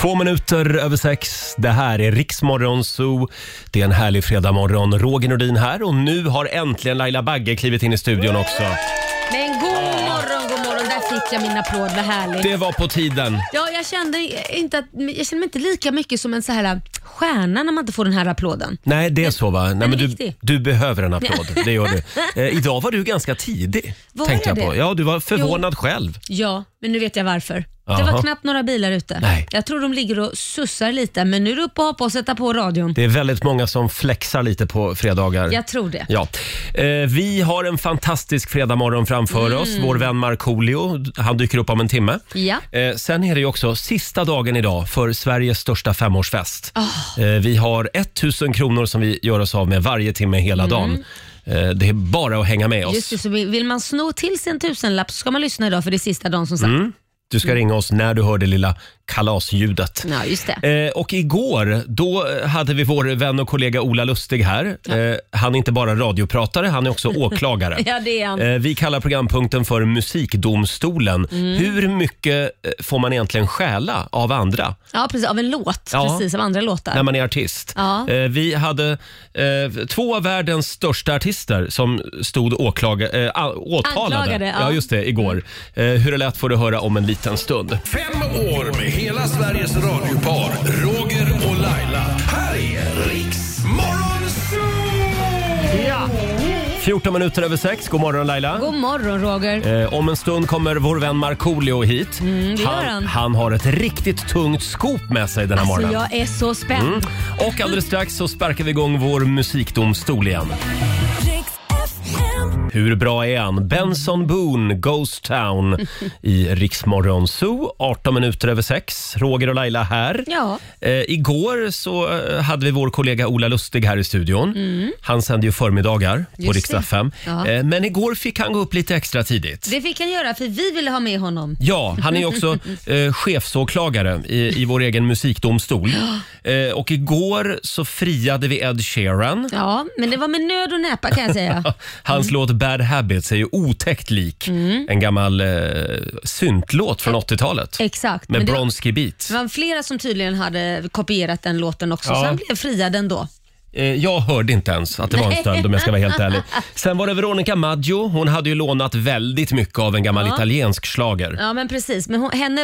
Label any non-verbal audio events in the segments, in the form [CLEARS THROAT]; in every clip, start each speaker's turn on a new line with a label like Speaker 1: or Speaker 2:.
Speaker 1: Två minuter över sex. Det här är Riksmorgon Zoo. Det är en härlig fredagmorgon. Roger Nordin här och nu har äntligen Laila Bagge klivit in i studion också.
Speaker 2: Men god morgon, god morgon. Där fick jag min applåd. Vad härligt.
Speaker 1: Det var på tiden.
Speaker 2: Ja, jag, kände inte att, jag kände mig inte lika mycket som en så här äh, stjärna när man inte får den här applåden.
Speaker 1: Nej, det är så va? Nej, men du,
Speaker 2: riktig.
Speaker 1: du behöver en applåd. Det gör du. Eh, idag var du ganska tidig.
Speaker 2: Var
Speaker 1: tänkte
Speaker 2: jag
Speaker 1: jag på.
Speaker 2: det?
Speaker 1: Ja, du var förvånad själv.
Speaker 2: Ja, men nu vet jag varför. Det
Speaker 1: Jaha.
Speaker 2: var knappt några bilar ute.
Speaker 1: Nej.
Speaker 2: Jag tror de ligger och sussar lite, men nu är det upp och hoppa och sätta på radion.
Speaker 1: Det är väldigt många som flexar lite på fredagar.
Speaker 2: Jag tror det.
Speaker 1: Ja. Eh, vi har en fantastisk fredagmorgon framför oss. Vår vän Markoolio, han dyker upp om en timme.
Speaker 2: Ja.
Speaker 1: Eh, sen är det ju också sista dagen idag för Sveriges största femårsfest.
Speaker 2: Ah.
Speaker 1: Eh, vi har 1000 kronor som vi gör oss av med varje timme hela dagen. Eh, det är bara att hänga med oss.
Speaker 2: Mm. Just det, så vill vill man sno till sig en tusenlapp så ska man lyssna idag för det är sista dagen som sagt.
Speaker 1: Mm.
Speaker 2: Mm.
Speaker 1: Du ska ringa oss när du hör det lilla kalasljudet.
Speaker 2: Ja, just det.
Speaker 1: Eh, och igår, då hade vi vår vän och kollega Ola Lustig här. Eh, han är inte bara radiopratare, han är
Speaker 2: [LAUGHS]
Speaker 1: också åklagare.
Speaker 2: Ja, det är han.
Speaker 1: Eh, Vi kallar programpunkten för Musikdomstolen.
Speaker 2: Mm.
Speaker 1: Hur mycket eh, får man egentligen stjäla av andra
Speaker 2: Ja, precis. Av en låt.
Speaker 1: Ja.
Speaker 2: Precis, av andra låtar.
Speaker 1: när man är artist?
Speaker 2: Ja.
Speaker 1: Eh, Vi hade eh, två av världens största artister som stod åklaga, eh, a- åtalade
Speaker 2: Anklagade,
Speaker 1: ja.
Speaker 2: ja. Mm.
Speaker 1: just det, igår. Eh, Hur det lät får du höra om en liten stund.
Speaker 3: Fem år med hela Sveriges radiopar Roger och Laila. Här är Riks Morgonzoo!
Speaker 1: 14 minuter över sex. God morgon Laila.
Speaker 2: God morgon Roger.
Speaker 1: Eh, Om en stund kommer vår vän Markoolio hit.
Speaker 2: Mm, det gör han.
Speaker 1: han har ett riktigt tungt skop med sig den här
Speaker 2: Alltså
Speaker 1: morgonen.
Speaker 2: jag är så spänd.
Speaker 1: Mm. Och alldeles strax så sparkar vi igång vår musikdomstol igen. Hur bra är han? Benson Boone, Ghost
Speaker 2: [LAUGHS]
Speaker 1: Town i Riksmorgon Zoo. 18 minuter över sex. Roger och Laila här.
Speaker 2: Ja.
Speaker 1: Eh, igår så eh, hade vi vår kollega Ola Lustig här i studion. Han sänder ju förmiddagar på
Speaker 2: Mm. Just
Speaker 1: riksdag
Speaker 2: det.
Speaker 1: 5.
Speaker 2: Ja.
Speaker 1: Eh, men igår fick han gå upp lite extra tidigt.
Speaker 2: Det fick han göra för vi ville ha med honom.
Speaker 1: Ja, han är ju också eh, chefsåklagare i, i vår egen musikdomstol. Eh, och igår så friade vi Ed Sheeran.
Speaker 2: [LAUGHS] Ja, men det var med nöd och näpa kan
Speaker 1: [LAUGHS]
Speaker 2: jag säga.
Speaker 1: Hans
Speaker 2: Mm.
Speaker 1: låt Bad Habits är ju otäckt lik en gammal eh, syntlåt från 80-talet.
Speaker 2: Exakt.
Speaker 1: Med
Speaker 2: men det var,
Speaker 1: Bronski Beat.
Speaker 2: det var flera som tydligen hade kopierat den låten också,
Speaker 1: Ja.
Speaker 2: så han blev friad ändå.
Speaker 1: Eh, jag hörde inte ens att det var en stöld om jag ska vara helt
Speaker 2: [LAUGHS]
Speaker 1: ärlig. Sen var det Veronica Maggio. Hon hade ju lånat väldigt mycket av en gammal
Speaker 2: Ja.
Speaker 1: italiensk schlager.
Speaker 2: Ja, men precis. Men hon, henne,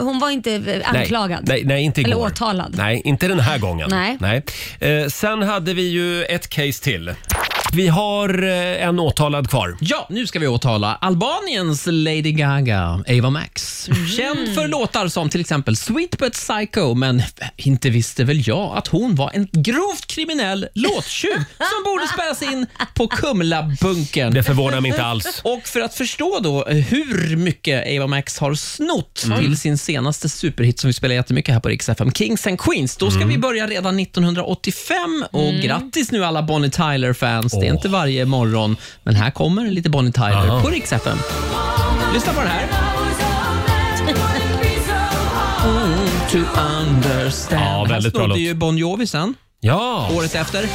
Speaker 2: hon var inte eh, anklagad. [LAUGHS]
Speaker 1: Nej, nej, nej inte igår.
Speaker 2: Eller åtalad.
Speaker 1: Nej, inte den här gången.
Speaker 2: Nej.
Speaker 1: Eh, sen hade vi ju ett case till. Vi har eh, en åtalad kvar.
Speaker 4: Ja, nu ska vi åtala Albaniens Lady Gaga, Ava Max. Känd för låtar som till exempel Sweet But Psycho, men inte visste väl jag att hon var en grovt kriminell låttjuv som borde spärras in på Kumlabunkern.
Speaker 1: Det förvånar mig inte alls.
Speaker 4: Och för att förstå då hur mycket Ava Max har snott
Speaker 1: Mm.
Speaker 4: till sin senaste superhit som vi spelar jättemycket här på Rix FM, Kings and Queens, då ska
Speaker 1: Mm.
Speaker 4: vi börja redan 1985. Och grattis nu alla Bonnie Tyler-fans. Det är
Speaker 1: Åh.
Speaker 4: inte varje morgon, men här kommer lite Bonnie Tyler
Speaker 1: Aha.
Speaker 4: på Rix FM. Lyssna på den här. Oh, to understand.
Speaker 1: Ja,
Speaker 4: här
Speaker 1: väldigt bra
Speaker 4: snodde
Speaker 1: låt.
Speaker 4: ju Bon Jovi sen,
Speaker 1: Ja,
Speaker 4: året efter.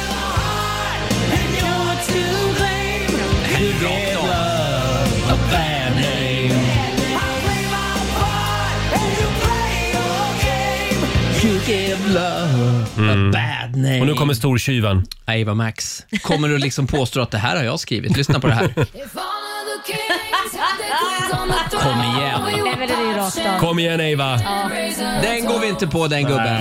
Speaker 4: You give love a bad name.
Speaker 1: Mm. och nu kommer stortjuven.
Speaker 4: Ava Max. Kommer du liksom påstå att det här har jag skrivit? Lyssna på det här. Kom igen.
Speaker 2: Nej, men det är ju rakt av.
Speaker 1: Kom igen Eva.
Speaker 4: Den går vi inte på den gubben.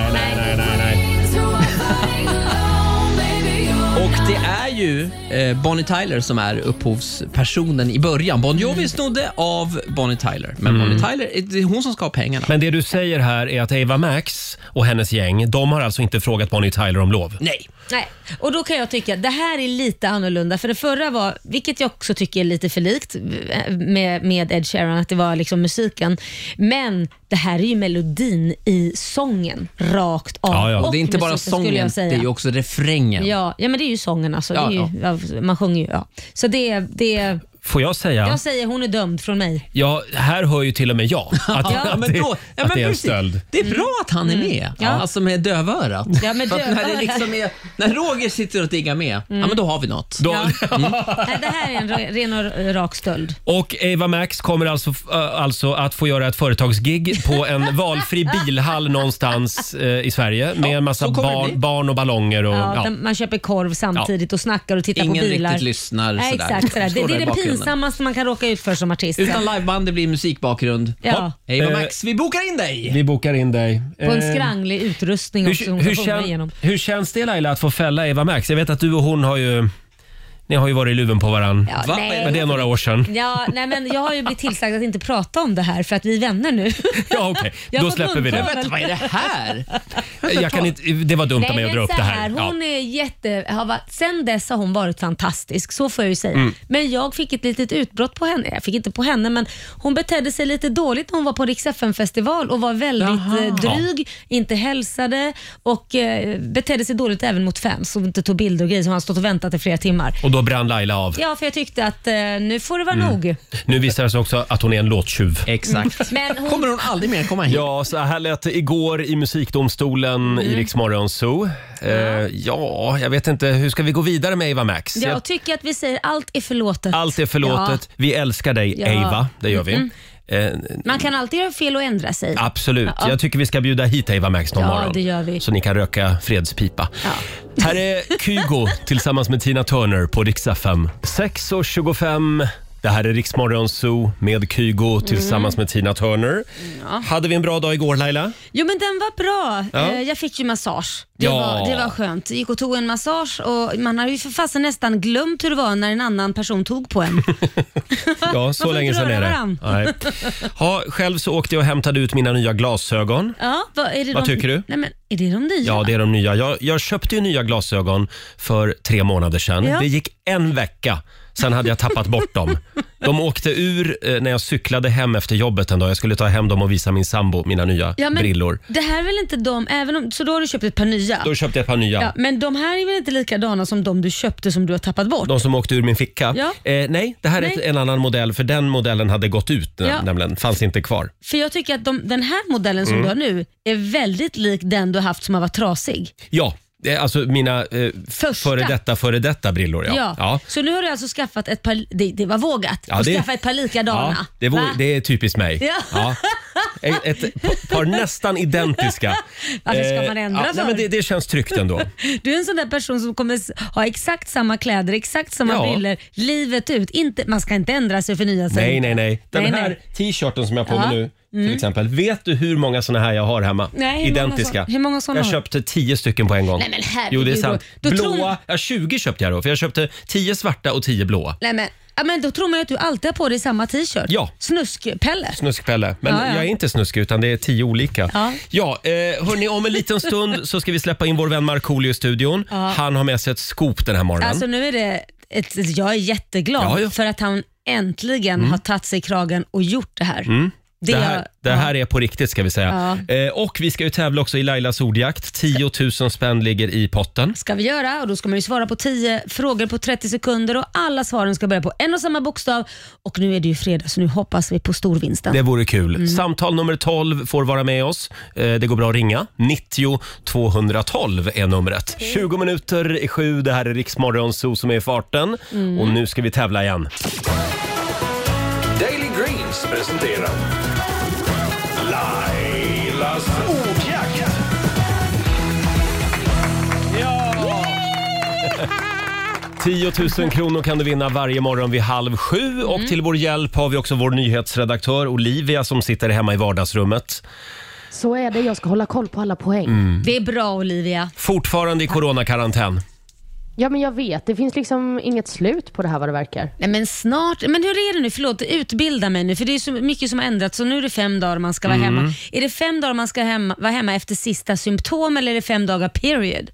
Speaker 4: Och det är ju eh, Bonnie Tyler som är upphovspersonen i början. Bon Jovi snodde av Bonnie Tyler. Men
Speaker 1: Mm.
Speaker 4: Bonnie Tyler, eh, det är hon som ska ha pengarna.
Speaker 1: Men det du säger här är att Eva Max och hennes gäng, de har alltså inte frågat Bonnie Tyler om lov.
Speaker 4: Nej.
Speaker 2: Nej, och då kan jag tycka att det här är lite annorlunda. För det förra var, vilket jag också tycker är lite för likt eh, med, med Ed Sheeran, att det var liksom musiken. Men det här är ju melodin i sången, rakt av.
Speaker 1: Ja, ja.
Speaker 4: Och det är inte bara
Speaker 2: musiken, skulle
Speaker 4: sången,
Speaker 2: jag
Speaker 4: det
Speaker 2: säga.
Speaker 4: är ju också refrängen.
Speaker 2: Ja, ja, men det är ju sången alltså.
Speaker 4: Ja,
Speaker 2: det är ju, ja. man sjunger ju. Ja. Så det, är- det är
Speaker 1: Får jag säga?
Speaker 2: Jag säger hon är dömd
Speaker 4: [LAUGHS]
Speaker 2: från mig.
Speaker 1: Ja, här hör ju till och med jag att,
Speaker 4: Ja,
Speaker 1: att,
Speaker 4: men
Speaker 1: det,
Speaker 4: då, ja,
Speaker 1: att
Speaker 4: men
Speaker 1: det är en
Speaker 4: precis.
Speaker 1: stöld.
Speaker 4: Det är bra att han är med,
Speaker 2: Mm. Ja.
Speaker 4: alltså med dövörat.
Speaker 2: Ja, med
Speaker 4: För att När, det
Speaker 2: dövörat. Mm.
Speaker 4: liksom är, när Roger sitter och diggar med, ja, men då har vi något.
Speaker 1: Då,
Speaker 4: Mm.
Speaker 2: Nej, det här är en ra- ren och rak stöld.
Speaker 1: Och Eva Max kommer alltså, f- äh, alltså att få göra ett företagsgig på en
Speaker 2: [LAUGHS]
Speaker 1: valfri bilhall någonstans eh, i Sverige med en massa
Speaker 4: så kommer det bli.
Speaker 1: barn, barn och ballonger. Och,
Speaker 2: Ja,
Speaker 1: ja.
Speaker 2: där Man köper korv samtidigt och snackar och tittar
Speaker 4: Ingen
Speaker 2: på bilar.
Speaker 4: riktigt lyssnar.
Speaker 2: Nej,
Speaker 4: sådär.
Speaker 2: exakt, sådär. Det,
Speaker 4: Står
Speaker 2: det
Speaker 4: där
Speaker 2: är
Speaker 4: i
Speaker 2: det
Speaker 4: bakgrunden.
Speaker 2: pinsammaste man kan råka ut för som artist.
Speaker 4: Utan liveband, det blir musikbakgrund.
Speaker 2: Ja.
Speaker 4: Hopp. Hej då
Speaker 1: Eh.
Speaker 4: Max, vi bokar in dig!
Speaker 1: Vi bokar in dig.
Speaker 2: På en
Speaker 1: Eh,
Speaker 2: skranglig utrustning också.
Speaker 1: hur,
Speaker 2: Hon
Speaker 1: hur,
Speaker 2: ska sjunga
Speaker 1: kän,
Speaker 2: igenom.
Speaker 1: hur känns det Laila att få fälla Eva Max? Jag vet att du och hon har ju, ni har ju varit i luven på varann.
Speaker 2: Ja,
Speaker 4: Va?
Speaker 1: Men det är
Speaker 2: nej.
Speaker 1: några år
Speaker 2: [LAUGHS]
Speaker 1: sedan.
Speaker 2: Ja, nej, men jag har ju blivit tillsagd att inte prata om det här för att vi är vänner nu.
Speaker 1: Ja, okej.
Speaker 2: Jag
Speaker 1: Då
Speaker 2: får
Speaker 1: släpper vi
Speaker 2: munta
Speaker 1: det.
Speaker 2: väl.
Speaker 4: Vänta, vad är det här?
Speaker 1: Jag kan inte, det var dumt av mig att dra
Speaker 2: men
Speaker 1: upp
Speaker 2: så
Speaker 1: det här. Ja.
Speaker 2: Hon är jätte, har varit, sen dess har hon varit fantastisk, så får jag ju säga.
Speaker 1: Mm.
Speaker 2: Men jag fick ett litet utbrott på henne. Jag fick inte på henne, men hon betedde sig lite dåligt när hon var på Rix festival och var väldigt
Speaker 4: Jaha.
Speaker 2: eh, dryg, inte hälsade och eh, betedde sig dåligt även mot fans och inte tog bilder och grejer som han stått och väntat i flera timmar.
Speaker 1: Och Mm. då brann Laila av.
Speaker 2: Ja, för jag tyckte att eh, nu får det vara
Speaker 1: [LAUGHS]
Speaker 2: nog.
Speaker 1: Nu visar det sig också att hon är en låttjuv.
Speaker 4: Exakt.
Speaker 2: Men hon-
Speaker 4: Kommer hon aldrig mer komma hit?
Speaker 1: Ja, så här lät det igår i musikdomstolen
Speaker 2: Mm.
Speaker 1: i Rix Morgon Zoo. Eh, ja, jag vet inte. Hur ska vi gå vidare med Eva Max? Jag-
Speaker 2: [LAUGHS] Jag tycker att vi säger allt är förlåtet.
Speaker 1: Allt är förlåtet. Vi älskar dig,
Speaker 2: Ja. Mm.
Speaker 1: Eva. Det gör vi. Eh,
Speaker 2: Man kan alltid göra fel och ändra sig.
Speaker 1: absolut. Jag tycker vi ska bjuda hit Eva Max någon
Speaker 2: Ja,
Speaker 1: morgon.
Speaker 2: det gör vi.
Speaker 1: Så ni kan röka fredspipa. Här är
Speaker 2: [LAUGHS]
Speaker 1: Kygo tillsammans med Tina Turner på Rix FM. 6.25. Det här är Rix Morgon Zoo med
Speaker 2: Mm.
Speaker 1: Kygo tillsammans med Tina Turner. Hade vi en bra dag igår, Laila?
Speaker 5: Jo men den var bra.
Speaker 1: Ja.
Speaker 5: Eh, Jag fick ju massage. Det,
Speaker 1: Ja.
Speaker 5: var, det var skönt. Gick och tog en massage och man har ju för fasen nästan glömt hur det var när en annan person tog på en.
Speaker 1: [LAUGHS] Ja, så
Speaker 5: får
Speaker 1: länge
Speaker 5: inte
Speaker 1: sedan är
Speaker 5: röra
Speaker 1: det.
Speaker 5: varann.
Speaker 1: Nej. Ha, själv så åkte jag och hämtade ut mina nya glasögon.
Speaker 5: [LAUGHS] Ja, vad, är det
Speaker 1: Vad
Speaker 5: de,
Speaker 1: tycker du?
Speaker 5: Nej, men, är det de nya?
Speaker 1: Ja, det är de nya. Jag, jag köpte ju nya glasögon för tre månader sedan.
Speaker 5: Ja.
Speaker 1: Det gick en vecka, sen hade jag tappat bort dem. De åkte ur eh, när jag cyklade hem efter jobbet en dag. Jag skulle ta hem dem och visa min sambo mina nya
Speaker 5: Ja, men
Speaker 1: brillor.
Speaker 5: Det här är väl inte de, även om, så då har du köpt ett par nya?
Speaker 1: Då köpte jag ett par nya.
Speaker 5: ja, men de här är väl inte likadana som de du köpte som du har tappat bort?
Speaker 1: De som åkte ur min ficka.
Speaker 5: Ja.
Speaker 1: Eh, nej, det här är
Speaker 5: Nej.
Speaker 1: ett- en annan modell för den modellen hade gått ut
Speaker 5: Ja.
Speaker 1: nämligen. Fanns inte kvar.
Speaker 5: För jag tycker att de, den här modellen
Speaker 1: Mm.
Speaker 5: som du har nu är väldigt lik den du har haft som har varit trasig.
Speaker 1: Ja, det är alltså mina eh,
Speaker 5: Första.
Speaker 1: före detta före detta brillor. Ja.
Speaker 5: Ja.
Speaker 1: Ja.
Speaker 5: Så nu har du alltså skaffat ett par, det, det var vågat,
Speaker 1: Ja,
Speaker 5: att
Speaker 1: det-
Speaker 5: skaffa ett par likadana.
Speaker 1: Ja, det, vore,
Speaker 5: Va?
Speaker 1: det är typiskt mig.
Speaker 5: Ja.
Speaker 1: Ja. Ett, ett par nästan identiska.
Speaker 5: Varför ska man
Speaker 1: Eh,
Speaker 5: ändra
Speaker 1: ja, nej,
Speaker 5: för?
Speaker 1: men det, det känns tryggt ändå.
Speaker 5: [LAUGHS] Du är en sån där person som kommer s- ha exakt samma kläder, exakt samma
Speaker 1: Ja.
Speaker 5: briller livet ut. Inte, man ska inte ändra sig och förnya sig.
Speaker 1: Nej, nej, nej. Den
Speaker 5: Alltså, Nej,
Speaker 1: här
Speaker 5: nej.
Speaker 1: t-shirten som jag har på mig
Speaker 5: Ja. Mm.
Speaker 1: nu till exempel. Vet du hur många såna här jag har hemma?
Speaker 5: Nej, hur många
Speaker 1: identiska.
Speaker 5: så- hur många såna
Speaker 1: jag
Speaker 5: har du?
Speaker 1: köpte tio stycken på en gång.
Speaker 5: Nej, men herregud,
Speaker 1: jo, det är sant.
Speaker 5: då- då tror-
Speaker 1: blåa, ja, 20 köpte jag då. För jag köpte 10 svarta och 10 blåa.
Speaker 5: Nej, men, ja, men då tror man ju att du alltid har på dig samma t-shirt.
Speaker 1: Ja.
Speaker 5: Snuskpelle.
Speaker 1: Snuskpelle. Men
Speaker 5: Ja, ja.
Speaker 1: jag är inte snuskig utan det är tio olika. Ja,
Speaker 5: Ja.
Speaker 1: eh, hörni, om en liten stund så ska vi släppa in vår vän Markoolio i studion. Han har med sig ett scoop den här morgonen.
Speaker 5: Alltså nu är det ett, jag är jätteglad
Speaker 1: Ja, Mm. ja.
Speaker 5: för att han äntligen har tagit sig i kragen och gjort det här.
Speaker 1: Mm. det,
Speaker 5: Det,
Speaker 1: här,
Speaker 5: jag-
Speaker 1: det här är på riktigt ska vi säga. Eh, och vi ska ju tävla också i Lailas ordjakt. 10 000 spänn ligger i potten.
Speaker 5: ska vi göra och då ska man ju svara på 10 frågor på 30 sekunder och alla svaren ska börja på en och samma bokstav. Och nu är det ju fredag så nu hoppas vi på storvinsten.
Speaker 1: Det vore kul.
Speaker 5: Mm.
Speaker 1: Samtal nummer 12 får vara med oss. Eh, Det går bra att ringa. 90 212 är numret. 20 minuter i sju. Det här är Riksmorgon Zoo som är i farten.
Speaker 5: Mm.
Speaker 1: Och nu ska vi tävla igen.
Speaker 3: Daily Greens presenterar Lailas ordjakt.
Speaker 1: Ja! 10 000 kronor kan du vinna varje morgon vid halv sju. Och
Speaker 2: Mm.
Speaker 1: till vår hjälp har vi också vår nyhetsredaktör Olivia som sitter hemma i vardagsrummet.
Speaker 6: Så är det, jag ska hålla koll på alla poäng.
Speaker 1: Mm.
Speaker 5: det är bra Olivia.
Speaker 1: Fortfarande i coronakarantän.
Speaker 6: Ja men jag vet, det finns liksom inget slut på det här vad det verkar.
Speaker 5: Nej men snart, men hur är det nu? Förlåt, utbilda mig nu för det är så mycket som har ändrats så nu är det fem dagar man ska vara
Speaker 1: Mm.
Speaker 5: hemma. Är det fem dagar man ska hemma, vara hemma efter sista symptom eller är det fem dagar period?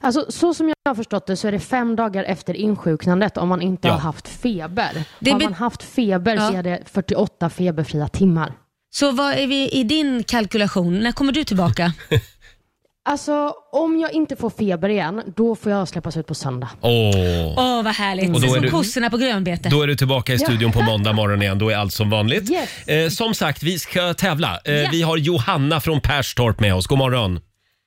Speaker 6: Alltså så som jag har förstått det så är det fem dagar efter insjuknandet om man inte
Speaker 1: Ja.
Speaker 6: har haft feber.
Speaker 5: Det
Speaker 6: har
Speaker 5: be-
Speaker 6: man haft feber så
Speaker 5: Ja.
Speaker 6: är det 48 feberfria timmar.
Speaker 5: Så vad är vi i din kalkylation? När kommer du tillbaka?
Speaker 6: Alltså, om jag inte får feber igen, då får jag släppas ut på söndag.
Speaker 1: Åh.
Speaker 2: Åh, vad härligt.
Speaker 1: Och då
Speaker 2: Det är
Speaker 1: är
Speaker 2: som
Speaker 1: du-
Speaker 2: kossorna på grönbete.
Speaker 1: Då är du tillbaka i studion på måndag morgon igen. Då är allt som vanligt.
Speaker 6: Yes.
Speaker 1: Eh, som sagt, vi ska tävla. Eh,
Speaker 2: Ja.
Speaker 1: Vi har Johanna från Perstorp med oss. God morgon!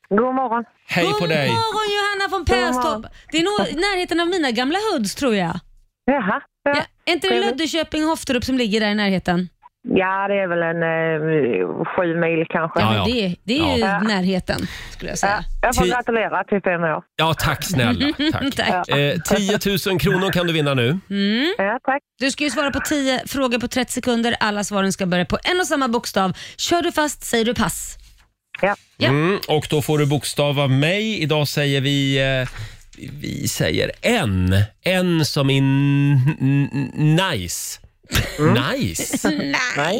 Speaker 7: God morgon.
Speaker 1: Hej på
Speaker 2: God
Speaker 1: dig!
Speaker 2: morgon Johanna från Perstorp. Det är nog i närheten av mina gamla hoods tror jag.
Speaker 7: Jaha. Ja.
Speaker 2: Ja, är inte det
Speaker 7: trevligt.
Speaker 2: Löddeköping och Hofterup som ligger där i närheten?
Speaker 7: ja, det är väl en eh, sju mil kanske.
Speaker 1: Ja,
Speaker 7: Ja,
Speaker 1: ja.
Speaker 2: Det, det är ju
Speaker 7: Ja.
Speaker 2: närheten skulle jag säga.
Speaker 7: jag får
Speaker 1: Ti-
Speaker 7: gratulera till fem år.
Speaker 1: Ja, tack
Speaker 2: [LAUGHS]
Speaker 1: snälla. Tack.
Speaker 2: Tack.
Speaker 1: Eh, 10 000 kronor kan du vinna nu.
Speaker 7: Ja, tack.
Speaker 2: Mm. Du ska ju svara på 10 frågor på 30 sekunder. Alla svaren ska börja på en och samma bokstav. Kör du fast säger du pass.
Speaker 7: Ja.
Speaker 1: Mm, och då får du bokstav av mig. Idag säger vi... Eh, vi säger en. En som är n- n- nice.
Speaker 7: Mm. [LAUGHS]
Speaker 1: Nice.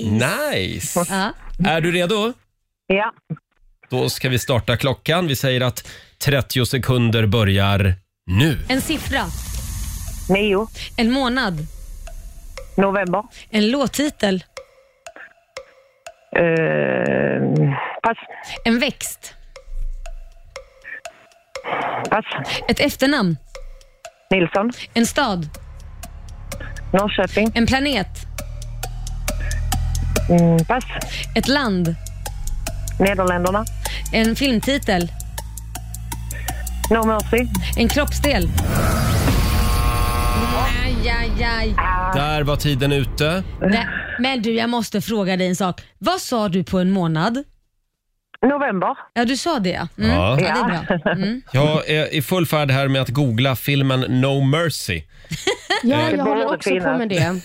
Speaker 1: Nice.
Speaker 2: Ja.
Speaker 1: Är du redo?
Speaker 7: Ja.
Speaker 1: Då ska vi starta klockan. Vi säger att 30 sekunder börjar nu.
Speaker 2: En siffra,
Speaker 7: Nio.
Speaker 2: en månad,
Speaker 7: November.
Speaker 2: en låttitel,
Speaker 7: Eh, pass.
Speaker 2: en växt,
Speaker 7: Pass.
Speaker 2: ett efternamn,
Speaker 7: Nilsson.
Speaker 2: en stad,
Speaker 7: Norrköping.
Speaker 2: en planet,
Speaker 7: Mm, pass.
Speaker 2: ett land,
Speaker 7: Nederländerna.
Speaker 2: en filmtitel,
Speaker 7: No mercy.
Speaker 2: en kroppsdel. Aj, aj, aj.
Speaker 1: Där var tiden ute.
Speaker 2: Nej, Men du, jag måste fråga dig en sak. Vad sa du på en månad?
Speaker 7: November.
Speaker 2: Ja, du sa det ja. Mm.
Speaker 1: Ja.
Speaker 2: Ja, det är bra.
Speaker 7: [LAUGHS]
Speaker 2: Mm.
Speaker 1: Jag är i full färd här med att googla filmen No Mercy.
Speaker 6: Ja,
Speaker 7: Det
Speaker 6: jag håller
Speaker 7: borde
Speaker 6: också
Speaker 7: finnas.
Speaker 6: på med det.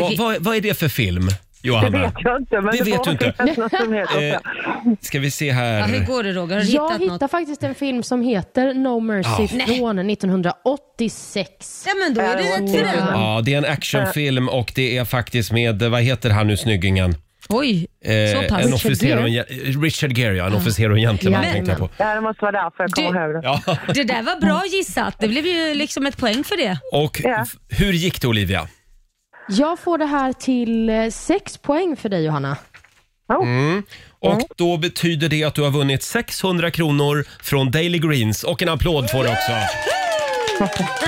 Speaker 1: Vad vad- vad är det för film,
Speaker 7: Det
Speaker 1: Johanna?
Speaker 7: vet jag inte. Men
Speaker 1: Det
Speaker 7: det,
Speaker 1: vet
Speaker 7: borde
Speaker 1: du inte.
Speaker 7: finnas något som heter
Speaker 1: Eh,
Speaker 7: så.
Speaker 1: ska vi se
Speaker 2: Ja,
Speaker 1: här.
Speaker 2: hur går det Roger? Har du
Speaker 6: Jag
Speaker 2: hittat
Speaker 6: hittar
Speaker 2: något?
Speaker 6: faktiskt en film som heter No Mercy från 1986.
Speaker 2: Ja, men då är det rätt för den.
Speaker 1: Ja, det är en actionfilm och det är faktiskt med, eh, vad heter han nu snyggingen?
Speaker 2: Oj,
Speaker 1: Eh,
Speaker 2: så pass.
Speaker 1: en officer och en, gen- Richard Gere, ja. En officer och en gentleman
Speaker 6: Ja.
Speaker 1: tänkte jag på.
Speaker 7: Ja, det måste vara därför jag kommer
Speaker 2: Du-
Speaker 7: ihåg det.
Speaker 1: Ja.
Speaker 2: Det där var bra gissat. Det blev ju liksom ett poäng för det.
Speaker 1: Och
Speaker 7: Ja.
Speaker 1: f- hur gick det Olivia?
Speaker 6: Jag får det här till eh, sex poäng för dig Johanna.
Speaker 7: Oh.
Speaker 1: Mm. Och då betyder det att du har vunnit 600 kronor från Daily Greens och en applåd får du också.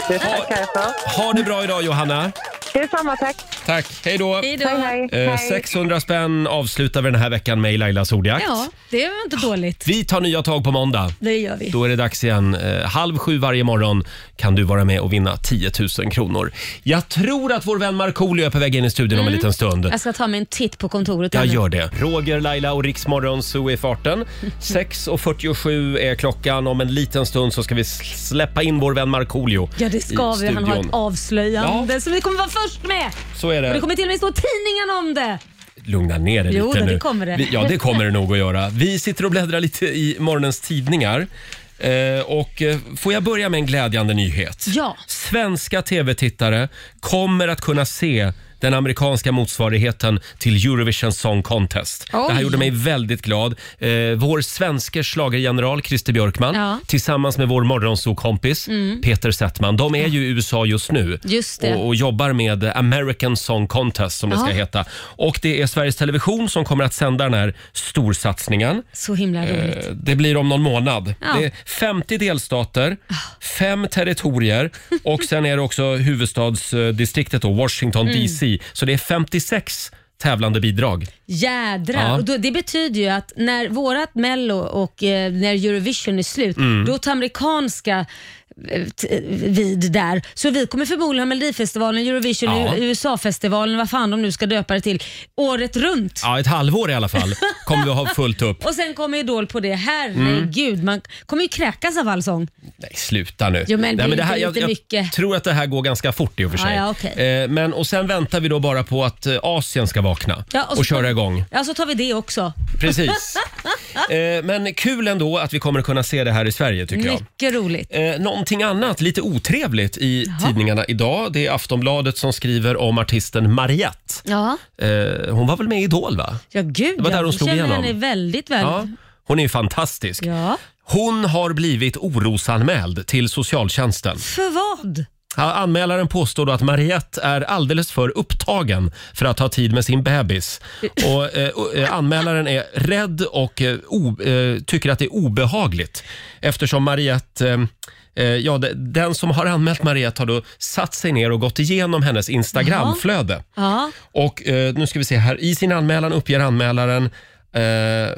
Speaker 7: Det tackar jag för.
Speaker 1: Ha det bra idag Johanna.
Speaker 7: Det är samma tack.
Speaker 1: Tack, hej då.
Speaker 2: Hej
Speaker 7: Hej,
Speaker 2: då.
Speaker 7: hej.
Speaker 1: Eh,
Speaker 7: Hej.
Speaker 1: 600 spänn avslutar vi den här veckan med i Lailas ordjakt.
Speaker 2: Ja, det var inte dåligt.
Speaker 1: Vi tar nya tag på måndag.
Speaker 2: Det gör vi.
Speaker 1: Då är det dags igen. Eh, halv sju varje morgon kan du vara med och vinna 10 000 kronor. Jag tror att vår vän Markoolio är på väg in i studion om en liten stund.
Speaker 2: Mm. Jag ska ta mig en titt på kontoret. här
Speaker 1: Jag
Speaker 2: nu.
Speaker 1: gör det. Roger, Laila och Riksmorgon så i
Speaker 2: [LAUGHS]
Speaker 1: farten. 6.47 är klockan. Om en liten stund så ska vi släppa in vår vän Markoolio
Speaker 2: Ja, det ska
Speaker 1: i
Speaker 2: vi. Han har ett
Speaker 1: studion.
Speaker 2: avslöjande som vi kommer vara först med.
Speaker 1: Så är
Speaker 2: Och
Speaker 1: det.
Speaker 2: det kommer till och med stå i tidningen om det.
Speaker 1: Lugna ner dig
Speaker 2: Jo,
Speaker 1: lite
Speaker 2: då,
Speaker 1: nu.
Speaker 2: det kommer det.
Speaker 1: Vi, ja, det kommer det nog att göra. Vi sitter och bläddrar lite i morgonens tidningar. Eh, och eh, får jag börja med en glädjande nyhet?
Speaker 2: Ja.
Speaker 1: Svenska tv-tittare kommer att kunna se den amerikanska motsvarigheten till Eurovision Song Contest. Det här
Speaker 2: Oj.
Speaker 1: gjorde mig väldigt glad. Eh, vår svenske schlagergeneral Christer Björkman
Speaker 2: Ja. Mm.
Speaker 1: tillsammans med vår morgonsokompis Peter Settman. De är ju i USA just nu
Speaker 2: Just det.
Speaker 1: Och, och jobbar med American Song Contest som det ska
Speaker 2: Ja.
Speaker 1: heta. Och det är Sveriges Television som kommer att sända den här storsatsningen.
Speaker 2: Så himla roligt.
Speaker 1: Eh, Det blir om någon månad.
Speaker 2: Ja.
Speaker 1: Det är 50 delstater, fem
Speaker 2: [LAUGHS]
Speaker 1: territorier och sen är det också huvudstadsdistriktet då, Washington
Speaker 2: Mm.
Speaker 1: DC. Så det är 56 tävlande bidrag.
Speaker 2: Jädrar.
Speaker 1: Ja.
Speaker 2: Och då, det betyder ju att när vårat mello och eh, när Eurovision är slut,
Speaker 1: Mm.
Speaker 2: då tar amerikanska eh, t- eh, vid där. Så vi kommer förmodligen ha Melodifestivalen, Eurovision,
Speaker 1: Ja.
Speaker 2: U- USA-festivalen, vad fan de nu ska döpa det till, året runt.
Speaker 1: Ja, ett halvår i alla fall kommer
Speaker 2: [LAUGHS]
Speaker 1: vi att ha fullt upp. Mm.
Speaker 2: Och sen kommer Idol på det. Herregud, man kommer ju kräkas av all sång.
Speaker 1: Nej, sluta nu.
Speaker 2: Jo,
Speaker 1: Nej,
Speaker 2: men det är
Speaker 1: det
Speaker 2: inte
Speaker 1: här, jag,
Speaker 2: lite
Speaker 1: jag
Speaker 2: mycket.
Speaker 1: tror att det här går ganska fort i och för
Speaker 2: Ja,
Speaker 1: sig.
Speaker 2: ja, okej.
Speaker 1: eh, men, och sen väntar vi då bara på att eh, Asien ska vakna
Speaker 2: Ja,
Speaker 1: och,
Speaker 2: så
Speaker 1: köra
Speaker 2: tar-
Speaker 1: igång.
Speaker 2: Ja, så tar vi det också.
Speaker 1: Precis. eh, men kul ändå att vi kommer att kunna se det här i Sverige tycker jag.
Speaker 2: [LAUGHS] Mycket roligt.
Speaker 1: Eh, någonting annat, lite otrevligt i tidningarna idag. Det är Aftonbladet som skriver om artisten Mariette.
Speaker 2: Ja,
Speaker 1: Eh, hon var väl med i Idol va?
Speaker 2: ja gud
Speaker 1: Det var där
Speaker 2: ja.
Speaker 1: hon
Speaker 2: Jag
Speaker 1: slog
Speaker 2: känner
Speaker 1: igenom.
Speaker 2: henne väldigt väl.
Speaker 1: Ja, hon är ju fantastisk.
Speaker 2: ja.
Speaker 1: Hon har blivit orosanmäld till socialtjänsten.
Speaker 2: För vad?
Speaker 1: Ja, Anmälaren påstår då att Mariette är alldeles för upptagen för att ha tid med sin bebis. Och, eh, och, eh, anmälaren är rädd och eh, o, eh, tycker att det är obehagligt eftersom Mariette eh, eh, Ja, de- den som har anmält Mariette har då satt sig ner och gått igenom hennes Instagramflöde.
Speaker 2: Ja.
Speaker 1: Och eh, nu ska vi se här. I sin anmälan uppger anmälaren eh,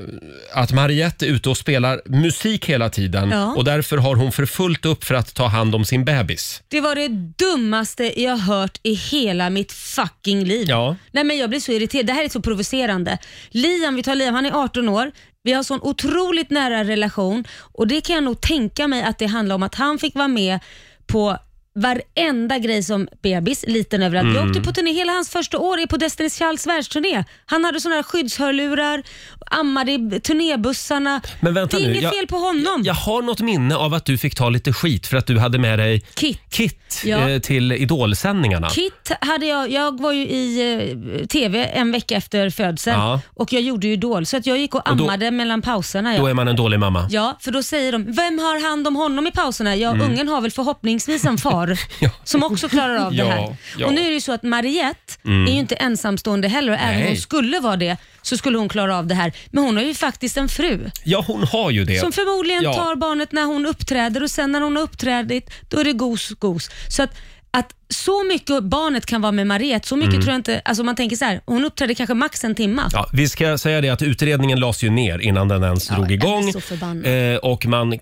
Speaker 1: att Mariette är ute och spelar musik hela tiden
Speaker 2: Ja.
Speaker 1: och därför har hon för fullt upp för att ta hand om sin bebis.
Speaker 2: Det var det dummaste jag hört i hela mitt fucking liv.
Speaker 1: Ja.
Speaker 2: Nej men jag blir så irriterad. Det här är så provocerande. Liam, vi tar Liam, han är 18 år. Vi har sån otroligt nära relation och det kan jag nog tänka mig att det handlar om att han fick vara med på varenda grej som bebis, liten överallt.
Speaker 1: Mm.
Speaker 2: Jag åkte på turné, hela hans första år är på Destiny's Childs världsturné. Han hade såna här skyddshörlurar, ammade i turnébussarna.
Speaker 1: Men vänta
Speaker 2: det är
Speaker 1: nu,
Speaker 2: inget
Speaker 1: jag-
Speaker 2: fel på honom.
Speaker 1: Jag har något minne av att du fick ta lite skit för att du hade med dig
Speaker 2: Kit.
Speaker 1: Kit
Speaker 2: Ja.
Speaker 1: eh, till idolsändningarna.
Speaker 2: Kit hade jag, jag var ju i eh, TV en vecka efter födseln
Speaker 1: Ja.
Speaker 2: och jag gjorde ju Idol så att jag gick och
Speaker 1: då-
Speaker 2: ammade mellan pauserna.
Speaker 1: Då
Speaker 2: Ja.
Speaker 1: är man en dålig mamma.
Speaker 2: ja, för då säger de, vem har hand om honom i pauserna? Ja,
Speaker 1: Mm.
Speaker 2: ungen har väl förhoppningsvis
Speaker 1: [LAUGHS]
Speaker 2: en far som också klarar av
Speaker 1: Ja,
Speaker 2: det här.
Speaker 1: ja. Mm.
Speaker 2: Och nu är det ju så att Mariette är ju inte ensamstående heller och även om
Speaker 1: Nej.
Speaker 2: hon skulle vara det så skulle hon klara av det här. Men hon har ju faktiskt en fru
Speaker 1: Ja, hon har ju det.
Speaker 2: som förmodligen
Speaker 1: Ja.
Speaker 2: tar barnet när hon uppträder och sen när hon har uppträdit då är det gos, gos. Så att, att så mycket barnet kan vara med Mariette, så mycket tror jag inte, alltså man tänker så här, hon uppträdde kanske max en timma.
Speaker 1: Mm. Ja, vi ska säga det att utredningen lades ju ner innan den ens drog
Speaker 2: jag blir
Speaker 1: igång.
Speaker 2: så Mm. förbannad.
Speaker 1: Eh, och man,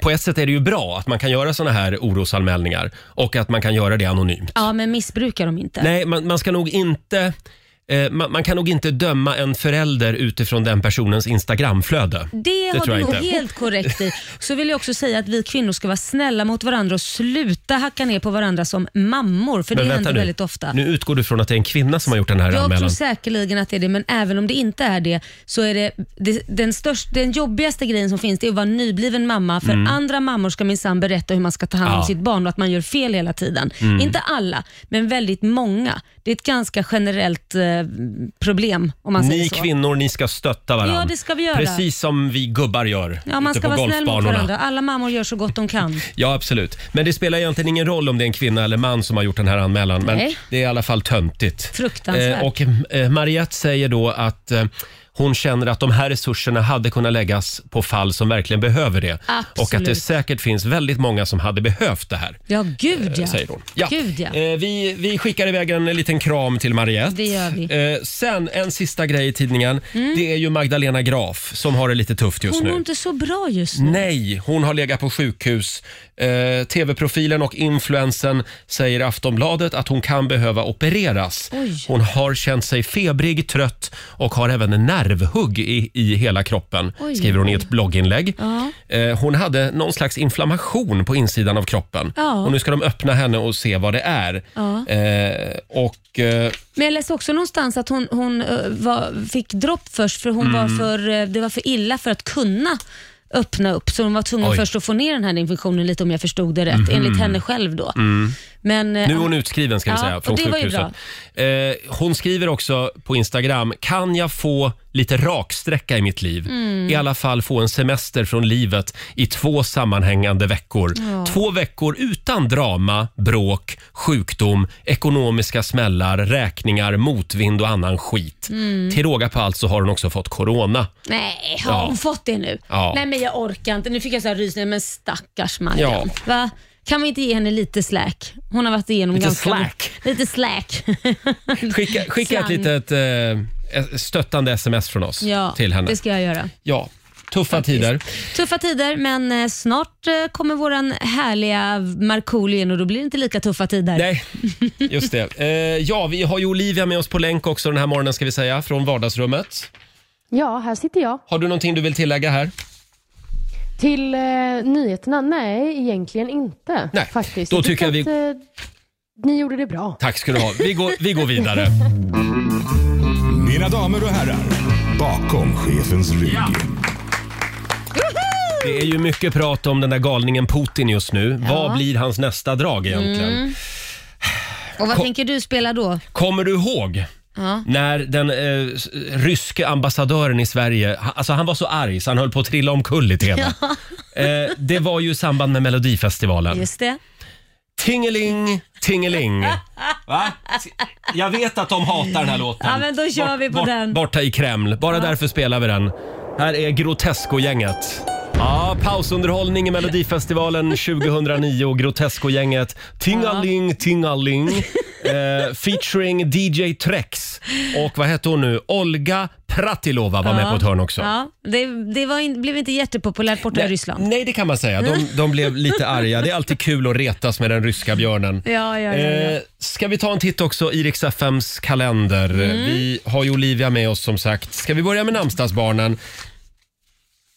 Speaker 1: på ett sätt är det ju bra att man kan göra såna här orosanmälningar och att man kan göra det anonymt.
Speaker 2: Ja, men missbrukar de inte.
Speaker 1: Nej, man, man ska nog inte eh, man, man kan nog inte döma en förälder utifrån den personens Instagramflöde.
Speaker 2: Det, har
Speaker 1: tror
Speaker 2: du
Speaker 1: jag
Speaker 2: nog
Speaker 1: inte.
Speaker 2: helt korrekt i. Så vill jag också säga att vi kvinnor ska vara snälla mot varandra och sluta hacka ner på varandra som mammor, för det händer
Speaker 1: nu.
Speaker 2: väldigt ofta.
Speaker 1: Nu utgår du från att det är en kvinna som har gjort den här
Speaker 2: Jag tror
Speaker 1: anmälan.
Speaker 2: säkerligen att det är det, men även om det inte är det så är det, det den, störst, den jobbigaste grejen som finns det är att vara nybliven mamma. För andra mammor ska minsann berätta hur man ska ta hand om
Speaker 1: Mm. Ja. Mm.
Speaker 2: sitt barn och att man gör fel hela tiden. Inte alla, men väldigt många. Det är ett ganska generellt eh, problem om man
Speaker 1: Ni
Speaker 2: säger så.
Speaker 1: kvinnor, ni ska stötta varandra.
Speaker 2: Ja, det ska vi göra.
Speaker 1: Precis som vi gubbar gör
Speaker 2: Ja, man
Speaker 1: ute
Speaker 2: ska
Speaker 1: på
Speaker 2: vara snäll mot
Speaker 1: golfbanorna.
Speaker 2: varandra. Alla mammor gör så gott
Speaker 1: [LAUGHS]
Speaker 2: de kan.
Speaker 1: Ja, absolut. Men det spelar egentligen ingen roll om det är en kvinna eller man som har gjort den här anmälan. Men
Speaker 2: Nej.
Speaker 1: det är i alla fall töntigt.
Speaker 2: Fruktansvärt.
Speaker 1: och eh, Mariette säger då att eh, hon känner att de här resurserna hade kunnat läggas på fall som verkligen behöver det.
Speaker 2: Absolut.
Speaker 1: Och att det säkert finns väldigt många som hade behövt det här.
Speaker 2: Ja, gud ja.
Speaker 1: Säger hon. Ja.
Speaker 2: Gud ja.
Speaker 1: Eh, vi, vi skickar iväg en liten kram till Mariette.
Speaker 2: Det gör vi.
Speaker 1: Eh, sen en sista grej i tidningen. Det är ju Magdalena Graf som har det lite tufft just
Speaker 2: Mm. Hon
Speaker 1: nu.
Speaker 2: mår inte så bra just nu.
Speaker 1: Nej, hon har legat på sjukhus. Eh, TV-profilen och influensen säger i Aftonbladet att hon kan behöva opereras.
Speaker 2: Oj.
Speaker 1: Hon har känt sig febrig, trött och har även en nervhugg i, i hela kroppen,
Speaker 2: Oj.
Speaker 1: skriver hon i ett blogginlägg.
Speaker 2: Ja.
Speaker 1: Eh, hon hade någon slags inflammation på insidan av kroppen
Speaker 2: Ja.
Speaker 1: och nu ska de öppna henne och se vad det är.
Speaker 2: Ja.
Speaker 1: Eh, och... Eh,
Speaker 2: Men jag läste också någonstans att hon, hon eh, var, fick dropp först för hon
Speaker 1: Mm.
Speaker 2: var för, eh, det var för illa för att kunna öppna upp. Så hon var tvungen
Speaker 1: Oj. Mhm.
Speaker 2: först att få ner den här infektionen lite om jag förstod det rätt, enligt henne själv då. Men, eh,
Speaker 1: Mm. Nu är hon utskriven ska vi
Speaker 2: Ja,
Speaker 1: säga
Speaker 2: och
Speaker 1: från
Speaker 2: det var ju
Speaker 1: sjukhuset. Eh, hon skriver också på Instagram, kan jag få lite raksträcka i mitt liv?
Speaker 2: Mm.
Speaker 1: I alla fall få en semester från livet i två sammanhängande veckor. Två veckor utan drama, bråk, sjukdom, ekonomiska smällar, räkningar, motvind och annan skit. Till råga på allt så har hon också fått corona.
Speaker 2: Mm. nej, har
Speaker 1: Ja.
Speaker 2: hon fått det nu?
Speaker 1: Ja.
Speaker 2: Nej men jag orkar inte. Nu fick jag så här rysningar, men stackars Marianne.
Speaker 1: Ja.
Speaker 2: Va? Kan vi inte ge henne lite slack? Hon har varit igenom
Speaker 1: Lite
Speaker 2: ganska
Speaker 1: slack.
Speaker 2: mycket- Lite slack.
Speaker 1: Skicka, skicka ett
Speaker 2: Slang.
Speaker 1: litet eh, stöttande sms från oss
Speaker 2: ja,
Speaker 1: till henne.
Speaker 2: Det ska jag göra.
Speaker 1: Ja, tuffa tider.
Speaker 2: Tuffa tider, men eh, snart eh, kommer våran härliga Markoolio in och då blir det inte lika tuffa tider.
Speaker 1: Nej, just det. Eh, ja, vi har ju Olivia med oss på länk också den här morgonen ska vi säga, från vardagsrummet.
Speaker 6: Ja, här sitter jag.
Speaker 1: Har du någonting du vill tillägga här?
Speaker 6: Till eh, nyheterna? Nej, egentligen inte.
Speaker 1: Nej,
Speaker 6: faktiskt.
Speaker 1: då tycker jag
Speaker 6: att, eh, ni gjorde det bra.
Speaker 1: Tack ska du ha. Vi går, vi går vidare.
Speaker 3: Mina damer och herrar, bakom chefens rygg.
Speaker 1: Det är ju mycket prat om den där galningen Putin just nu. Vad blir hans nästa drag egentligen?
Speaker 5: Mm.
Speaker 2: Och vad tänker du spela då?
Speaker 1: Kommer du ihåg när den eh, s- ryske ambassadören i Sverige, ha- alltså han var så arg så han höll på att trilla omkull i TV. Eh, det var ju i samband med Melodifestivalen.
Speaker 2: Just det.
Speaker 1: Tingeling, tingeling. Va? Jag vet att de hatar den här låten.
Speaker 5: Ja, men då kör vi på den.
Speaker 1: Borta i Kreml. Bara därför spelar vi den. Här är Grotesco-gänget. Ja, pausunderhållning i Melodifestivalen
Speaker 5: [LAUGHS]
Speaker 1: 2009 och Grotesco-gänget
Speaker 5: [LAUGHS]
Speaker 1: Tingaling, tingaling. Eh, featuring DJ Trex. Och vad hette hon nu? Olga Pratilova var med på ett hörn också.
Speaker 5: Ja, det det var in, blev inte jättepopulärt borta i Ryssland.
Speaker 1: Nej, det kan man säga. De, de blev lite arga. Det är alltid kul att retas med den ryska björnen.
Speaker 5: [LAUGHS] Ja, ja, ja, ja.
Speaker 1: Eh, ska vi ta en titt också i Rix FMs kalender?
Speaker 5: Mm.
Speaker 1: Vi har ju Olivia med oss som sagt. Ska vi börja med namnsdagsbarnen?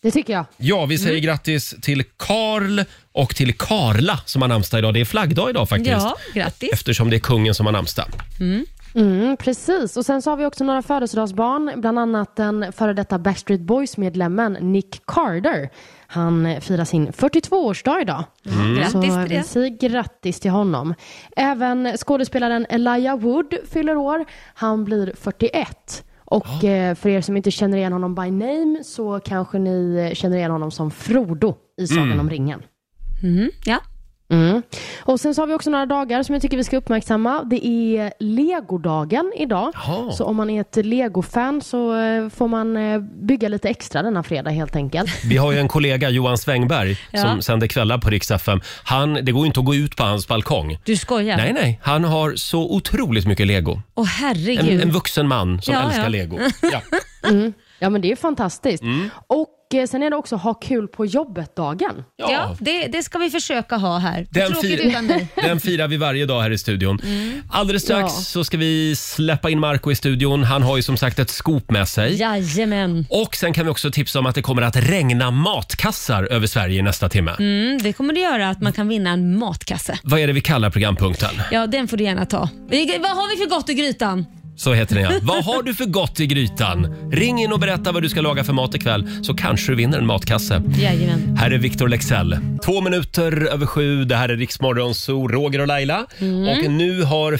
Speaker 6: Det tycker jag.
Speaker 1: Ja, vi
Speaker 5: Mm.
Speaker 1: säger grattis till Karl och till Karla som har namnsdag idag. Det är flaggdag idag faktiskt.
Speaker 5: Ja, grattis.
Speaker 1: Eftersom det är kungen som har namnsdag.
Speaker 6: Mm, precis. Och sen så har vi också några födelsedagsbarn, bland annat den före detta Backstreet Boys-medlemmen Nick Carter. Han eh, firar sin 42-årsdag idag. Så
Speaker 5: Mm. Grattis till
Speaker 6: vi
Speaker 5: det.
Speaker 6: säger grattis till honom. Även skådespelaren Elijah Wood fyller år. Han blir 41. Och eh, för er som inte känner igen honom by name så kanske ni eh, känner igen honom som Frodo i Sagan om ringen.
Speaker 5: Mm. Ja.
Speaker 6: Mm. Och sen så har vi också några dagar som jag tycker vi ska uppmärksamma. Det är legodagen idag.
Speaker 1: Jaha.
Speaker 6: Så om man är ett legofan så eh, får man eh, bygga lite extra denna fredag helt enkelt.
Speaker 1: Vi har ju en kollega, Johan Svängberg, som sänder kvällar på Rix FM. Han, det går ju inte att gå ut på hans balkong.
Speaker 5: Du skojar?
Speaker 1: Nej, nej. Han har så otroligt mycket lego.
Speaker 5: Åh
Speaker 1: En,
Speaker 5: herregud.
Speaker 1: en vuxen man som
Speaker 5: Ja,
Speaker 1: älskar
Speaker 5: ja. [LAUGHS]
Speaker 1: lego.
Speaker 6: [LAUGHS]
Speaker 1: Ja.
Speaker 6: Mm.
Speaker 1: Mm.
Speaker 6: Ja men det är fantastiskt. Och eh, sen är det också ha kul på jobbet-dagen.
Speaker 5: ja, det, det ska vi försöka ha här.
Speaker 1: Den
Speaker 5: Tråkigt
Speaker 1: fi-
Speaker 5: utan dig.
Speaker 1: [LAUGHS]
Speaker 5: Mm.
Speaker 1: Den firar vi varje dag här i studion. Alldeles strax
Speaker 6: Ja.
Speaker 1: så ska vi släppa in Marco i studion. Han har ju som sagt ett skop med sig.
Speaker 5: Jajamän.
Speaker 1: Och sen kan vi också tipsa om att det kommer att regna matkassar över Sverige i nästa timme.
Speaker 5: Mm, det kommer det göra att man kan vinna en matkasse.
Speaker 1: Vad är det vi kallar programpunkten?
Speaker 5: Ja, den får du gärna ta. Vi- Vad har vi för gott i grytan?
Speaker 1: Så
Speaker 5: [LAUGHS]
Speaker 1: heter den ja. Vad har du för gott i grytan? Ring in och berätta vad du ska laga för mat ikväll så kanske du vinner en matkasse.
Speaker 5: Jajamän.
Speaker 1: Här är Victor Lexell. Två minuter över sju. Det här är Riksmorgon Zoo, Roger och Laila. Och nu har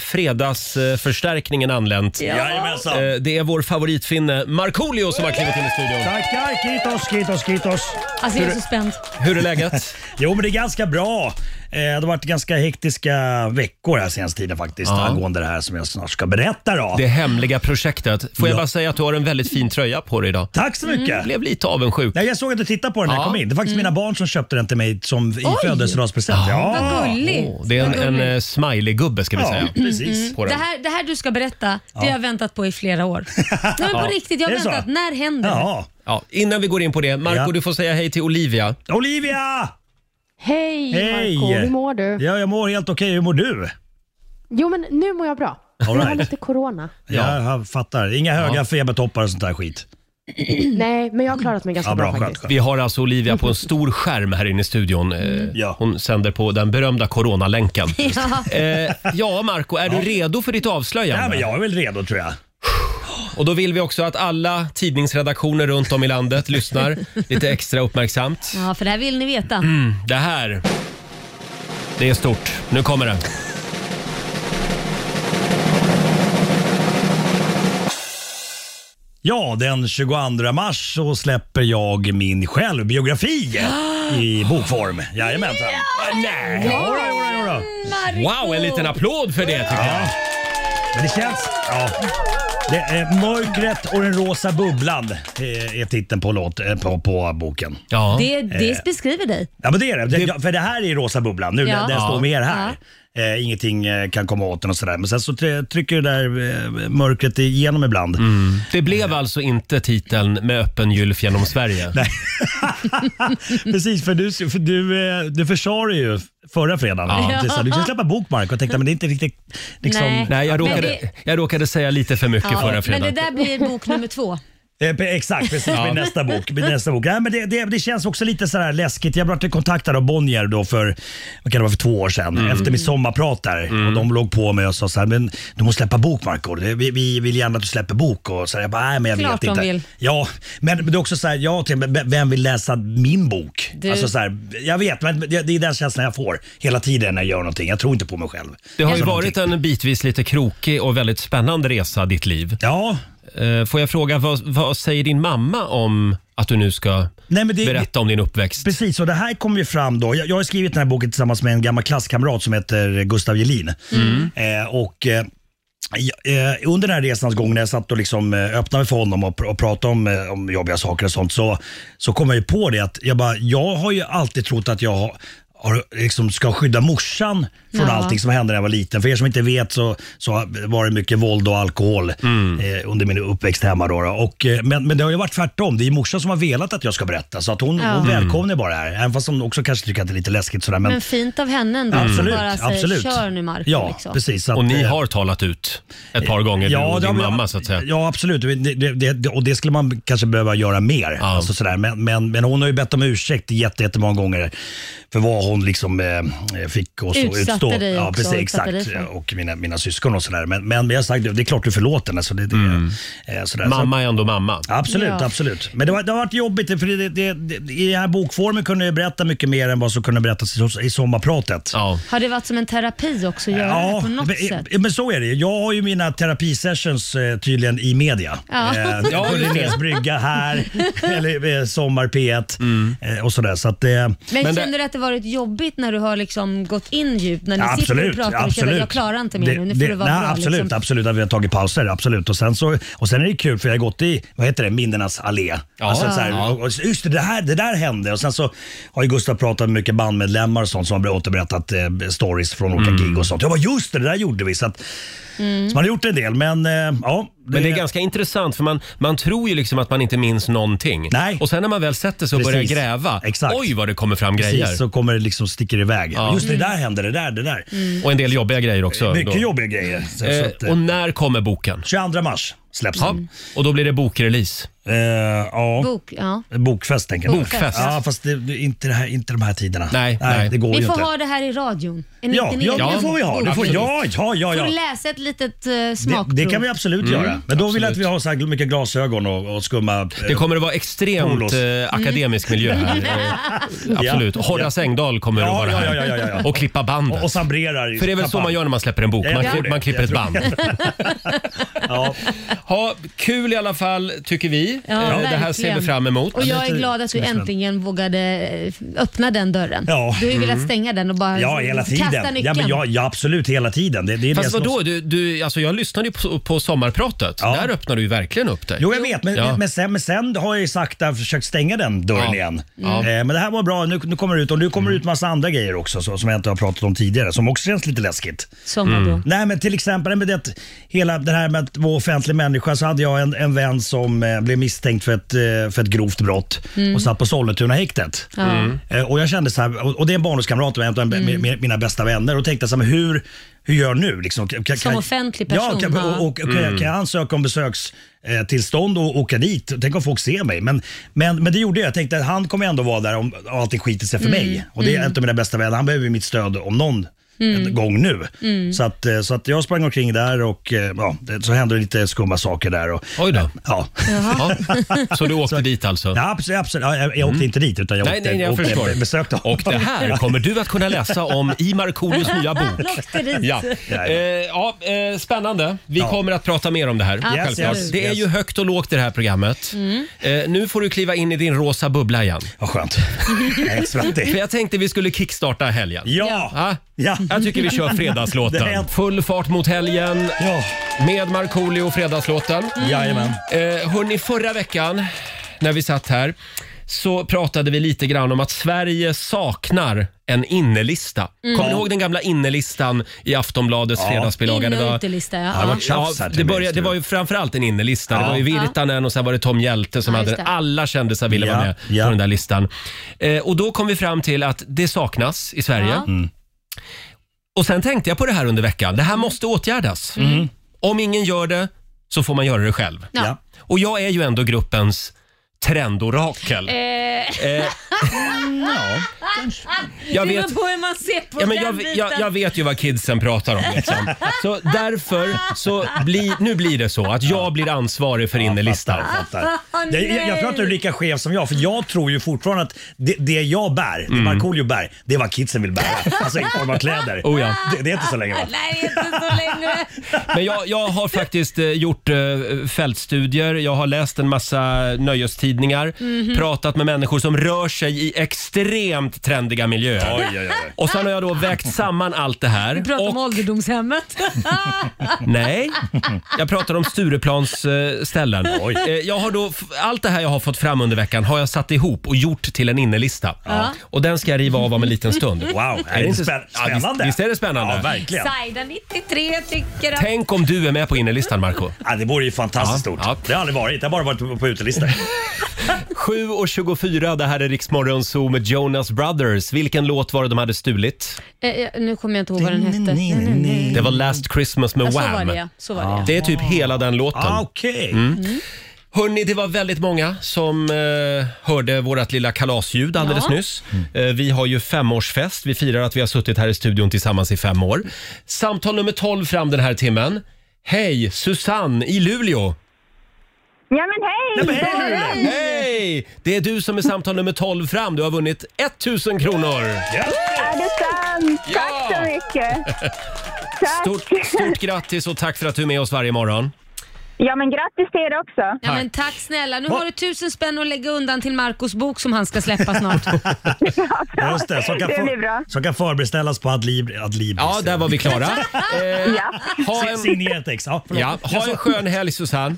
Speaker 1: fredagsförstärkningen anlänt.
Speaker 8: Jajamensan.
Speaker 1: Eh, Det är vår favoritfinne Markoolio som har klivit in i studion.
Speaker 8: Tackar, kitos, kitos, kitos.
Speaker 5: Alltså jag är så spänd.
Speaker 1: [LAUGHS] Hur är läget?
Speaker 8: [LAUGHS] Jo, men det är ganska bra. Eh, Det har varit ganska hektiska veckor här senaste tiden faktiskt angående det här som jag snart ska berätta då.
Speaker 1: Det hemliga projektet. Får jag
Speaker 8: Ja.
Speaker 1: bara säga att du har en väldigt fin tröja på dig idag.
Speaker 8: Tack så mycket.
Speaker 1: Jag blev lite avundsjuk.
Speaker 8: Nej, jag såg att du tittade på den när jag
Speaker 1: Ja.
Speaker 8: kom in. Det är
Speaker 5: Mm.
Speaker 8: faktiskt mina barn som köpte den till mig som i födelsedagspresent.
Speaker 5: Vad
Speaker 8: Ja,
Speaker 5: gulligt. Mm.
Speaker 1: Åh, det är en, en eh, smiley-gubbe ska vi
Speaker 8: ja
Speaker 1: säga. Mm.
Speaker 8: precis.
Speaker 1: På
Speaker 5: Det
Speaker 1: den.
Speaker 5: här, det här du ska berätta, det har jag väntat på i flera
Speaker 8: [LAUGHS]
Speaker 5: år. Nej, men på riktigt, jag har
Speaker 8: Är det så?
Speaker 5: väntat. När händer det?
Speaker 8: Ja.
Speaker 1: Ja, innan vi går in på det, Marco
Speaker 8: Ja.
Speaker 1: du får säga hej till Olivia.
Speaker 8: Olivia!
Speaker 6: Hej,
Speaker 8: Hej!
Speaker 6: Marco, hur mår du?
Speaker 8: Ja, jag mår helt okej. Hur mår du?
Speaker 6: Jo men nu mår jag bra.
Speaker 8: All
Speaker 6: Jag har
Speaker 8: right.
Speaker 6: lite corona. [CLEARS THROAT]
Speaker 8: Ja. Jag fattar. Inga höga febertoppar och sånt där skit.
Speaker 6: Nej men jag har klarat mig ganska
Speaker 8: Ja,
Speaker 6: bra,
Speaker 8: bra. Skönt.
Speaker 6: faktiskt.
Speaker 8: skönt.
Speaker 1: Vi har alltså Olivia på en stor skärm här inne i studion. Eh,
Speaker 8: Ja.
Speaker 1: Hon sänder på den berömda coronalänken.
Speaker 5: [LAUGHS] Ja.
Speaker 1: Eh, ja, Marco, är du redo för ditt avslöjande?
Speaker 8: Ja, men jag är väl redo tror jag.
Speaker 1: Och då vill vi också att alla tidningsredaktioner runt om i
Speaker 5: [LAUGHS]
Speaker 1: landet lyssnar lite extra uppmärksamt.
Speaker 5: ja, för det här vill ni veta.
Speaker 8: Mm.
Speaker 1: Det här, det är stort. Nu kommer det.
Speaker 8: Ja, den 22 mars så släpper jag
Speaker 5: [GASPS]
Speaker 8: min självbiografi i bokform. Jajamensan.
Speaker 1: Ah, Nej!
Speaker 8: Jodå, jodå, jodå.
Speaker 1: Wow, en liten applåd för det tycker jag.
Speaker 8: Ja. Men det känns... Ja. Det är Mörkret och den rosa bubblan eh, är titeln på, låt, eh, på, på boken. Eh,
Speaker 1: Ja.
Speaker 5: Det, det beskriver dig.
Speaker 8: Ja men det är det. det ja, för det här är rosa bubblan. Nu
Speaker 5: Ja.
Speaker 8: den, den står med er här.
Speaker 5: Ja.
Speaker 8: Eh, ingenting eh, kan komma åt den och sådär. Men sen så try- trycker det där eh, mörkret igenom ibland.
Speaker 1: Det blev alltså inte titeln med öppen gylf genom Sverige.
Speaker 8: [LAUGHS] Precis, för du, för du, eh, du försade ju förra fredagen.
Speaker 1: Ja.
Speaker 8: Du sa, Du ska släppa bok Mark. Jag tänkte men det är inte riktigt liksom...
Speaker 5: Nej.
Speaker 1: Nej, jag
Speaker 5: Men
Speaker 1: råkade,
Speaker 5: det-
Speaker 1: jag råkade säga lite för mycket förra
Speaker 5: Ja, men det
Speaker 1: fredagen.
Speaker 5: där blir bok nummer två.
Speaker 8: Eh, pe- Exakt, precis. Med nästa bok. Med nästa bok. Nej, men det, det, det känns också lite sådär läskigt. Jag blev kontaktad av Bonnier då för, vad kan det vara, för två år sedan.
Speaker 1: Mm.
Speaker 8: Efter mitt sommarprat där. Och de låg på mig och sa såhär, men du måste släppa bok Marco. Det- Vi, vi vill gärna att du släpper bok. Och så jag bara, nej men jag
Speaker 5: Klart
Speaker 8: vet
Speaker 5: de
Speaker 8: inte.
Speaker 5: vill.
Speaker 8: Ja, men men det är också såhär, jag tänkte, men vem vill läsa min bok?
Speaker 5: Du-
Speaker 8: Alltså såhär, jag vet, men det, det är den känslan jag får hela tiden när jag gör någonting. Jag tror inte på mig själv.
Speaker 1: Det har ju
Speaker 8: Alltså,
Speaker 1: varit
Speaker 8: någonting.
Speaker 1: en bitvis lite krokig och väldigt spännande resa, ditt liv.
Speaker 8: Ja,
Speaker 1: Eh, Får jag fråga, vad, vad säger din mamma om att du nu ska
Speaker 8: Nej, men det-
Speaker 1: berätta om din uppväxt?
Speaker 8: Precis, och det här kom ju fram då. Jag, jag har skrivit den här boken tillsammans med en gammal klasskamrat som heter Gustav Jelin.
Speaker 2: Mm.
Speaker 1: Mm.
Speaker 8: Eh, och, eh, jag- eh, under den här resans gång när jag satt och liksom eh, öppnade mig för honom och, pr- och pratade om, eh, om jobbiga saker och sånt så, så kom jag ju på det att jag, bara, jag har ju alltid trott att jag har, har, liksom ska skydda morsan från allting som hände när jag var liten. För er som inte vet så, så var det mycket våld och alkohol eh, under min uppväxt hemma. Då, då. Och, eh, men, men det har ju varit tvärtom. Det är morsan som har velat att jag ska berätta. Så att hon, hon välkomnar bara det här. Även fast hon också kanske tycker att det är lite läskigt. Sådär, men,
Speaker 5: Men fint av henne ändå. som
Speaker 8: absolut,
Speaker 5: Bara säger,
Speaker 8: absolut.
Speaker 5: kör nu Marko.
Speaker 8: Ja,
Speaker 5: liksom.
Speaker 8: precis. Så att,
Speaker 1: Och ni
Speaker 8: eh,
Speaker 1: har talat ut ett par gånger, du och
Speaker 8: det
Speaker 1: din
Speaker 8: har vi-
Speaker 1: mamma så att säga.
Speaker 8: Ja, absolut. Det, det, det, och det skulle man kanske behöva göra mer. Alltså sådär. Men, men, men hon har ju bett om ursäkt jätte, jättemånga gånger för vad hon liksom eh, fick oss att
Speaker 5: Utsatte
Speaker 8: utstå.
Speaker 5: dig
Speaker 8: ja,
Speaker 5: också,
Speaker 8: precis,
Speaker 5: utsatte
Speaker 8: exakt.
Speaker 5: dig för.
Speaker 8: Och mina, mina syskon och sådär. Men, men jag har sagt det är klart du är förlåten. Alltså, det, det, eh, sådär. Så-
Speaker 1: Mm. Mamma är ändå mamma.
Speaker 8: Absolut,
Speaker 5: Ja.
Speaker 8: absolut. Men det, var, det har varit jobbigt för det, det, det, i den här bokformen kunde jag berätta mycket mer än vad som kunde berättas i, i sommarpratet.
Speaker 1: Ja.
Speaker 5: Har det varit som en terapi också att göra det på något
Speaker 8: men, eh,
Speaker 5: sätt?
Speaker 8: men så är det. Jag har ju mina terapisessions eh, tydligen i media.
Speaker 5: Ja.
Speaker 8: Eh, på
Speaker 1: Ja, just det.
Speaker 8: Linnés
Speaker 5: [LAUGHS]
Speaker 8: brygga här, eller eh, Sommar P1 eh, och sådär. Så att, eh,
Speaker 5: Men,
Speaker 1: Mm. Men det-
Speaker 5: känner du att det varit jobbigt när du har liksom gått in djupt? När ni sitter och pratar och känner att jag klarar inte mer nu, nu får det, vara
Speaker 8: nej,
Speaker 5: bra.
Speaker 8: Absolut,
Speaker 5: liksom.
Speaker 8: absolut att vi har tagit pauser. Absolut. Och, sen så, och sen är det kul för jag har gått i, vad heter det, minnenas allé.
Speaker 1: Ja.
Speaker 8: Alltså, så
Speaker 1: Ja.
Speaker 8: här, och, och, just det, det, här, det där hände. Och sen så har ju Gustav pratat med mycket bandmedlemmar och sånt som har återberättat eh, stories från olika
Speaker 1: Mm.
Speaker 8: gig och sånt. Jag bara, just det, det där gjorde vi. Så, att,
Speaker 2: Mm.
Speaker 8: så man har gjort en del, men eh, ja.
Speaker 1: Men det är ganska intressant för man, man tror ju liksom att man inte minns någonting.
Speaker 8: Nej.
Speaker 1: Och sen när man väl sätter sig och
Speaker 8: Precis.
Speaker 1: börjar gräva,
Speaker 8: Exakt.
Speaker 1: oj vad det kommer fram grejer.
Speaker 8: Precis, så kommer det liksom sticker iväg.
Speaker 1: Ja. Mm.
Speaker 8: Just det, det där hände, det där, det där.
Speaker 1: Och en del jobbiga grejer också.
Speaker 8: Mycket
Speaker 1: då.
Speaker 8: jobbiga grejer. Så, så att,
Speaker 1: Eh,
Speaker 8: eh,
Speaker 1: och när kommer boken?
Speaker 8: 22 mars släpps
Speaker 1: Ja.
Speaker 8: den.
Speaker 1: Och då blir det bokrelease.
Speaker 8: Eh, ja.
Speaker 5: Bok, ja.
Speaker 8: Bokfest tänker jag.
Speaker 1: Bokfest.
Speaker 8: Ja, fast det, det, inte, det här, inte de här tiderna.
Speaker 1: Nej, nej.
Speaker 8: det går
Speaker 5: Vi
Speaker 8: ju
Speaker 5: får
Speaker 8: inte.
Speaker 5: ha det här i radion. En
Speaker 8: ja,
Speaker 5: liten
Speaker 8: ja,
Speaker 5: egen
Speaker 8: det får vi ha.
Speaker 5: bok.
Speaker 8: Det får,
Speaker 5: Får
Speaker 8: ja, ja, ja.
Speaker 5: du
Speaker 8: ja.
Speaker 5: läsa ett litet uh,
Speaker 8: Det,
Speaker 5: smakprov?
Speaker 8: det kan vi absolut
Speaker 1: Mm.
Speaker 8: göra. Men då vill jag att vi har så här mycket glasögon och, och skumma... eh,
Speaker 1: Det kommer att vara extremt
Speaker 8: Polos.
Speaker 1: eh, akademisk miljö här.
Speaker 8: [LAUGHS]
Speaker 5: [LAUGHS]
Speaker 1: Eh, Absolut.
Speaker 8: Ja.
Speaker 1: Horace Engdahl kommer att
Speaker 8: Ja,
Speaker 1: vara
Speaker 8: ja,
Speaker 1: här.
Speaker 8: ja, ja, ja, ja.
Speaker 1: Och klippa bandet.
Speaker 8: och, och sambrerar. i
Speaker 1: För det är väl så
Speaker 8: kappan.
Speaker 1: man gör när man släpper en bok?
Speaker 8: Ja, jag
Speaker 1: Man,
Speaker 8: tror
Speaker 1: klipp,
Speaker 8: det.
Speaker 1: man klipper
Speaker 8: Jag
Speaker 1: ett
Speaker 8: tror
Speaker 1: band. [LAUGHS]
Speaker 8: Ja.
Speaker 1: Ha, kul i alla fall, tycker vi.
Speaker 5: Ja,
Speaker 1: Eh, det här
Speaker 5: verkligen.
Speaker 1: ser vi fram emot.
Speaker 5: Och jag är
Speaker 8: lite-
Speaker 5: glad att du
Speaker 8: lite spännande.
Speaker 5: äntligen vågade eh, öppna den dörren.
Speaker 8: Ja.
Speaker 5: Du har ju
Speaker 1: Mm.
Speaker 5: velat stänga den och bara
Speaker 8: Ja, hela
Speaker 5: kasta
Speaker 8: tiden.
Speaker 5: nyckeln.
Speaker 8: Ja, men ja, ja, absolut hela tiden. Det, det är det
Speaker 1: Fast
Speaker 8: som-
Speaker 1: vadå? Du, du, alltså jag lyssnade ju på, på sommarpratet.
Speaker 8: Ja.
Speaker 1: Där öppnade du ju verkligen upp dig.
Speaker 8: Jo, jag vet, men,
Speaker 1: Ja.
Speaker 8: men, sen, men sen har jag ju sakta försökt stänga den dörren
Speaker 1: Ja.
Speaker 8: igen.
Speaker 1: Ja.
Speaker 8: Eh, men det här var bra. Nu, nu kommer det ut och nu kommer det ut massa andra grejer också så, som jag inte har pratat om tidigare som också känns lite läskigt. Mm.
Speaker 5: Som vadå?
Speaker 8: Nej, men till exempel med det, hela det här med att vara offentlig människa så hade jag en, en vän som eh, blev misstänkt för ett, eh, för ett grovt brott
Speaker 5: Mm.
Speaker 8: och satt på Sollentunahäktet.
Speaker 1: Mm.
Speaker 8: Eh, och jag kände så här, och, och det är en barndomskamrat och en av mm. mina, mina bästa vänner och tänkte så här, men hur, hur gör jag nu? Liksom, kan, kan-
Speaker 5: Som offentlig person,
Speaker 8: Ja, kan,
Speaker 5: ja.
Speaker 8: och, och, kan, jag- kan jag ansöka om besökstillstånd och åka dit? Tänk om folk ser mig. Men, men, men det gjorde jag. Jag tänkte att han kommer ändå vara där om allting skiter sig för mig. Och det är en av mina bästa vänner. Han behöver ju mitt stöd om någon
Speaker 5: Mm.
Speaker 2: Mm.
Speaker 8: en gång nu. Så, att, eh, så att jag sprang omkring där och eh, ja, det- så hände det lite skumma saker där. Och,
Speaker 1: Oj då.
Speaker 8: [LAUGHS] Ja.
Speaker 1: Ja. Så du åkte dit alltså? Mm.
Speaker 8: Ja, absolut, absolut. Ja, Jag, jag åkte inte dit utan jag
Speaker 1: Nej,
Speaker 8: åkte,
Speaker 1: nej, jag
Speaker 8: åkte
Speaker 1: förstår.
Speaker 8: besökte honom.
Speaker 1: Och det här kommer du att kunna läsa om i Markoolios nya
Speaker 2: [LAUGHS]
Speaker 1: bok.
Speaker 5: Lotteri.
Speaker 1: Ja.
Speaker 8: Ja, ja.
Speaker 1: Eh, ja, eh, spännande. Vi
Speaker 8: Ja.
Speaker 1: kommer att prata mer om det här. självklart.
Speaker 8: yes,
Speaker 1: det är
Speaker 8: yes.
Speaker 1: ju högt och lågt i det här programmet.
Speaker 5: Mm.
Speaker 1: Eh, nu får du kliva in i din rosa bubbla igen.
Speaker 8: Vad skönt. [LAUGHS] Jag är helt
Speaker 1: För
Speaker 4: [LAUGHS]
Speaker 8: svettig.
Speaker 1: jag tänkte vi skulle kickstarta helgen.
Speaker 8: Ja.
Speaker 1: Ah,
Speaker 8: Ja.
Speaker 1: Jag tycker vi kör
Speaker 8: [LAUGHS] Det är-
Speaker 1: fredagslåten. Full fart mot helgen
Speaker 8: Ja. Mm.
Speaker 1: med Markoolio och fredagslåten.
Speaker 8: Jajamän.
Speaker 1: Eh, hörni, förra veckan när vi satt här så pratade vi lite grann om att Sverige saknar en innelista.
Speaker 8: Mm.
Speaker 1: Kommer ni ihåg den gamla innelistan i Aftonbladets fredagsbilaga?
Speaker 5: In och
Speaker 1: var,
Speaker 5: utelista, ja.
Speaker 8: det har varit
Speaker 1: ja,
Speaker 8: tjafs här till
Speaker 1: det,
Speaker 8: mig,
Speaker 1: började, det
Speaker 8: tror jag.
Speaker 1: var ju framförallt en innelista. Det
Speaker 8: Ja.
Speaker 1: var ju Virtanen och sen var det Tom Hjälte som
Speaker 5: Ja,
Speaker 1: hade
Speaker 5: just
Speaker 1: den.
Speaker 5: det.
Speaker 1: Alla kändisar ville
Speaker 8: Ja,
Speaker 1: vara med
Speaker 8: ja.
Speaker 1: på den där listan. Eh, och då kom vi fram till att det saknas i Sverige.
Speaker 5: Ja.
Speaker 8: Mm.
Speaker 1: Och sen tänkte jag på det här under veckan. Det här måste åtgärdas.
Speaker 8: Mm.
Speaker 1: Om ingen gör det så får man göra det själv.
Speaker 5: Ja.
Speaker 8: Eh,
Speaker 1: Och jag är ju ändå gruppens trendorakel. Eh,
Speaker 2: [LAUGHS]
Speaker 8: ja.
Speaker 1: Jag
Speaker 2: Det
Speaker 1: vet,
Speaker 2: beror på hur man ser på
Speaker 1: ja, men
Speaker 2: den
Speaker 1: jag,
Speaker 2: biten.
Speaker 1: jag, jag vet ju vad kidsen pratar om. Liksom. Så därför så bli, nu blir det så att jag blir ansvarig för innerlistan.
Speaker 8: Jag fattar. Jag, jag, jag tror att du är lika skev som jag, för jag tror ju fortfarande att det, det jag bär,
Speaker 1: Mm.
Speaker 8: det Markoolio bär, det är vad kidsen vill bära. Alltså i form av kläder.
Speaker 1: Oh ja.
Speaker 8: det, det är inte så länge va?
Speaker 2: Nej, inte så längre.
Speaker 1: Men jag, jag har faktiskt eh, gjort eh, fältstudier, jag har läst en massa nöjestidningar, pratat med människor som rör sig i extremt trendiga miljöer.
Speaker 8: Oj, oj, oj.
Speaker 1: Och sen har jag då vägt samman allt det här.
Speaker 2: Prata
Speaker 1: och,
Speaker 2: om ålderdomshemmet.
Speaker 8: [LAUGHS]
Speaker 1: Nej, jag pratar om Stureplans eh, ställen.
Speaker 8: Oj.
Speaker 1: Eh, Jag har då, f- allt det här jag har fått fram under veckan har jag satt ihop och gjort till en innelista. Och den ska jag riva av om en liten stund.
Speaker 8: Wow, är det
Speaker 1: inte
Speaker 8: inte
Speaker 1: spä-
Speaker 8: spä-
Speaker 1: ja, visst-
Speaker 8: spännande?
Speaker 1: visst är det spännande?
Speaker 8: Ja, verkligen.
Speaker 2: Saida 93 tycker att...
Speaker 1: Tänk om du är med på innerlistan, Marco.
Speaker 8: Ja, det vore ju fantastiskt
Speaker 1: Ja,
Speaker 8: stort.
Speaker 1: ja.
Speaker 8: Det har aldrig varit, det har bara varit på- på utelistor.
Speaker 1: 7.24, det här är Riksmorgon Zoo med Jonas Brothers. Vilken låt var det de hade stulit?
Speaker 5: Eh, eh, nu kommer jag inte ihåg vad den hette. Nej, nej, nej.
Speaker 1: Det var Last Christmas med
Speaker 5: Ja, Så var
Speaker 1: Wham.
Speaker 5: det ja. Så var det, ja.
Speaker 1: Det är typ hela den låten. Mm.
Speaker 8: Ah, Okej.
Speaker 1: Hörni, det var väldigt många som eh, hörde vårt lilla kalasljud alldeles nyss. Eh, vi har ju femårsfest. Vi firar att vi har suttit här i studion tillsammans i fem år. Samtal nummer 12 fram den här timmen. Hej, Susanne i Luleå!
Speaker 9: Ja, men hej!
Speaker 1: Hej! Det är du som är samtal nummer 12 fram. Du har vunnit 1000 kronor!
Speaker 9: Är det sant? Tack så mycket! Tack!
Speaker 1: Stort, stort grattis och tack för att du är med oss varje morgon.
Speaker 9: Ja, men grattis till er också.
Speaker 5: Ja, men tack snälla. Nu har du tusen spänn att lägga undan till Marcos bok som han ska släppa snart.
Speaker 8: Ja, Just det, som kan,
Speaker 9: Det blir
Speaker 8: för,
Speaker 9: bra.
Speaker 8: som kan förbeställas på Adlib. Adlib
Speaker 1: Ja, där var vi
Speaker 7: [LAUGHS]
Speaker 1: klara. Eh,
Speaker 9: Ja.
Speaker 1: ha,
Speaker 8: Si-
Speaker 1: en,
Speaker 8: Signerat ex. Ja, förlåt.
Speaker 1: ja, ha en skön helg Susanne.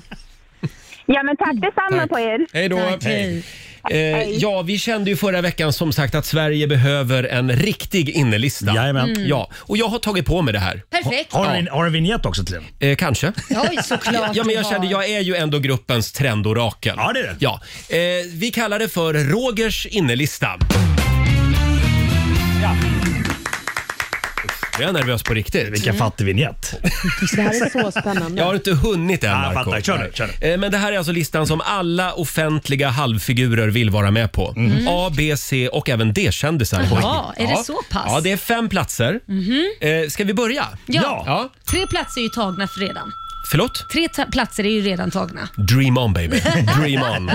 Speaker 9: ja, men tack detsamma
Speaker 1: Tack.
Speaker 9: på er.
Speaker 1: Hej då. Eh, ja, vi kände ju förra veckan som sagt att Sverige behöver en riktig innerlista.
Speaker 8: Jajamän.
Speaker 1: Ja, och jag har tagit på mig det här.
Speaker 5: Perfekt.
Speaker 8: Har du en, har du en vignett också till den?
Speaker 1: Eh, kanske.
Speaker 5: Oj, såklart.
Speaker 1: Ja, men jag
Speaker 5: du
Speaker 1: kände,
Speaker 5: har.
Speaker 1: jag är ju ändå gruppens trendorakel.
Speaker 8: Ja, det är det.
Speaker 1: Ja. Eh, vi kallar det för Rogers innerlista. Uff, Jag är nervös på riktigt.
Speaker 8: Vilken fattig vignett.
Speaker 6: Det här är så spännande.
Speaker 1: Jag har inte hunnit än,
Speaker 8: Ja, jag
Speaker 1: Marco.
Speaker 8: fattar. Kör nu, kör
Speaker 1: Eh, Men det här är alltså listan som alla offentliga halvfigurer vill vara med på.
Speaker 8: Mm.
Speaker 1: A, B, C och även D-kändisar.
Speaker 5: Mm. Jaha, är det så pass?
Speaker 1: Ja, det är fem platser. Eh, Ska vi börja?
Speaker 5: Ja.
Speaker 1: ja.
Speaker 5: Tre platser är ju tagna för redan.
Speaker 1: Förlåt?
Speaker 5: Tre ta- platser är ju redan tagna.
Speaker 1: Dream on baby. Dream on.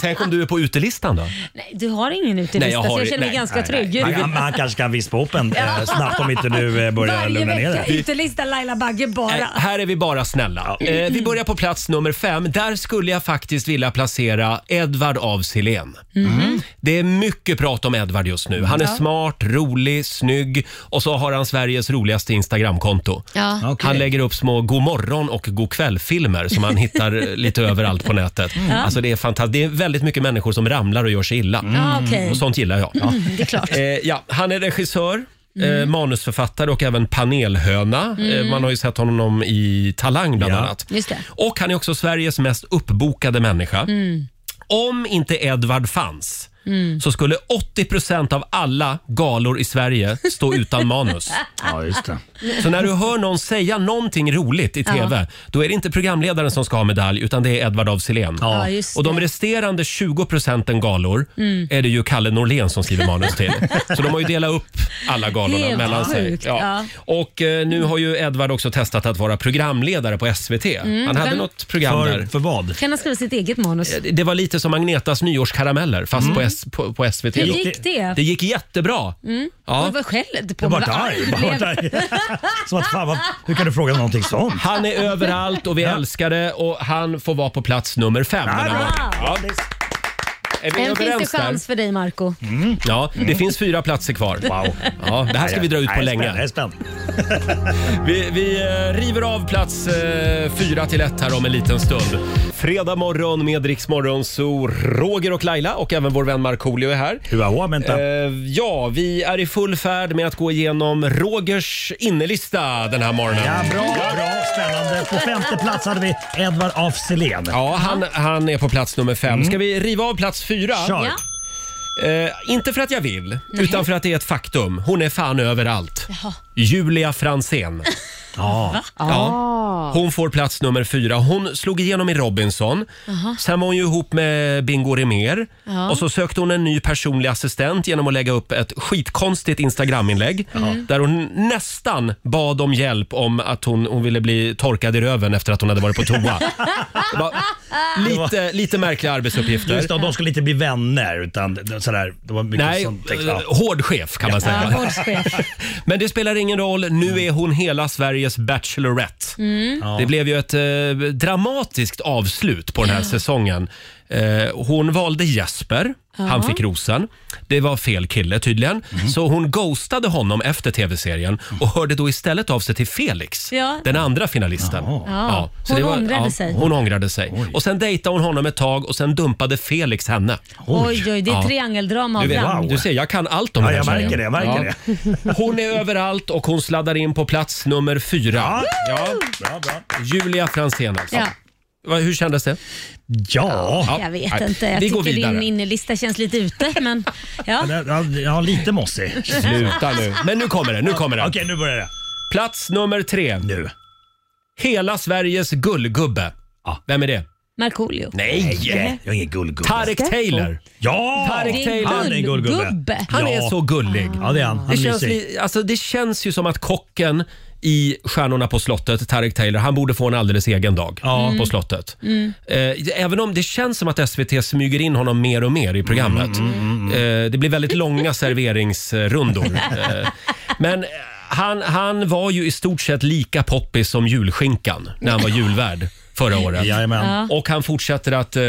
Speaker 1: Tänk om du är på utelistan då?
Speaker 5: [LAUGHS] Nej, du har ingen utelista
Speaker 1: Nej, jag har-
Speaker 5: så jag känner mig
Speaker 1: nej,
Speaker 5: ganska
Speaker 1: nej,
Speaker 5: trygg.
Speaker 8: Han, han, han
Speaker 5: [LAUGHS]
Speaker 8: kanske kan vispa ihop en eh, snabbt om inte du eh, börjar
Speaker 5: Varje
Speaker 8: lugna ner
Speaker 5: vecka
Speaker 8: dig.
Speaker 5: utelista Laila Bagge
Speaker 1: Eh,
Speaker 5: bara.
Speaker 1: Här är vi bara snälla. Eh, Vi börjar på plats nummer fem. Där skulle jag faktiskt vilja placera Edvard av Sillén.
Speaker 5: Mhm.
Speaker 1: Det är mycket prat om Edvard just nu. Han är smart, rolig, snygg och så har han Sveriges roligaste Instagramkonto.
Speaker 5: Ja.
Speaker 8: Okej.
Speaker 1: Han lägger upp små god morgon och god kväll-filmer som han hittar
Speaker 5: [LAUGHS]
Speaker 1: eh, lite överallt på nätet. Alltså det är fantastiskt. Det är väldigt mycket människor som ramlar och gör sig illa.
Speaker 5: Ja, okej.
Speaker 1: Och sånt gillar jag. Ja.
Speaker 5: Mm, Det är
Speaker 1: [LAUGHS]
Speaker 5: klart.
Speaker 1: Eh, ja, han är regissör,
Speaker 5: Mm.
Speaker 1: eh, manusförfattare och även panelhöna. Eh, man har ju sett honom i Talang bland
Speaker 8: Ja.
Speaker 1: annat.
Speaker 5: Just det.
Speaker 1: Och han är också Sveriges mest uppbokade människa.
Speaker 5: Mm.
Speaker 1: Om inte Edvard fanns
Speaker 2: Mm.
Speaker 1: så skulle 80 av alla galor i Sverige stå utan manus.
Speaker 8: [LAUGHS] Ja, just det.
Speaker 5: Mm.
Speaker 1: Så när du hör någon säga någonting roligt i TV, då är det inte programledaren som ska ha medalj, utan det är Edvard af Sillén.
Speaker 5: Ja, just
Speaker 1: Och de
Speaker 5: det. Mm.
Speaker 1: resterande 20 procenten galor är det ju Kalle Norlén som skriver manus till. Så de har ju delat upp alla galorna
Speaker 5: Helt
Speaker 1: mellan sig.
Speaker 5: sjukt, ja.
Speaker 1: Och eh, nu har ju Edvard också testat att vara programledare på SVT. Han hade
Speaker 5: Mm. vem-
Speaker 1: något program
Speaker 8: För,
Speaker 1: där.
Speaker 8: för vad?
Speaker 5: Kan han skriva sitt eget manus?
Speaker 1: Det var lite som Agnetas nyårskarameller fast på, S, på, på SVT.
Speaker 5: Hur
Speaker 1: då.
Speaker 5: gick det?
Speaker 1: Det gick jättebra.
Speaker 5: Ja.
Speaker 1: Ja.
Speaker 5: Vad skällde på
Speaker 8: Jag
Speaker 5: mig?
Speaker 8: vart
Speaker 5: Vad
Speaker 8: arg.
Speaker 5: du
Speaker 8: Jag vart
Speaker 5: blev.
Speaker 8: arg.
Speaker 5: [LAUGHS]
Speaker 8: Som att, fan, vad, hur kan du fråga någonting sånt?
Speaker 1: Han är överallt och vi älskar det och han får vara på plats nummer fem. den här
Speaker 8: bra.
Speaker 1: morgonen. Ja. Är vi
Speaker 5: Än finns det
Speaker 1: överens där?
Speaker 5: chans för dig
Speaker 1: [LAUGHS]
Speaker 5: Marco
Speaker 1: Ja, det finns fyra platser kvar.
Speaker 8: Wow.
Speaker 1: Ja, det här ska vi dra ut på
Speaker 8: Nej, jag är spänd, Jag är
Speaker 1: länge.
Speaker 8: spänd.
Speaker 1: Vi, vi eh, river av plats eh, fyra till ett här om en liten stund. Fredag morgon med Rix Morgon, så Roger och Laila och även vår vän Markoolio är här.
Speaker 8: Hua, vänta.
Speaker 1: Eh, ja, vi är i full färd med att gå igenom Rogers innelista den här morgonen.
Speaker 8: Ja, bra, bra, spännande. På femte plats hade vi Edvard af Sillén. Mm.
Speaker 1: Ja, han, han är på plats nummer fem. Ska vi riva av plats fyra?
Speaker 8: Kör.
Speaker 5: Ja.
Speaker 1: Eh, inte för att jag vill, utan för att det är ett faktum. Hon är fan överallt. Julia Fransén.
Speaker 8: Ja.
Speaker 1: Ja. Hon får plats nummer fyra. Hon slog igenom i Robinson. Sen var hon ju ihop med Bingo Rimér. Och så sökte hon en ny personlig assistent genom att lägga upp ett skitkonstigt Instagraminlägg. Där hon nästan bad om hjälp om att hon, hon ville bli torkad i röven efter att hon hade varit på toa. Det var lite, lite märkliga arbetsuppgifter.
Speaker 8: Just det, och de skulle inte bli vänner utan det- sådär. Det var mycket
Speaker 1: Nej,
Speaker 8: sånt text. Ja.
Speaker 1: eh, hård chef kan man säga. Men det spelar ingen roll, nu är hon hela Sveriges Bachelorette.
Speaker 2: Mm.
Speaker 1: Det blev ju ett eh, dramatiskt avslut på den här säsongen. Eh, hon valde Jesper, han fick rosen. Det var fel kille tydligen, så hon ghostade honom efter tv-serien och hörde då istället av sig till Felix,
Speaker 2: Ja.
Speaker 1: den andra finalisten. Ja, så
Speaker 2: Hon
Speaker 1: det var-
Speaker 2: ångrade
Speaker 1: ja,
Speaker 2: sig.
Speaker 1: Hon ångrade sig. Och sen dejtade hon honom ett tag och sen dumpade Felix henne.
Speaker 2: Oj, oj, det är
Speaker 1: Ja.
Speaker 2: triangeldrama
Speaker 1: Du,
Speaker 2: av
Speaker 1: vet,
Speaker 2: rang.
Speaker 8: wow.
Speaker 1: du ser, jag kan allt om
Speaker 8: Ja,
Speaker 1: den här
Speaker 8: jag märker
Speaker 1: tjejen.
Speaker 8: det, jag märker
Speaker 1: [LAUGHS] Hon är överallt och hon sladdar in på plats nummer fyra.
Speaker 8: Ja.
Speaker 1: Ja.
Speaker 8: Bra, bra.
Speaker 1: Julia Franzén alltså.
Speaker 2: Ja,
Speaker 1: Va- Hur kändes det?
Speaker 8: Ja.
Speaker 2: jag vet
Speaker 1: nej.
Speaker 2: inte. Jag
Speaker 1: Vi går
Speaker 2: tycker din
Speaker 1: vidare.
Speaker 2: innelista känns lite ute.
Speaker 1: [LAUGHS]
Speaker 2: Men, ja.
Speaker 8: Ja. eh, Ja, ja, lite mossig.
Speaker 1: Sluta nu. [LAUGHS] Men nu kommer det. Nu kommer det.
Speaker 8: Okej, nu börjar det.
Speaker 1: Plats nummer tre.
Speaker 8: Nu.
Speaker 1: Hela Sveriges gullgubbe.
Speaker 8: Ja.
Speaker 1: Vem är det?
Speaker 2: Markoolio.
Speaker 1: Nej!
Speaker 8: Jag är ingen gullgubbe.
Speaker 1: Tarek Taylor.
Speaker 8: Ja!
Speaker 1: Tarek
Speaker 2: Det
Speaker 1: Taylor.
Speaker 2: är
Speaker 8: Han är en
Speaker 2: en
Speaker 8: gullgubbe.
Speaker 2: gullgubbe.
Speaker 1: Han
Speaker 8: Ja.
Speaker 1: är så gullig.
Speaker 8: Ja, det är han. Han
Speaker 1: Det
Speaker 8: är
Speaker 1: känns,
Speaker 8: mysig.
Speaker 1: li- alltså, det känns ju som att kocken i Stjärnorna på slottet, Tarek Taylor, han borde få en alldeles egen dag
Speaker 8: Ja.
Speaker 1: på slottet.
Speaker 2: Mm.
Speaker 1: Eh, även om det känns som att SVT smyger in honom mer och mer i programmet. Eh, det blir väldigt långa serveringsrundor. Eh, men eh, han, han var ju i stort sett lika poppis som julskinkan när han var julvärd förra året.
Speaker 8: Jajamän.
Speaker 1: Och han fortsätter att eh,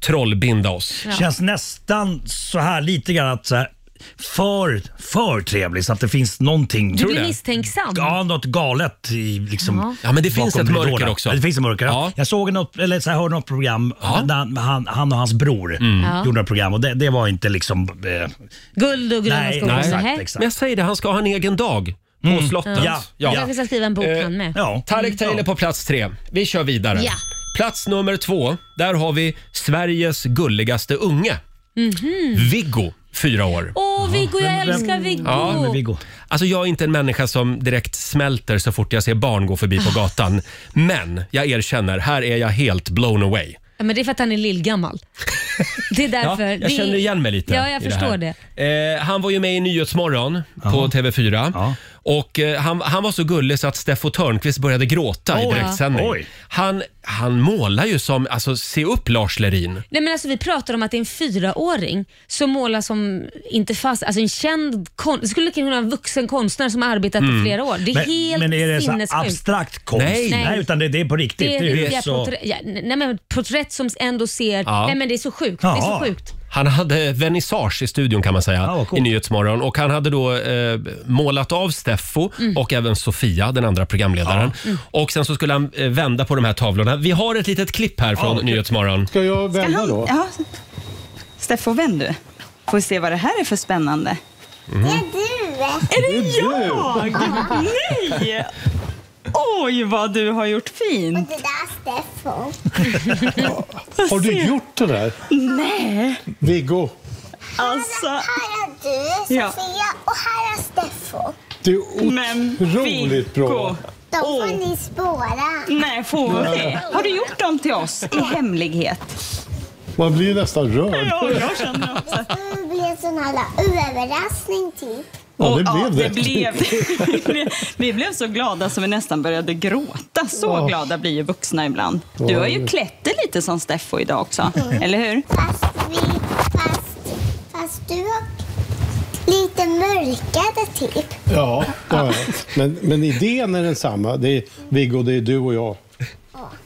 Speaker 1: trollbinda oss.
Speaker 8: Känns nästan så här lite grann att så här, för, för trevlig så att det finns någonting.
Speaker 2: Du blir misstänksam.
Speaker 8: Ja, något galet i liksom
Speaker 1: Ja, men det finns
Speaker 8: bakom
Speaker 1: ett mörker
Speaker 8: ridåerna.
Speaker 1: också.
Speaker 8: Ja, Det finns ett mörker.
Speaker 1: Ja.
Speaker 8: Ja. Jag såg något, eller så här, hörde något program där han, han, han och hans bror
Speaker 1: Mm.
Speaker 8: gjorde något program och det, det var inte liksom... Eh,
Speaker 2: Guld och gröna
Speaker 8: Nej,
Speaker 2: skogar.
Speaker 8: nej.
Speaker 2: Nähä.
Speaker 8: Exakt, exakt. Mm.
Speaker 1: Men jag säger det, han ska ha en egen dag på slottet.
Speaker 8: Ja.
Speaker 2: Jag
Speaker 8: Ja.
Speaker 2: kanske ska skriva en bok han med. Mm.
Speaker 8: ja.
Speaker 1: Tarek Taylor på plats tre. Vi kör vidare.
Speaker 2: Ja.
Speaker 1: Plats nummer två, där har vi Sveriges gulligaste unge. Viggo, fyra år.
Speaker 2: Mhm. Åh, Viggo, jag
Speaker 8: Vem- vem-
Speaker 2: älskar Viggo.
Speaker 1: Ja,
Speaker 8: Men Viggo.
Speaker 1: Alltså jag är inte en människa som direkt smälter så fort jag ser barn gå förbi på gatan. Men jag erkänner, här är jag helt blown away.
Speaker 2: Ja, men det är för att han
Speaker 1: [LAUGHS]
Speaker 2: är lillgammal. Det är
Speaker 1: Ja,
Speaker 2: därför.
Speaker 1: jag
Speaker 2: det...
Speaker 1: känner igen mig lite.
Speaker 2: Ja, jag
Speaker 1: i
Speaker 2: förstår
Speaker 1: här. Eh, han var ju med i Nyhetsmorgon på TV4.
Speaker 8: Ja.
Speaker 1: Och eh, han, han var så gullig så att Steffo Törnqvist började gråta i
Speaker 8: Oj.
Speaker 1: direktsändning.
Speaker 8: Oj.
Speaker 1: Han, han målar ju som, alltså se upp Lars Lerin.
Speaker 2: Nej, men alltså, vi pratar om att det är en fyraåring som målar som, inte fast, alltså en känd konstnär. Det skulle kunna vara en vuxen konstnär som har arbetat i flera år. Det är helt
Speaker 8: Mm. men är det så här
Speaker 2: sinnessjukt.
Speaker 8: abstrakt konst?
Speaker 1: Mm. Nej.
Speaker 8: Nej, utan det, det är på riktigt.
Speaker 2: Det är riktiga
Speaker 8: hus och-
Speaker 2: porträtt, ja, nej, men porträtt som ändå ser...
Speaker 1: Ja.
Speaker 2: Nej men det är så sjukt. Det är
Speaker 8: Jaha.
Speaker 2: så sjukt.
Speaker 1: Han hade vernissage i studion kan man säga
Speaker 8: Ja, Ah, vad
Speaker 1: i
Speaker 8: coolt.
Speaker 1: Nyhetsmorgon och han hade då eh, målat av Steffo
Speaker 2: Mm.
Speaker 1: och även Sofia, den andra programledaren.
Speaker 8: Mm.
Speaker 1: Och sen så skulle han eh, vända på de här tavlorna. Vi har ett litet klipp här från Nyhetsmorgon.
Speaker 10: Ska jag vända då?
Speaker 11: Ja. Steffo, vänd du. Får vi se vad det här är för spännande.
Speaker 10: Det är du!
Speaker 11: Nej! Oj, vad du har gjort fint.
Speaker 10: Har du gjort det där?
Speaker 11: Nej,
Speaker 10: Viggo,
Speaker 11: alltså.
Speaker 9: Här är du,
Speaker 11: Ja.
Speaker 9: och här är Steffo.
Speaker 10: det är
Speaker 11: Men
Speaker 10: otroligt bra.
Speaker 9: De
Speaker 11: får Åh.
Speaker 9: ni spåra.
Speaker 11: Nej, får vi det? Har du gjort dem till oss i hemlighet?
Speaker 10: Man blir nästan rörd.
Speaker 11: Ja, jag känner också.
Speaker 9: Det blir en sån här överraskning typ.
Speaker 10: Ja, det
Speaker 11: ja,
Speaker 10: blev det.
Speaker 11: det blev det. Vi blev [LAUGHS] så glada så vi nästan började gråta. Så glada blir ju vuxna ibland. Du har ju klätt dig lite som Steffo idag också,
Speaker 10: Mm.
Speaker 11: eller hur?
Speaker 9: Fast, vi, fast, fast du var lite mörkare typ.
Speaker 10: Ja, ja, ja. Men, men idén är densamma. Det är Viggo, det är du och jag.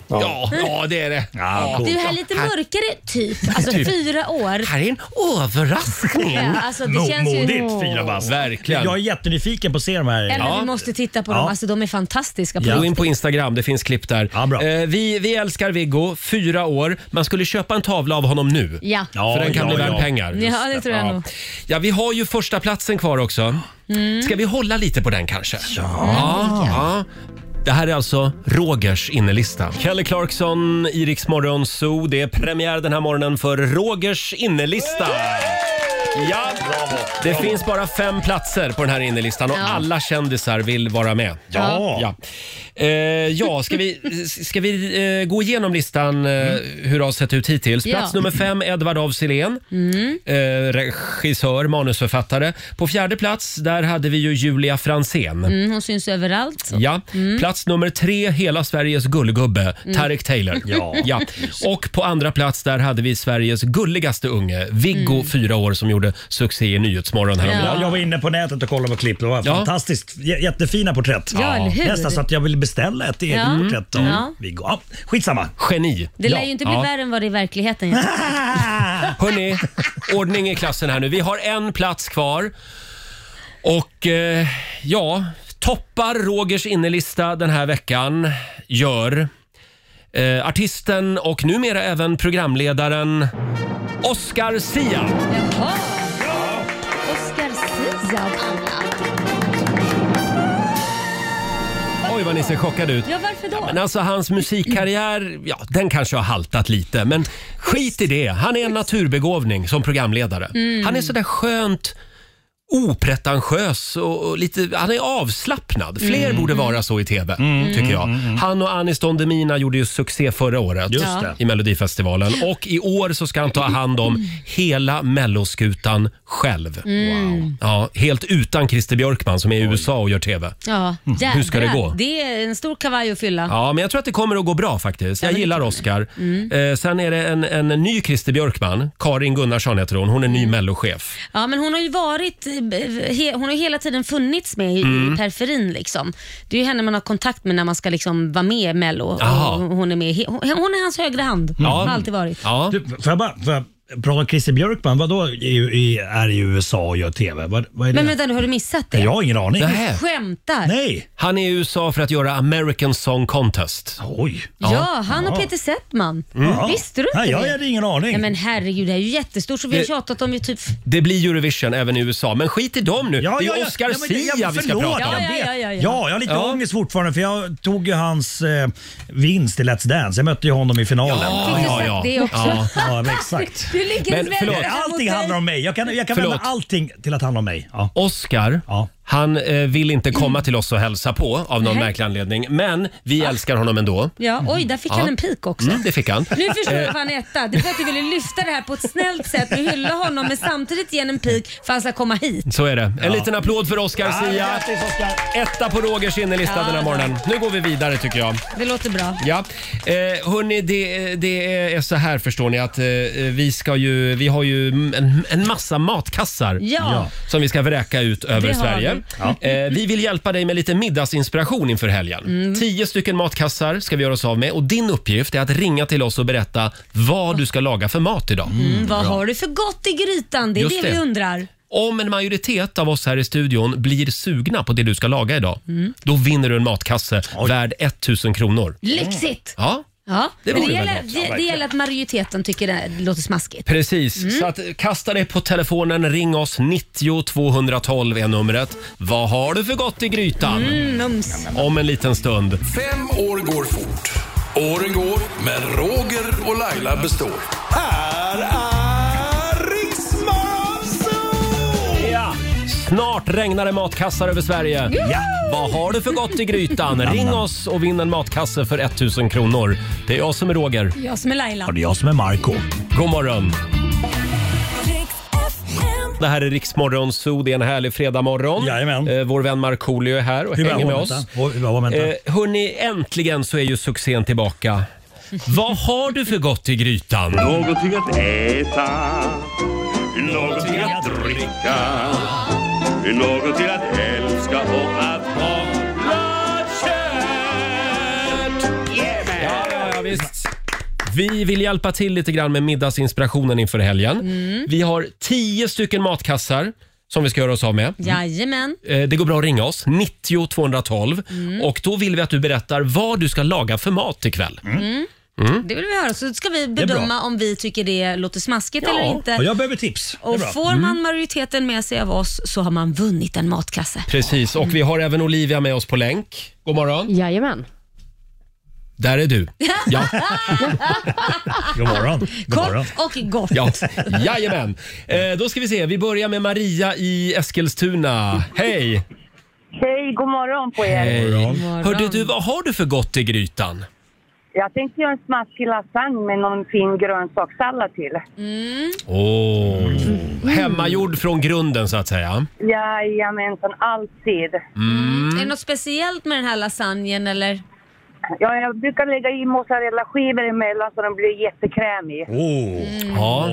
Speaker 1: Ja, ja det är det.
Speaker 8: Ja, coolt.
Speaker 2: Du är lite mörkare typ. Alltså fyra år.
Speaker 1: Här är en överraskning.
Speaker 2: Ja, alltså, det
Speaker 8: Mo-
Speaker 2: känns ju...
Speaker 8: Modigt, fyra bast.
Speaker 1: Verkligen.
Speaker 8: Jag är jättenyfiken på att se de här.
Speaker 2: Nej, men
Speaker 1: Ja.
Speaker 2: Vi måste titta på dem.
Speaker 8: Ja.
Speaker 2: Alltså, de är fantastiska.
Speaker 8: Ja.
Speaker 1: Gå in på Instagram, det finns klipp där.
Speaker 8: Ja, bra.
Speaker 1: Eh, vi, vi älskar Viggo, fyra år. Man skulle köpa en tavla av honom nu.
Speaker 2: Ja.
Speaker 8: Ja,
Speaker 1: För den kan
Speaker 8: ja,
Speaker 1: bli värd
Speaker 8: ja.
Speaker 1: pengar.
Speaker 2: Ja, det tror jag nog. Mm.
Speaker 1: Ja, vi har ju första platsen kvar också. Ska vi hålla lite på den kanske? Ja. ja. Det här är alltså Rogers innelista. Kelly Clarkson, Iriks morgon Zoo. Det är premiär den här morgonen för Rogers innelista. Ja,
Speaker 8: Bravo.
Speaker 1: det finns bara fem platser på den här innerlistan och alla kändisar vill vara med.
Speaker 8: Ja.
Speaker 1: Ja, eh, ja ska vi, ska vi eh, gå igenom listan eh, hur det har sett ut hittills? Plats nummer fem, Edvard af Sillén.
Speaker 2: Mm.
Speaker 1: Eh, regissör, manusförfattare. På fjärde plats, där hade vi ju Julia Fransén.
Speaker 2: Mm, hon syns överallt.
Speaker 1: Ja. Plats nummer tre, hela Sveriges gullgubbe, Tareq Taylor.
Speaker 8: Ja.
Speaker 1: Och på andra plats där hade vi Sveriges gulligaste unge, Viggo, fyra år, som gjorde succé i Nyhetsmorgon häromdagen.
Speaker 8: Ja, jag var inne på nätet och kollade på klipp. Det var
Speaker 1: Ja.
Speaker 8: fantastiskt. J- jättefina porträtt.
Speaker 2: Ja, eller hur?
Speaker 8: Nästan så att jag ville beställa ett eget
Speaker 2: Ja.
Speaker 8: porträtt av
Speaker 2: Ja.
Speaker 8: Viggo. Ja, skitsamma.
Speaker 1: Geni.
Speaker 2: Det lär ju inte bli
Speaker 1: Ja.
Speaker 2: värre än vad det är i verkligheten.
Speaker 1: [LAUGHS]
Speaker 2: Jens.
Speaker 1: Hörni, ordning i klassen här nu. Vi har en plats kvar. Och eh, ja, toppar Rogers innelista den här veckan gör eh, artisten och numera även programledaren Oscar Sia.
Speaker 2: Jaha. Oscar Sia av alla.
Speaker 1: Oj, vad ni ser chockade ut.
Speaker 2: Ja, varför då?
Speaker 1: Men alltså hans musikkarriär, ja den kanske har haltat lite men skit i det. Han är en naturbegåvning som programledare. Han är sådär skönt opretentiös och och lite, han är avslappnad. Fler borde vara så i TV,
Speaker 8: Mm,
Speaker 1: tycker jag. Han och Anis Don Demina gjorde ju succé förra året
Speaker 8: Just Ja. det.
Speaker 1: i Melodifestivalen och i år så ska han ta hand om hela melloskutan själv.
Speaker 2: Mm.
Speaker 1: Ja, helt utan Christer Björkman som är i USA och gör TV.
Speaker 2: Ja, jädrar.
Speaker 1: Mm. Hur ska det gå?
Speaker 2: Det är en stor kavaj att fylla.
Speaker 1: Ja, men jag tror att det kommer att gå bra faktiskt. Jag gillar Oscar.
Speaker 2: Mm.
Speaker 1: Eh, sen är det en, en ny Christer Björkman, Karin Gunnarsson heter hon. Hon är
Speaker 2: Mm.
Speaker 1: ny mellochef.
Speaker 2: Ja, men hon har ju varit, eh, he, hon har ju hela tiden funnits med i,
Speaker 1: Mm.
Speaker 2: i periferin. Liksom. Det är ju henne man har kontakt med när man ska liksom vara med i Mello. Och
Speaker 1: Jaha.
Speaker 2: Hon är, med, i he- hon, hon är hans högra hand. Hon har alltid varit.
Speaker 1: Ja.
Speaker 8: Mm. Du, får jag bara... Får jag... Prata om Christer Björkman, vadå i, i, är i USA och gör TV? Vad, vad är det?
Speaker 2: Men vänta nu, har du missat det?
Speaker 8: jag har ingen aning.
Speaker 1: Nähä.
Speaker 2: Skämtar?
Speaker 8: Nej.
Speaker 1: Han är i USA för att göra American Song Contest.
Speaker 8: Oj.
Speaker 2: Ja, han och Peter Settman.
Speaker 8: Ja.
Speaker 2: Visste du inte
Speaker 8: Mm. Nej, jag
Speaker 2: det?
Speaker 8: hade ingen aning.
Speaker 2: Ja, men herregud, det här är ju jättestort så vi har
Speaker 1: Det-
Speaker 2: tjatat om ju typ...
Speaker 1: Det blir Eurovision även i USA, men skit i dem nu. det är Oscar
Speaker 8: Ja, men jag-
Speaker 1: Sia
Speaker 8: jag-
Speaker 1: vi ska
Speaker 8: förlåt,
Speaker 1: prata om.
Speaker 8: jag
Speaker 2: Ja,
Speaker 8: vet.
Speaker 2: ja, ja, ja, ja.
Speaker 8: Ja, jag har lite
Speaker 1: Ja.
Speaker 8: ångest fortfarande för jag tog ju hans eh, vinst i Let's Dance. Jag mötte ju honom i finalen.
Speaker 2: Fick du sagt det
Speaker 8: [LAUGHS]
Speaker 2: också?
Speaker 1: Ja.
Speaker 8: Ja, men exakt.
Speaker 2: Du lyckades
Speaker 1: Men
Speaker 2: vända
Speaker 1: förlåt.
Speaker 2: den mot
Speaker 8: Allting
Speaker 2: dig.
Speaker 8: handlar om mig. Jag kan, jag kan vända
Speaker 1: Förlåt.
Speaker 8: allting till att handla om mig. Ja.
Speaker 1: Oscar,
Speaker 8: Ja.
Speaker 1: han eh, vill inte komma till oss och hälsa på av någon
Speaker 2: Mm. Nej.
Speaker 1: märklig anledning. Men vi älskar honom ändå.
Speaker 2: Ja, oj, där fick han en pik också.
Speaker 1: Mm, det fick han.
Speaker 2: Nu förstår jag varför han är etta. Det är för att du ville lyfta det här på ett snällt sätt och hylla honom men samtidigt ge en pik för att han ska komma hit.
Speaker 1: Så är det. En liten applåd för Oscar Sia.
Speaker 8: Grattis Oscar!
Speaker 1: Etta på Rogers innelista den här morgonen. Nu går vi vidare tycker jag.
Speaker 2: Det låter bra.
Speaker 1: Ja. Eh, hörni, det, det är så här förstår ni att eh, vi, ska ju, vi har ju en, en massa matkassar
Speaker 2: Ja.
Speaker 1: som vi ska vräka ut över
Speaker 2: Det har
Speaker 1: Sverige.
Speaker 2: vi.
Speaker 1: Eh, vi vill hjälpa dig med lite middagsinspiration inför helgen.
Speaker 2: Mm.
Speaker 1: Tio stycken matkassar ska vi göra oss av med och din uppgift är att ringa till oss och berätta vad du ska laga för mat idag.
Speaker 2: Mm, vad har du för gott i grytan? Det är
Speaker 1: Just
Speaker 2: det,
Speaker 1: det.
Speaker 2: vi undrar.
Speaker 1: Om en majoritet av oss här i studion blir sugna på det du ska laga idag,
Speaker 2: Mm.
Speaker 1: då vinner du en matkasse värd 1000 kronor.
Speaker 2: Lyxigt!
Speaker 1: Ja,
Speaker 2: Ja,
Speaker 1: Det
Speaker 2: men
Speaker 1: vore
Speaker 2: det,
Speaker 1: väl
Speaker 2: gäller,
Speaker 1: något. Ja,
Speaker 2: det, det gäller att majoriteten tycker det här låter smaskigt.
Speaker 1: Precis,
Speaker 2: Mm.
Speaker 1: så att, kasta dig på telefonen, ring oss, 90 212 är numret. Vad har du för gott i grytan?
Speaker 2: Mm, Mums.
Speaker 1: Om en liten stund.
Speaker 3: Fem år går fort. Åren går, men Roger och Laila består. Här är Riksmorgon
Speaker 1: Ja. Snart regnar det matkassar över Sverige. Ja. Vad har du för gott i grytan? Ring oss och vinn en matkasse för 1000 kronor. Det är jag som är Roger.
Speaker 2: Jag som är Laila.
Speaker 8: Ja, det är jag som är Marco
Speaker 1: God morgon! Det här är Riksmorgon Zoo. Det är en härlig fredagmorgon.
Speaker 8: Jajamän.
Speaker 1: Eh, Vår vän Markoolio är här och
Speaker 8: Hur var
Speaker 1: hänger med
Speaker 8: momentan?
Speaker 1: oss.
Speaker 8: Hur var momentan?
Speaker 1: Eh, hörni, äntligen så är ju succén tillbaka. Vad har du för gott i grytan?
Speaker 12: Någonting att äta, någonting att dricka, någonting att älska och att hålla kärt.
Speaker 1: Ja, ja, ja, visst. Vi vill hjälpa till lite grann med middagsinspirationen inför helgen.
Speaker 8: Mm.
Speaker 1: Vi har tio stycken matkassar som vi ska göra oss av med.
Speaker 8: Mm.
Speaker 2: Jajamän.
Speaker 1: Eh, Det går bra att ringa oss, 90 212.
Speaker 2: Mm.
Speaker 1: Och då vill vi att du berättar vad du ska laga för mat ikväll.
Speaker 2: Mm.
Speaker 1: Mm.
Speaker 2: Det vill vi höra. Så ska vi
Speaker 8: Mm. är bra.
Speaker 2: bedöma om vi tycker det låter smaskigt eller
Speaker 8: och
Speaker 2: inte.
Speaker 8: jag behöver tips. Det är
Speaker 2: Och
Speaker 8: bra.
Speaker 1: Mm.
Speaker 2: får man majoriteten med sig av oss så har man vunnit en matkasse.
Speaker 1: Precis, och vi har även Olivia med oss på länk. God morgon.
Speaker 13: Jajamän.
Speaker 1: Där är du.
Speaker 2: [LAUGHS]
Speaker 1: Ja.
Speaker 8: God morgon.
Speaker 1: God morgon.
Speaker 2: Och gott.
Speaker 1: Ja. Jajamän. Eh, då ska vi se. Vi börjar med Maria i Eskilstuna. Hej!
Speaker 7: Hej, god morgon på er.
Speaker 1: Hej. Hörde du, vad har du för gott i grytan?
Speaker 7: Jag tänkte göra en smaskig lasagne med någon fin grönsakssallad till.
Speaker 1: Åh,
Speaker 2: Mm.
Speaker 1: Hemmagjord från grunden så att säga. Mm.
Speaker 7: Jajamensan, alltid.
Speaker 2: Är det något speciellt med den här lasagnen eller?
Speaker 7: Ja, jag brukar lägga i mozzarella-skivor emellan så den blir jättekrämig.
Speaker 2: Oh.
Speaker 1: Ja.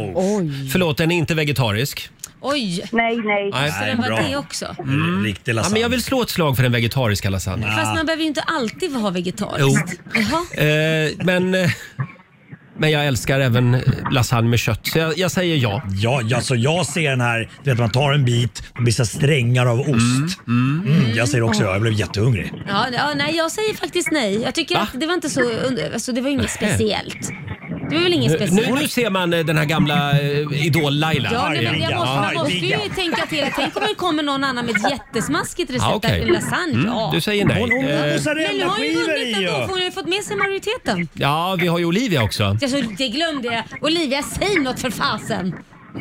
Speaker 1: Förlåt, den är inte vegetarisk.
Speaker 2: Oj!
Speaker 7: Nej, nej.
Speaker 1: Nej.
Speaker 2: Så den var
Speaker 1: Bra.
Speaker 2: det också.
Speaker 1: Mm.
Speaker 8: Riktig
Speaker 1: ja, men jag vill slå ett slag för den vegetariska lasagnen.
Speaker 2: Fast man behöver ju inte alltid ha vegetariskt. Jaha.
Speaker 1: Eh, men, eh, men jag älskar även eh, lasagne med kött, så jag, jag säger ja.
Speaker 8: Ja, ja, så jag ser den här, du vet man tar en bit och vissa strängar av ost. Mm, jag säger också ja, jag blev jättehungrig.
Speaker 2: Ja, ja, nej, jag säger faktiskt nej. Jag tycker att det var inte så... und- Alltså, det var ju inget
Speaker 1: Nähä.
Speaker 2: speciellt. Det var väl inget
Speaker 1: Nu,
Speaker 2: speciellt.
Speaker 1: nu, nu ser man eh, den här gamla eh, idol-Laila.
Speaker 2: Ja, nej, men jag
Speaker 1: Arga.
Speaker 2: måste, man
Speaker 1: Arga.
Speaker 2: måste ju tänka till. Tänk om det kommer någon annan med ett jättesmaskigt recept
Speaker 1: Ja, okej.
Speaker 2: till lasagne.
Speaker 1: Mm,
Speaker 2: ja.
Speaker 1: du säger nej. Hon- hon- Eh.
Speaker 2: Men nu har ju
Speaker 8: mozzarella-skivor
Speaker 2: vunnit
Speaker 8: i,
Speaker 2: ändå,
Speaker 8: ja.
Speaker 2: för hon har ju fått med sig majoriteten.
Speaker 1: Ja, vi har ju Olivia också.
Speaker 2: Alltså, det glömde jag. Olivia, säg något för fasen!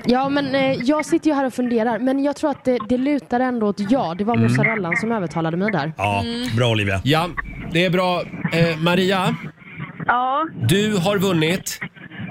Speaker 6: Ja, men eh, jag sitter ju här och funderar, men jag tror att det, det lutar ändå åt ja. Det var
Speaker 1: Mm.
Speaker 6: mozzarellan som övertalade mig där.
Speaker 8: Ja, bra Olivia.
Speaker 1: Ja, det är bra. Eh, Maria,
Speaker 7: Ja.
Speaker 1: du har vunnit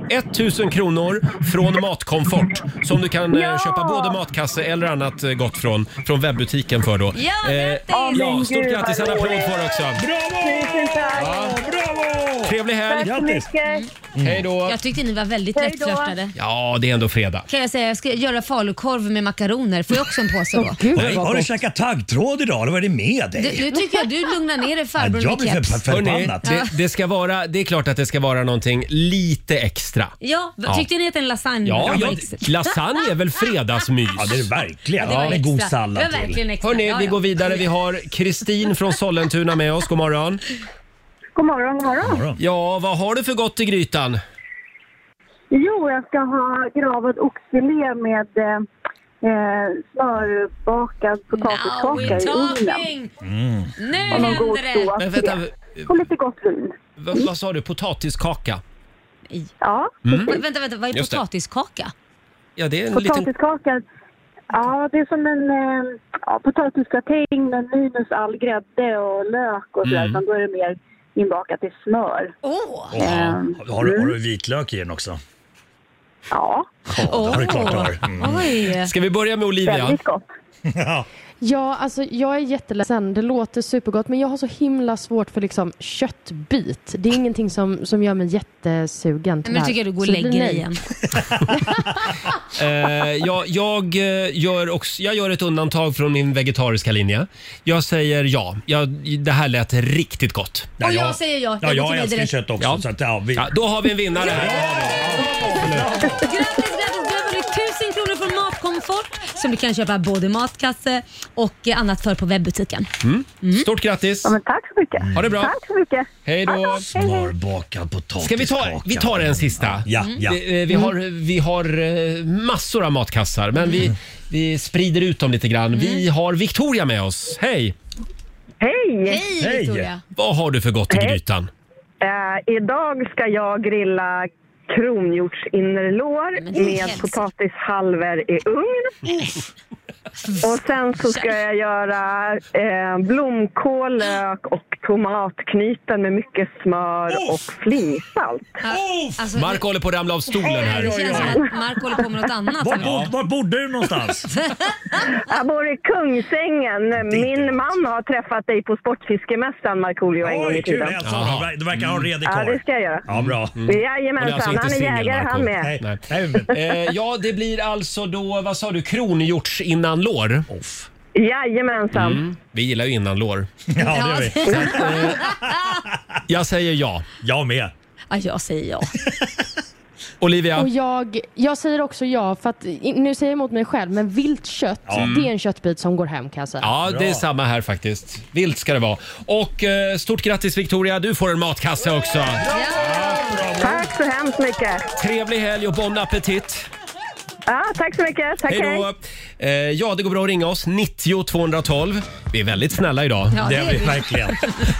Speaker 1: 1000 kronor från Matkomfort som du kan eh, köpa både matkasse eller annat eh, gott från, från webbutiken för då.
Speaker 2: Ja, grattis!
Speaker 1: Eh, ja,
Speaker 2: Men
Speaker 1: stort
Speaker 2: gud,
Speaker 1: grattis!
Speaker 2: vad
Speaker 1: En applåd
Speaker 2: roligt.
Speaker 1: för också.
Speaker 7: Tusen tack.
Speaker 8: Bravo!
Speaker 1: Trevlig helg! Mm.
Speaker 2: Tack så
Speaker 7: mycket.
Speaker 1: Hej då!
Speaker 2: Jag tyckte ni var väldigt
Speaker 7: Hej då.
Speaker 2: lättflörtade.
Speaker 1: Ja, det är ändå fredag.
Speaker 2: Kan jag säga, jag ska göra falukorv med makaroner. Får jag också en påse då?
Speaker 8: Nej, har du käkat taggtråd idag eller vad är det med dig?
Speaker 2: Du, nu tycker jag du lugnar ner dig farbror med keps.
Speaker 1: Hörrni, det, det, ska vara, det är klart att det ska vara någonting lite extra.
Speaker 2: Ja,
Speaker 1: Ja.
Speaker 2: tyckte ni att en lasagne
Speaker 1: Ja,
Speaker 2: var
Speaker 1: ja
Speaker 2: extra?
Speaker 1: lasagne är väl fredagsmys? Ja,
Speaker 8: det är det verkligen.
Speaker 2: Ja, det var Med extra. god sallad Det var till. verkligen extra.
Speaker 1: Hörni,
Speaker 2: Ja,
Speaker 1: vi
Speaker 2: ja.
Speaker 1: går vidare. Vi har Kristin från Sollentuna med oss. God morgon.
Speaker 7: God morgon, god morgon.
Speaker 1: Ja, vad har du för gott i grytan?
Speaker 7: Jo, jag ska ha gravad oxfilé med eh, eh, smörbakad potatiskaka i ugnen.
Speaker 1: Mm.
Speaker 2: Nu
Speaker 7: Och någon god
Speaker 2: händer det!
Speaker 1: Men Äh, vänta,
Speaker 7: Och lite gott vin.
Speaker 1: v- vad sa du? Potatiskaka?
Speaker 7: Ja,
Speaker 1: Mm.
Speaker 2: Va- Vänta, vänta, vad är
Speaker 1: Just det.
Speaker 2: potatiskaka?
Speaker 1: Ja, det är en liten...
Speaker 7: Potatiskakan. Ja, det är som en eh, ja, potatisgratäng men minus all grädde och lök och sådär.
Speaker 8: Mm.
Speaker 7: Utan då är det mer inbakat i smör. Ehm,
Speaker 2: Åh!
Speaker 8: Åh,
Speaker 7: Mm.
Speaker 8: har, har, du, har du vitlök i den också?
Speaker 7: Ja.
Speaker 8: Ja, det har du klart du har. Mm.
Speaker 2: Oj.
Speaker 1: Ska vi börja med Olivia?
Speaker 6: Väldigt Ja, alltså jag är jätteledsen. Det låter supergott, men jag har så himla svårt för liksom köttbit. Det är ingenting som, som gör mig jättesugen
Speaker 2: Men nu tycker jag du går och
Speaker 6: Så det blir
Speaker 2: lägger
Speaker 6: nej.
Speaker 2: dig igen.
Speaker 1: Eh, jag, jag, eh, gör också, jag gör ett undantag från min vegetariska linje. Jag säger ja. Jag, det här lät riktigt gott.
Speaker 8: Ja,
Speaker 2: Och jag säger ja. Jag
Speaker 8: Ja,
Speaker 2: går
Speaker 8: jag
Speaker 2: till dig
Speaker 8: älskar
Speaker 2: direkt.
Speaker 8: kött också. Så att, ja, vi...
Speaker 1: Ja, då har vi en vinnare här.
Speaker 2: Grattis, grattis! Du har vunnit 1000 kronor från Matkomfort som du kan köpa både matkasse och eh, annat för på webbutiken.
Speaker 1: Mm. Stort grattis!
Speaker 7: Tack så mycket.
Speaker 1: Ha det bra.
Speaker 7: Tack så mycket.
Speaker 1: Hej då!
Speaker 8: Smörbakad potatis.
Speaker 1: Ska vi ta, vi tar en sista?
Speaker 8: Ja, ja.
Speaker 1: Vi, eh,
Speaker 2: Mm.
Speaker 1: vi, har, vi har eh, massor av matkassar, men
Speaker 8: Mm.
Speaker 1: vi, vi sprider ut dem lite grann. Vi
Speaker 2: Mm.
Speaker 1: har Victoria med oss. Hej!
Speaker 7: Hej!
Speaker 2: Hej,
Speaker 8: Hej.
Speaker 2: Victoria!
Speaker 1: Vad har du för gott i grytan?
Speaker 7: Eh, idag ska jag grilla kronhjortsinnerlår
Speaker 2: Men det är
Speaker 7: med
Speaker 2: hemskt.
Speaker 7: potatishalvor i ugn. Och sen så ska jag göra eh, blomkål, lök och tomatknyten med mycket smör och flingsalt.
Speaker 2: Alltså,
Speaker 1: Mark håller på att ramla av stolen
Speaker 2: det
Speaker 1: här.
Speaker 2: känns som att Mark håller på med något annat.
Speaker 8: Var, bo, var bodde du någonstans?
Speaker 7: Jag bor i Kungsängen. Min man har träffat dig på Sportfiskemässan, Markoolio, en gång
Speaker 8: Oj,
Speaker 7: i
Speaker 8: kul!
Speaker 7: tiden.
Speaker 8: Alltså, du ver- du verkar ha en redig
Speaker 7: Mm. Ja, det
Speaker 8: karl.
Speaker 7: ska jag göra. Mm.
Speaker 8: Ja, bra. Mm.
Speaker 1: Hon är
Speaker 7: Jajamensan,
Speaker 1: alltså
Speaker 7: han
Speaker 1: inte
Speaker 7: är
Speaker 1: singel,
Speaker 7: jägare
Speaker 1: Marco.
Speaker 7: han med.
Speaker 8: Nej.
Speaker 1: Nej.
Speaker 8: Nej, men-
Speaker 1: Eh, ja, det blir alltså då, vad sa du, kronhjortsinnanlår?
Speaker 7: Jajamensan.
Speaker 1: Mm. Vi gillar ju innanlår.
Speaker 8: Ja, det gör vi.
Speaker 1: eh, Jag säger ja.
Speaker 8: Jag med.
Speaker 2: Ja, jag
Speaker 1: [LAUGHS]
Speaker 2: säger ja.
Speaker 1: Olivia?
Speaker 6: Och jag, jag säger också ja, för att i- nu säger jag emot mig själv, men vilt kött, det är en köttbit som går hem kan jag säga.
Speaker 1: Ja, det är samma här faktiskt. Vilt ska det vara. Och eh, stort grattis Victoria, du får en matkasse också.
Speaker 7: Tack så hemskt mycket.
Speaker 1: Trevlig helg och bon appetit.
Speaker 7: Ja, tack så mycket. Tack,
Speaker 1: Hej då. Eh, ja, det går bra att ringa oss. 90 212. Vi är väldigt snälla idag.
Speaker 2: Ja, det är vi.
Speaker 1: [LAUGHS]
Speaker 8: Verkligen.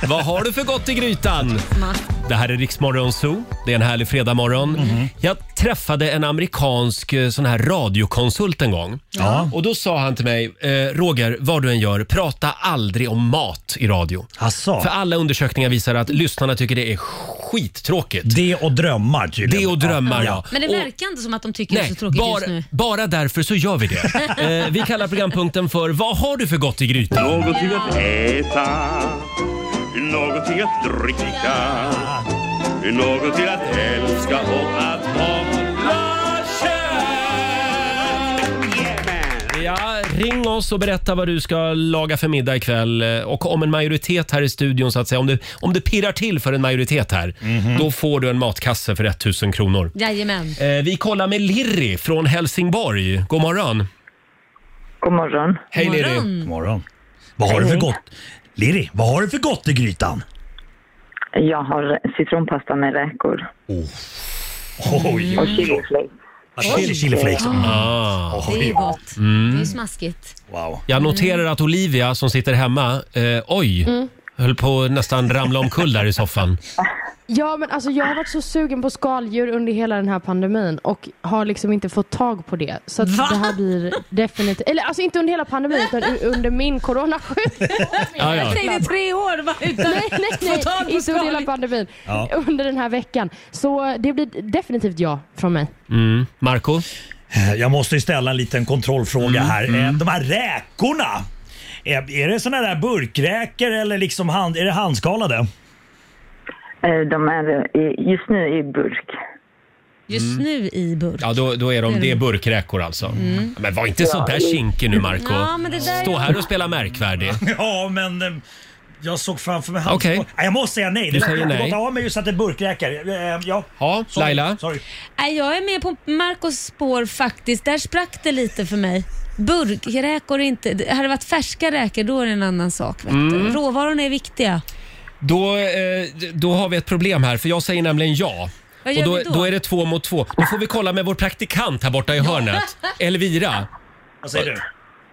Speaker 1: Vad har du för gott i grytan?
Speaker 2: Mark.
Speaker 1: Det här är Riksmorgon Zoo. Det är en härlig fredagmorgon.
Speaker 8: Mhm.
Speaker 1: Jag träffade en amerikansk eh, sån här radiokonsult en gång.
Speaker 8: Ja.
Speaker 1: Och då sa han till mig, eh, Roger, vad du än gör, prata aldrig om mat i radio.
Speaker 8: Asså.
Speaker 1: För alla undersökningar visar att lyssnarna tycker det är skittråkigt.
Speaker 8: Det och drömmar tydligen.
Speaker 1: Det och drömmar, [LAUGHS] ja.
Speaker 2: Men det
Speaker 1: Och-
Speaker 2: verkar inte som att de tycker det är så tråkigt just
Speaker 1: bara,
Speaker 2: nu.
Speaker 1: bara därför så gör vi det.
Speaker 2: [LAUGHS]
Speaker 1: eh, vi kallar programpunkten för Vad har du för gott i grytan?
Speaker 12: Någonting att äta, någonting att dricka, någonting att älska och att hålla
Speaker 1: Ja, ring oss och berätta vad du ska laga för middag ikväll. Eh, Och om en majoritet här i studion, så att säga, om det, om det pirrar till för en majoritet här, då får du en matkasse för 1000 kronor.
Speaker 2: Jajamän.
Speaker 1: Eh, vi kollar med Lirri från Helsingborg. God morgon!
Speaker 14: God morgon.
Speaker 1: Hej
Speaker 8: God
Speaker 1: Lirri!
Speaker 8: morgon. Morgon. Vad har du för gott? Liri, vad har du för gott i grytan?
Speaker 14: Jag har citronpasta med räkor.
Speaker 8: Oh. Oj.
Speaker 14: Och chiliflakes.
Speaker 8: Chili, chili flakes. Mm.
Speaker 1: Ah.
Speaker 2: Det är ju gott.
Speaker 1: Mm.
Speaker 2: Det är ju smaskigt.
Speaker 8: Wow.
Speaker 1: Jag noterar att Olivia som sitter hemma, eh, oj,
Speaker 6: Mm.
Speaker 1: höll på att nästan ramla omkull där i soffan.
Speaker 6: Ja, men alltså jag har varit så sugen på skaldjur under hela den här pandemin och har liksom inte fått tag på det. Så att det här blir definitivt, eller alltså inte under hela pandemin utan u- under min coronasjukdom.
Speaker 1: Ja, ja.
Speaker 2: Jag tänkte tre år bara utan
Speaker 6: nej, nej, nej,
Speaker 2: få tag på
Speaker 6: inte under
Speaker 2: skal.
Speaker 6: hela pandemin.
Speaker 1: Ja.
Speaker 6: Under den här veckan. Så det blir definitivt ja från mig.
Speaker 1: Mm. Marco?
Speaker 8: Eh, Jag måste ju ställa en liten kontrollfråga här. Eh, De här räkorna, eh, är, är det såna där burkräkor eller liksom hand, är det handskalade?
Speaker 14: Eh, De är i- just nu i burk.
Speaker 2: Just nu i burk.
Speaker 1: Ja, då, då är de, det är burkräkor alltså.
Speaker 2: Mm.
Speaker 1: Men var inte så där kinkig nu Marco
Speaker 2: Ja, men det där-
Speaker 1: Stå här och spela märkvärdig.
Speaker 8: [LAUGHS] Ja, men eh, jag såg framför mig
Speaker 1: Okej.
Speaker 8: handskal- Nej, Jag måste säga nej.
Speaker 1: Du
Speaker 8: Det var
Speaker 1: säger nej.
Speaker 8: jättegott. Ja, men just att det är burkräkor. Eh, Ja,
Speaker 1: ja
Speaker 8: sorry.
Speaker 1: Laila?
Speaker 8: Sorry.
Speaker 2: Nej, jag är med på Marcos spår faktiskt. Där sprack det lite för mig. Burkräkor är inte... det- Hade det varit färska räkor då är det en annan sak. Vet du.
Speaker 1: Mm.
Speaker 2: Råvarorna är viktiga.
Speaker 1: Då, eh, då har vi ett problem här, för jag säger nämligen ja.
Speaker 2: Vad gör
Speaker 1: och
Speaker 2: vi
Speaker 1: då,
Speaker 2: då?
Speaker 1: då är det två mot två. Då får vi kolla med vår praktikant här borta i hörnet. Elvira.
Speaker 8: Vad säger du?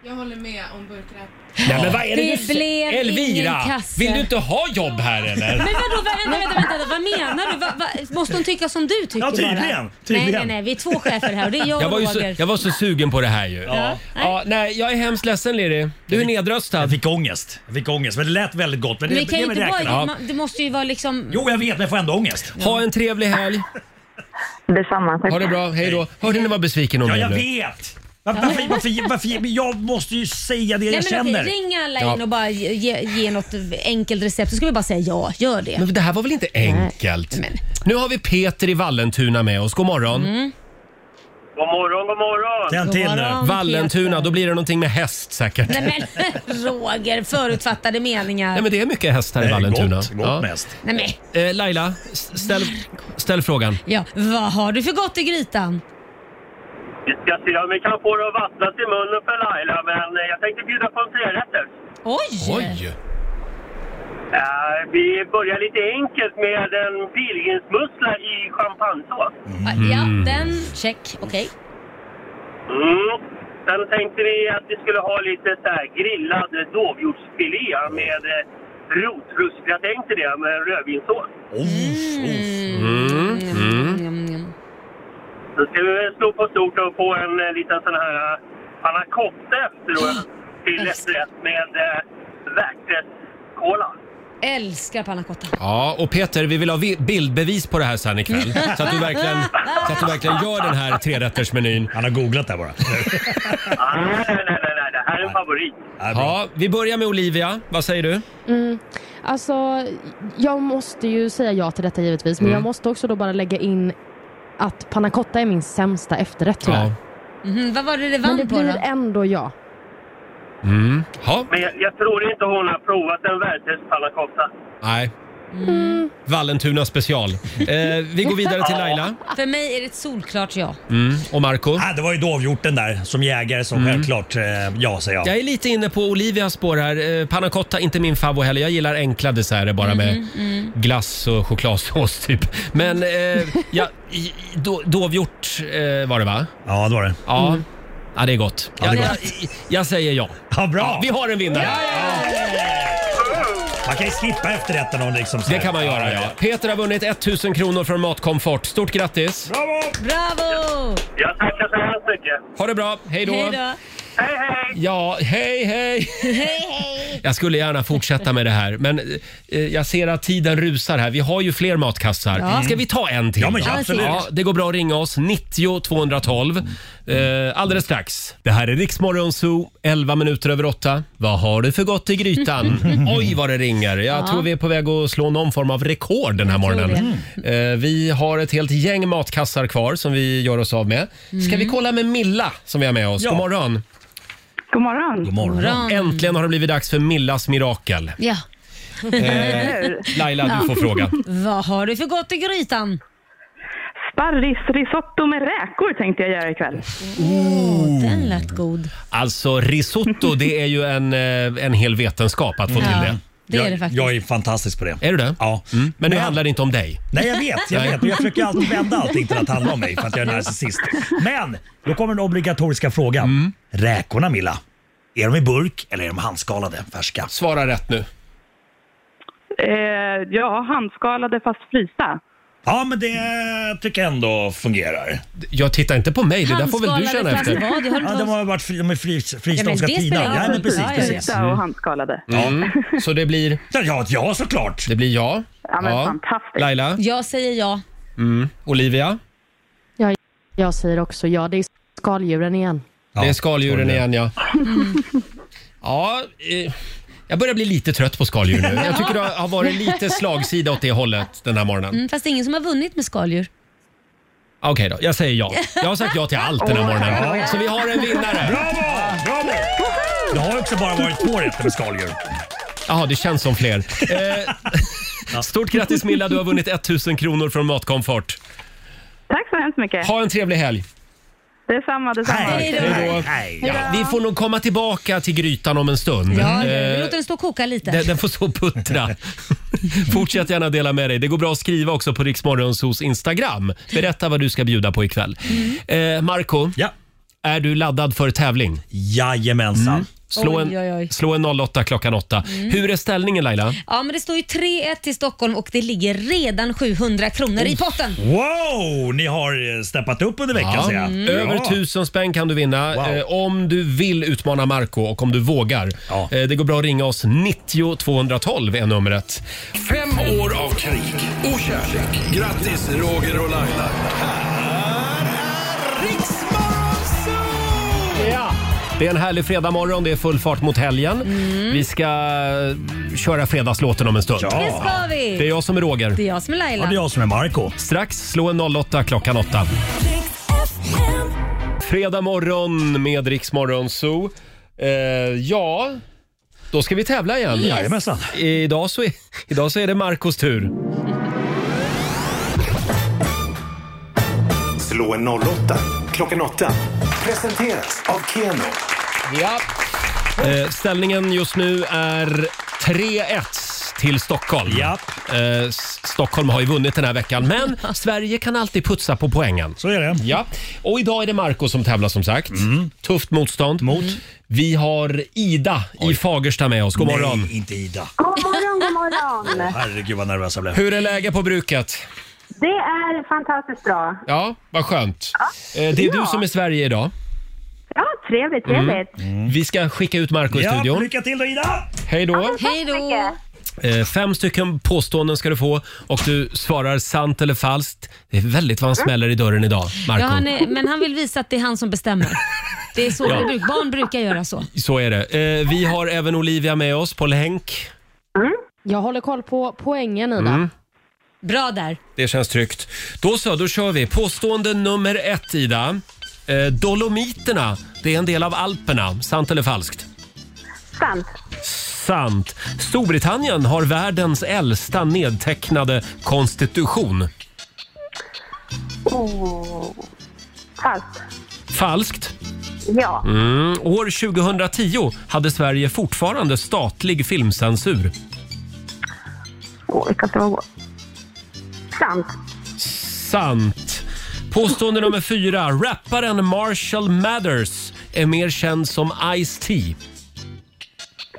Speaker 15: Jag håller med om burkräkor.
Speaker 1: Nej, men vad är det,
Speaker 2: Det
Speaker 1: du säger?
Speaker 2: blev
Speaker 1: Elvira,
Speaker 2: ingen kasse.
Speaker 1: vill du inte ha jobb här
Speaker 2: Men
Speaker 1: eller?
Speaker 2: vadå, vad- vänta, vänta, vänta, vänta, vad menar du? Va, va, måste hon tycka som du tycker
Speaker 1: Ja, tydligen,
Speaker 2: bara?
Speaker 1: tydligen.
Speaker 2: Nej, nej, nej, vi är två chefer här och det är jag,
Speaker 1: Jag var,
Speaker 2: och
Speaker 1: ju så,
Speaker 2: Roger.
Speaker 1: jag var så sugen på det här ju.
Speaker 8: Ja.
Speaker 1: Ja, nej, jag är hemskt ledsen Liri. Du är nedröstad. Jag
Speaker 8: fick ångest. Jag fick ångest, men det lät väldigt gott. Men
Speaker 2: Men
Speaker 8: det,
Speaker 2: det kan
Speaker 8: det
Speaker 2: ju
Speaker 8: är
Speaker 2: inte
Speaker 8: väl
Speaker 2: vara...
Speaker 8: räkorna.
Speaker 2: man- Det måste ju vara liksom...
Speaker 8: Jo, jag vet, men jag får ändå ångest.
Speaker 1: Ha en trevlig helg.
Speaker 14: Detsamma, tack.
Speaker 1: Ha det bra, hej då. Hörde ni vad besviken hon
Speaker 8: Ja,
Speaker 1: blev
Speaker 8: jag
Speaker 1: nu?
Speaker 8: vet! Var- Varför, varför, varför, men jag måste ju säga det jag
Speaker 2: Nej, men
Speaker 8: känner.
Speaker 2: Okej, ring alla in
Speaker 1: Ja.
Speaker 2: och bara ge, ge- ge något enkelt recept så ska vi bara säga ja, gör det.
Speaker 1: Men det här var väl inte enkelt? Nu har vi Peter i Vallentuna med oss. God morgon.
Speaker 16: God morgon, god morgon!
Speaker 8: Tänd
Speaker 2: till nu. Mm. morgon,
Speaker 1: Vallentuna, då blir det någonting med häst säkert. Nej,
Speaker 2: Nej men [LAUGHS] Roger, förutfattade meningar.
Speaker 1: men det är mycket häst här i Vallentuna.
Speaker 8: gott, gott med häst.
Speaker 2: Nej, men.
Speaker 1: Eh, Laila, s- ställ, ställ frågan.
Speaker 2: Ja, vad har du för gott i grytan?
Speaker 16: Vi ska se om vi kan få det att vattnas i munnen för Laila, men eh, jag tänkte bjuda på en trerätter.
Speaker 2: Oj!
Speaker 1: Oj!
Speaker 16: Eh, vi börjar lite enkelt med en pilgrimsmussla i champagnesås.
Speaker 1: Mm.
Speaker 2: Ja, den, check, okej.
Speaker 16: Mm. Sen tänkte vi att vi skulle ha lite så här grillad dovhjortsfilé med eh, rotruskgratäng till det med rödvinssås.
Speaker 1: Mm. Mm.
Speaker 16: Då ska vi väl slå på stort och få en eh, liten sån här eh, panna cotta efteråt till efterrätt med eh, värträttskola.
Speaker 2: Älskar panna cotta.
Speaker 1: Ja, och Peter, vi vill ha vi- bildbevis på det här sen ikväll. Så att du verkligen, så att du verkligen gör den här trerättersmenyn.
Speaker 8: Han har googlat
Speaker 1: [LAUGHS]
Speaker 8: där bara.
Speaker 16: Nej, nej, nej, nej, det här är en favorit.
Speaker 1: Ja, vi börjar med Olivia. Vad säger du?
Speaker 6: Mm. Alltså, jag måste ju säga ja till detta givetvis, men
Speaker 1: Mm.
Speaker 6: jag måste också då bara lägga in att panna cotta är min sämsta efterrätt tyvärr.
Speaker 2: Mhm, vad var det det
Speaker 6: Men
Speaker 2: vann
Speaker 6: det
Speaker 2: på
Speaker 6: blir
Speaker 2: då?
Speaker 6: ändå ja.
Speaker 1: Mm. Ja,
Speaker 16: Men jag, jag tror inte hon har provat en värträttspannacotta.
Speaker 1: nej. Vallentuna special. Eh, vi går vidare till Laila.
Speaker 2: För mig är det ett solklart ja.
Speaker 1: Mm. Och Marco? Mm.
Speaker 8: Ah, det var ju dovhjorten där som jägare som självklart eh, ja säger jag.
Speaker 1: Jag är lite inne på Olivias spår här. Eh, Panna cotta, inte min favorit heller. Jag gillar enkla desserter bara
Speaker 8: Mm-hmm,
Speaker 1: med
Speaker 8: mm.
Speaker 1: glass och chokladsås typ. Men eh, ja, i- do, dovhjort eh, var det va?
Speaker 8: Ja, det var det. Mm.
Speaker 1: Ja, ja det är gott.
Speaker 8: Ja, det är
Speaker 1: Jag, jag, jag säger ja.
Speaker 8: Ja, bra!
Speaker 1: Vi har en vinnare!
Speaker 8: Man kan ju skippa efterrätten om liksom så
Speaker 1: Det
Speaker 8: här.
Speaker 1: kan man göra ja. Peter har vunnit 1000 kronor från Matkomfort. Stort grattis!
Speaker 8: Bravo!
Speaker 2: Bravo!
Speaker 16: Jag tackar så hemskt mycket.
Speaker 1: Ha det bra, hej då!
Speaker 2: Hej då!
Speaker 1: Ja, hej hej!
Speaker 2: Hej, hej!
Speaker 1: Jag skulle gärna fortsätta med det här, men eh, jag ser att tiden rusar här. Vi har ju fler matkassar.
Speaker 2: Ja.
Speaker 1: Ska vi ta en till?
Speaker 2: Ja, men
Speaker 1: då?
Speaker 2: ja, absolut.
Speaker 1: det går bra att ringa oss. 90 212. Eh, alldeles strax. Det här är Riksmorgon Zoo, 11 minuter över 8. Vad har du för gott i grytan? [LAUGHS] Oj, vad det ringer. Jag
Speaker 2: Ja.
Speaker 1: tror vi är på väg att slå någon form av rekord den här
Speaker 2: tror
Speaker 1: morgonen. Eh, vi har ett helt gäng matkassar kvar som vi gör oss av med. Ska vi
Speaker 2: Mm.
Speaker 1: kolla med Milla som vi har med oss? God morgon!
Speaker 17: God morgon.
Speaker 1: God morgon. Äntligen har det blivit dags för Millas mirakel.
Speaker 2: Ja. [LAUGHS]
Speaker 1: Eh, Laila, du får fråga.
Speaker 2: Vad har du för gott i grytan?
Speaker 17: Sparrisrisotto med räkor tänkte jag göra ikväll.
Speaker 2: Oh, den lät god.
Speaker 1: Alltså risotto, det är ju en, eh, en hel vetenskap att få
Speaker 2: Ja,
Speaker 1: till det.
Speaker 2: det är Jag- det faktiskt. jag
Speaker 1: är fantastisk på det. Är du det? Ja. Mm. Men nu handlar det inte om dig.
Speaker 8: Nej jag vet, jag
Speaker 1: Nej.
Speaker 8: vet. Men jag försöker alltid vända allting till att handla om mig för att jag är narcissist. Men då kommer den obligatoriska frågan.
Speaker 1: Mm.
Speaker 8: Räkorna Milla, är de i burk eller är de handskalade färska?
Speaker 1: Svara rätt nu.
Speaker 17: Eh, ja, handskalade fast frysta.
Speaker 8: Ja men det tycker jag ändå fungerar.
Speaker 1: Jag tittar inte på mig,
Speaker 8: det där
Speaker 17: får väl du känna Handskalade efter. fast vad? Det har inte
Speaker 8: Ja, de
Speaker 17: varit-
Speaker 8: har varit fri, de är fri,
Speaker 17: Ja,
Speaker 8: frysta,
Speaker 17: men
Speaker 8: de ska
Speaker 17: det spelar
Speaker 8: tina.
Speaker 17: ingen
Speaker 8: Ja men
Speaker 17: roll.
Speaker 8: precis.
Speaker 17: Ja, ja,
Speaker 8: precis.
Speaker 17: ja. Och handskalade.
Speaker 1: Mm. Så det blir?
Speaker 8: Ja, ja såklart.
Speaker 1: Det blir jag.
Speaker 17: Ja, men fantastiskt.
Speaker 1: Laila?
Speaker 2: Jag säger ja.
Speaker 1: Mm. Olivia?
Speaker 6: Jag, jag säger också ja. Det är skaldjuren igen.
Speaker 1: det är skaldjuren igen ja. [LAUGHS] Ja, eh, jag börjar bli lite trött på skaldjur nu. Jag tycker det har varit lite slagsida åt det hållet den här morgonen.
Speaker 2: Mm, fast det är ingen som har vunnit med skaldjur.
Speaker 1: Okej då, jag säger ja. Jag har sagt ja till allt den här morgonen. Så vi har en vinnare.
Speaker 8: Bravo! Bravo! Det har också bara varit två rätter med skaldjur.
Speaker 1: Jaha, det känns som fler. Eh, stort grattis Milla, du har vunnit 1000 kronor från Matkomfort.
Speaker 17: Tack så hemskt mycket.
Speaker 1: Ha en trevlig helg.
Speaker 17: Detsamma, detsamma.
Speaker 1: Hej då. Ja, vi får nog komma tillbaka till grytan om en stund.
Speaker 2: Ja, vi
Speaker 1: Eh,
Speaker 2: låter den stå och koka lite.
Speaker 1: Den, den får så
Speaker 2: [LAUGHS]
Speaker 1: puttra. Fortsätt gärna dela med dig. Det går bra att skriva också på Riksmorgonsos Instagram. Berätta vad du ska bjuda på ikväll.
Speaker 2: Mm.
Speaker 1: Eh, Marco, är du laddad för tävling? Mm.
Speaker 8: Jajamensan.
Speaker 1: Slå, en,
Speaker 2: Oj, oj, oj.
Speaker 1: slå en 08 klockan 8.
Speaker 2: Mm.
Speaker 1: Hur är ställningen Laila?
Speaker 2: Ja, men det står ju 3-1 till Stockholm och det ligger redan 700 kronor i potten.
Speaker 8: Wow! Ni har eh, steppat upp under veckan ser jag.
Speaker 1: Mm. Över tusen spänn kan du vinna eh, om du vill utmana Marco och om du vågar. Eh, det går bra att ringa oss. 90 212 är numret.
Speaker 3: Fem år av krig och kärlek. Grattis Roger och Laila.
Speaker 1: Ja. Det är en härlig fredagmorgon. Det är full fart mot helgen. Vi ska eh, köra fredagslåten om en stund.
Speaker 2: Mm. Ja. Det ska vi.
Speaker 1: Det är jag som är Roger.
Speaker 2: Det är jag som är Laila.
Speaker 1: som är Marco. Strax slå en 08 klockan 8. Fredag morgon med Rix Morgon Zoo. Eh, ja, då ska vi tävla igen.
Speaker 8: Yes. Jajamensan.
Speaker 1: Idag så, är, idag så är det Marcos tur.
Speaker 18: Slå en 08 klockan 8. Presenteras av Keno.
Speaker 1: Ja. Eh, ställningen just nu är 3-1 till Stockholm. Eh, S- Stockholm har ju vunnit den här veckan,
Speaker 8: [LAUGHS]
Speaker 1: men Sverige kan alltid putsa på poängen.
Speaker 8: Så är det. Mm.
Speaker 1: Ja. Och idag är det Marco som tävlar som sagt. Tufft motstånd. Mot. Vi har Ida i Fagersta med oss. God morgon.
Speaker 8: Nej, inte Ida.
Speaker 19: God morgon, god morgon.
Speaker 8: Herregud vad nervös jag blev.
Speaker 1: Hur är läget på bruket?
Speaker 19: Det är fantastiskt bra.
Speaker 1: Ja, vad skönt. Eh, det är
Speaker 19: Ja.
Speaker 1: du som är Sverige idag.
Speaker 19: Ja, trevligt,
Speaker 1: Mm.
Speaker 19: trevligt.
Speaker 1: Vi ska skicka ut Marco i
Speaker 8: Ja,
Speaker 1: studion.
Speaker 8: lycka till då Ida!
Speaker 1: Hej då.
Speaker 2: Hej då!
Speaker 1: Eh, Fem stycken påståenden ska du få och du svarar sant eller falskt. Det är väldigt vad han smäller i dörren idag, Marco.
Speaker 2: Mm. Ja, han är, men han vill visa att det är han som bestämmer. Det är så
Speaker 1: Ja.
Speaker 2: det bruk, barn brukar göra så.
Speaker 1: Så är det. Eh, Vi har även Olivia med oss på länk.
Speaker 6: Jag håller koll på poängen Ida.
Speaker 1: Mm.
Speaker 2: Bra där.
Speaker 1: Det känns tryggt. Då så, då kör vi. Påstående nummer ett, Ida. Eh, Dolomiterna, det är en del av Alperna. Sant eller falskt?
Speaker 19: Sant.
Speaker 1: Sant. Storbritannien har världens äldsta nedtecknade konstitution.
Speaker 19: Oh. Falskt.
Speaker 1: Falskt.
Speaker 19: Ja.
Speaker 1: Mm. År 2010 hade Sverige fortfarande statlig filmcensur.
Speaker 19: Åh, vilka frågor. Sant.
Speaker 1: Sant. Påstående nummer fyra. Rapparen Marshall Mathers är mer känd som Ice-T.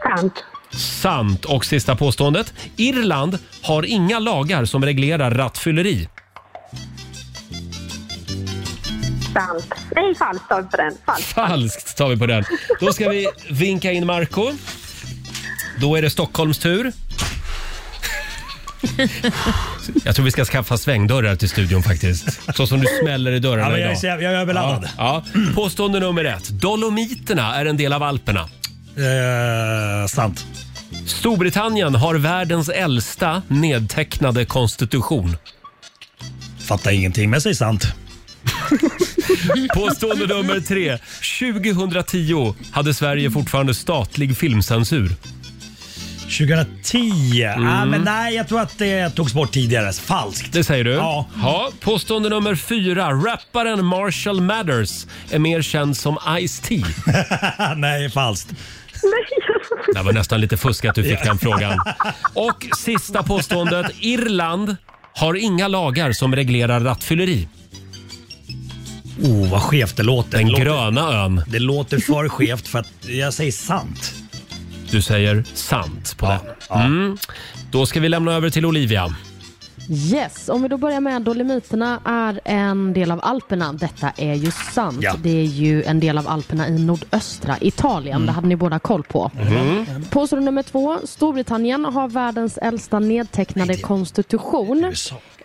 Speaker 19: Sant.
Speaker 1: Sant. Och sista påståendet. Irland har inga lagar som reglerar rattfylleri.
Speaker 19: Sant. Nej, falskt tar vi på den. Falskt.
Speaker 1: Falskt tar vi på den. Då ska vi vinka in Marco. Då är det Stockholms tur. Jag tror vi ska skaffa svängdörrar till studion faktiskt. Så som du smäller i dörrarna
Speaker 8: Ja, men jag är
Speaker 1: idag.
Speaker 8: så jävla- jag är överladdad.
Speaker 1: Ja, ja. Påstående nummer ett. Dolomiterna är en del av Alperna.
Speaker 8: Eh, sant.
Speaker 1: Storbritannien har världens äldsta nedtecknade konstitution.
Speaker 8: Fattar ingenting, men säg sant.
Speaker 1: Påstående nummer tre. 2010 hade Sverige fortfarande statlig filmcensur.
Speaker 8: 2010. Ah,
Speaker 1: Mm.
Speaker 8: men nej, jag tror att det togs bort tidigare. Falskt.
Speaker 1: Det säger du?
Speaker 8: Ja.
Speaker 1: ja. Påstående nummer fyra. Rapparen Marshall Mathers är mer känd som Ice-T.
Speaker 8: [LAUGHS] Nej, falskt.
Speaker 1: Det var nästan lite fusk att du fick den
Speaker 8: [LAUGHS]
Speaker 1: frågan. Och sista påståendet. Irland har inga lagar som reglerar rattfylleri.
Speaker 8: Oh, vad skevt det låter.
Speaker 1: Den
Speaker 8: Det låter-
Speaker 1: gröna ön.
Speaker 8: Det låter för skevt för att jag säger sant.
Speaker 1: Du säger sant på den. Mm. Då ska vi lämna över till Olivia.
Speaker 6: Yes, om vi då börjar med Dolomiterna är en del av Alperna. Detta är ju sant. Det är ju en del av Alperna i nordöstra Italien. Det hade ni båda koll på.
Speaker 9: Mm.
Speaker 6: Påstående nummer två. Storbritannien har världens äldsta nedtecknade konstitution.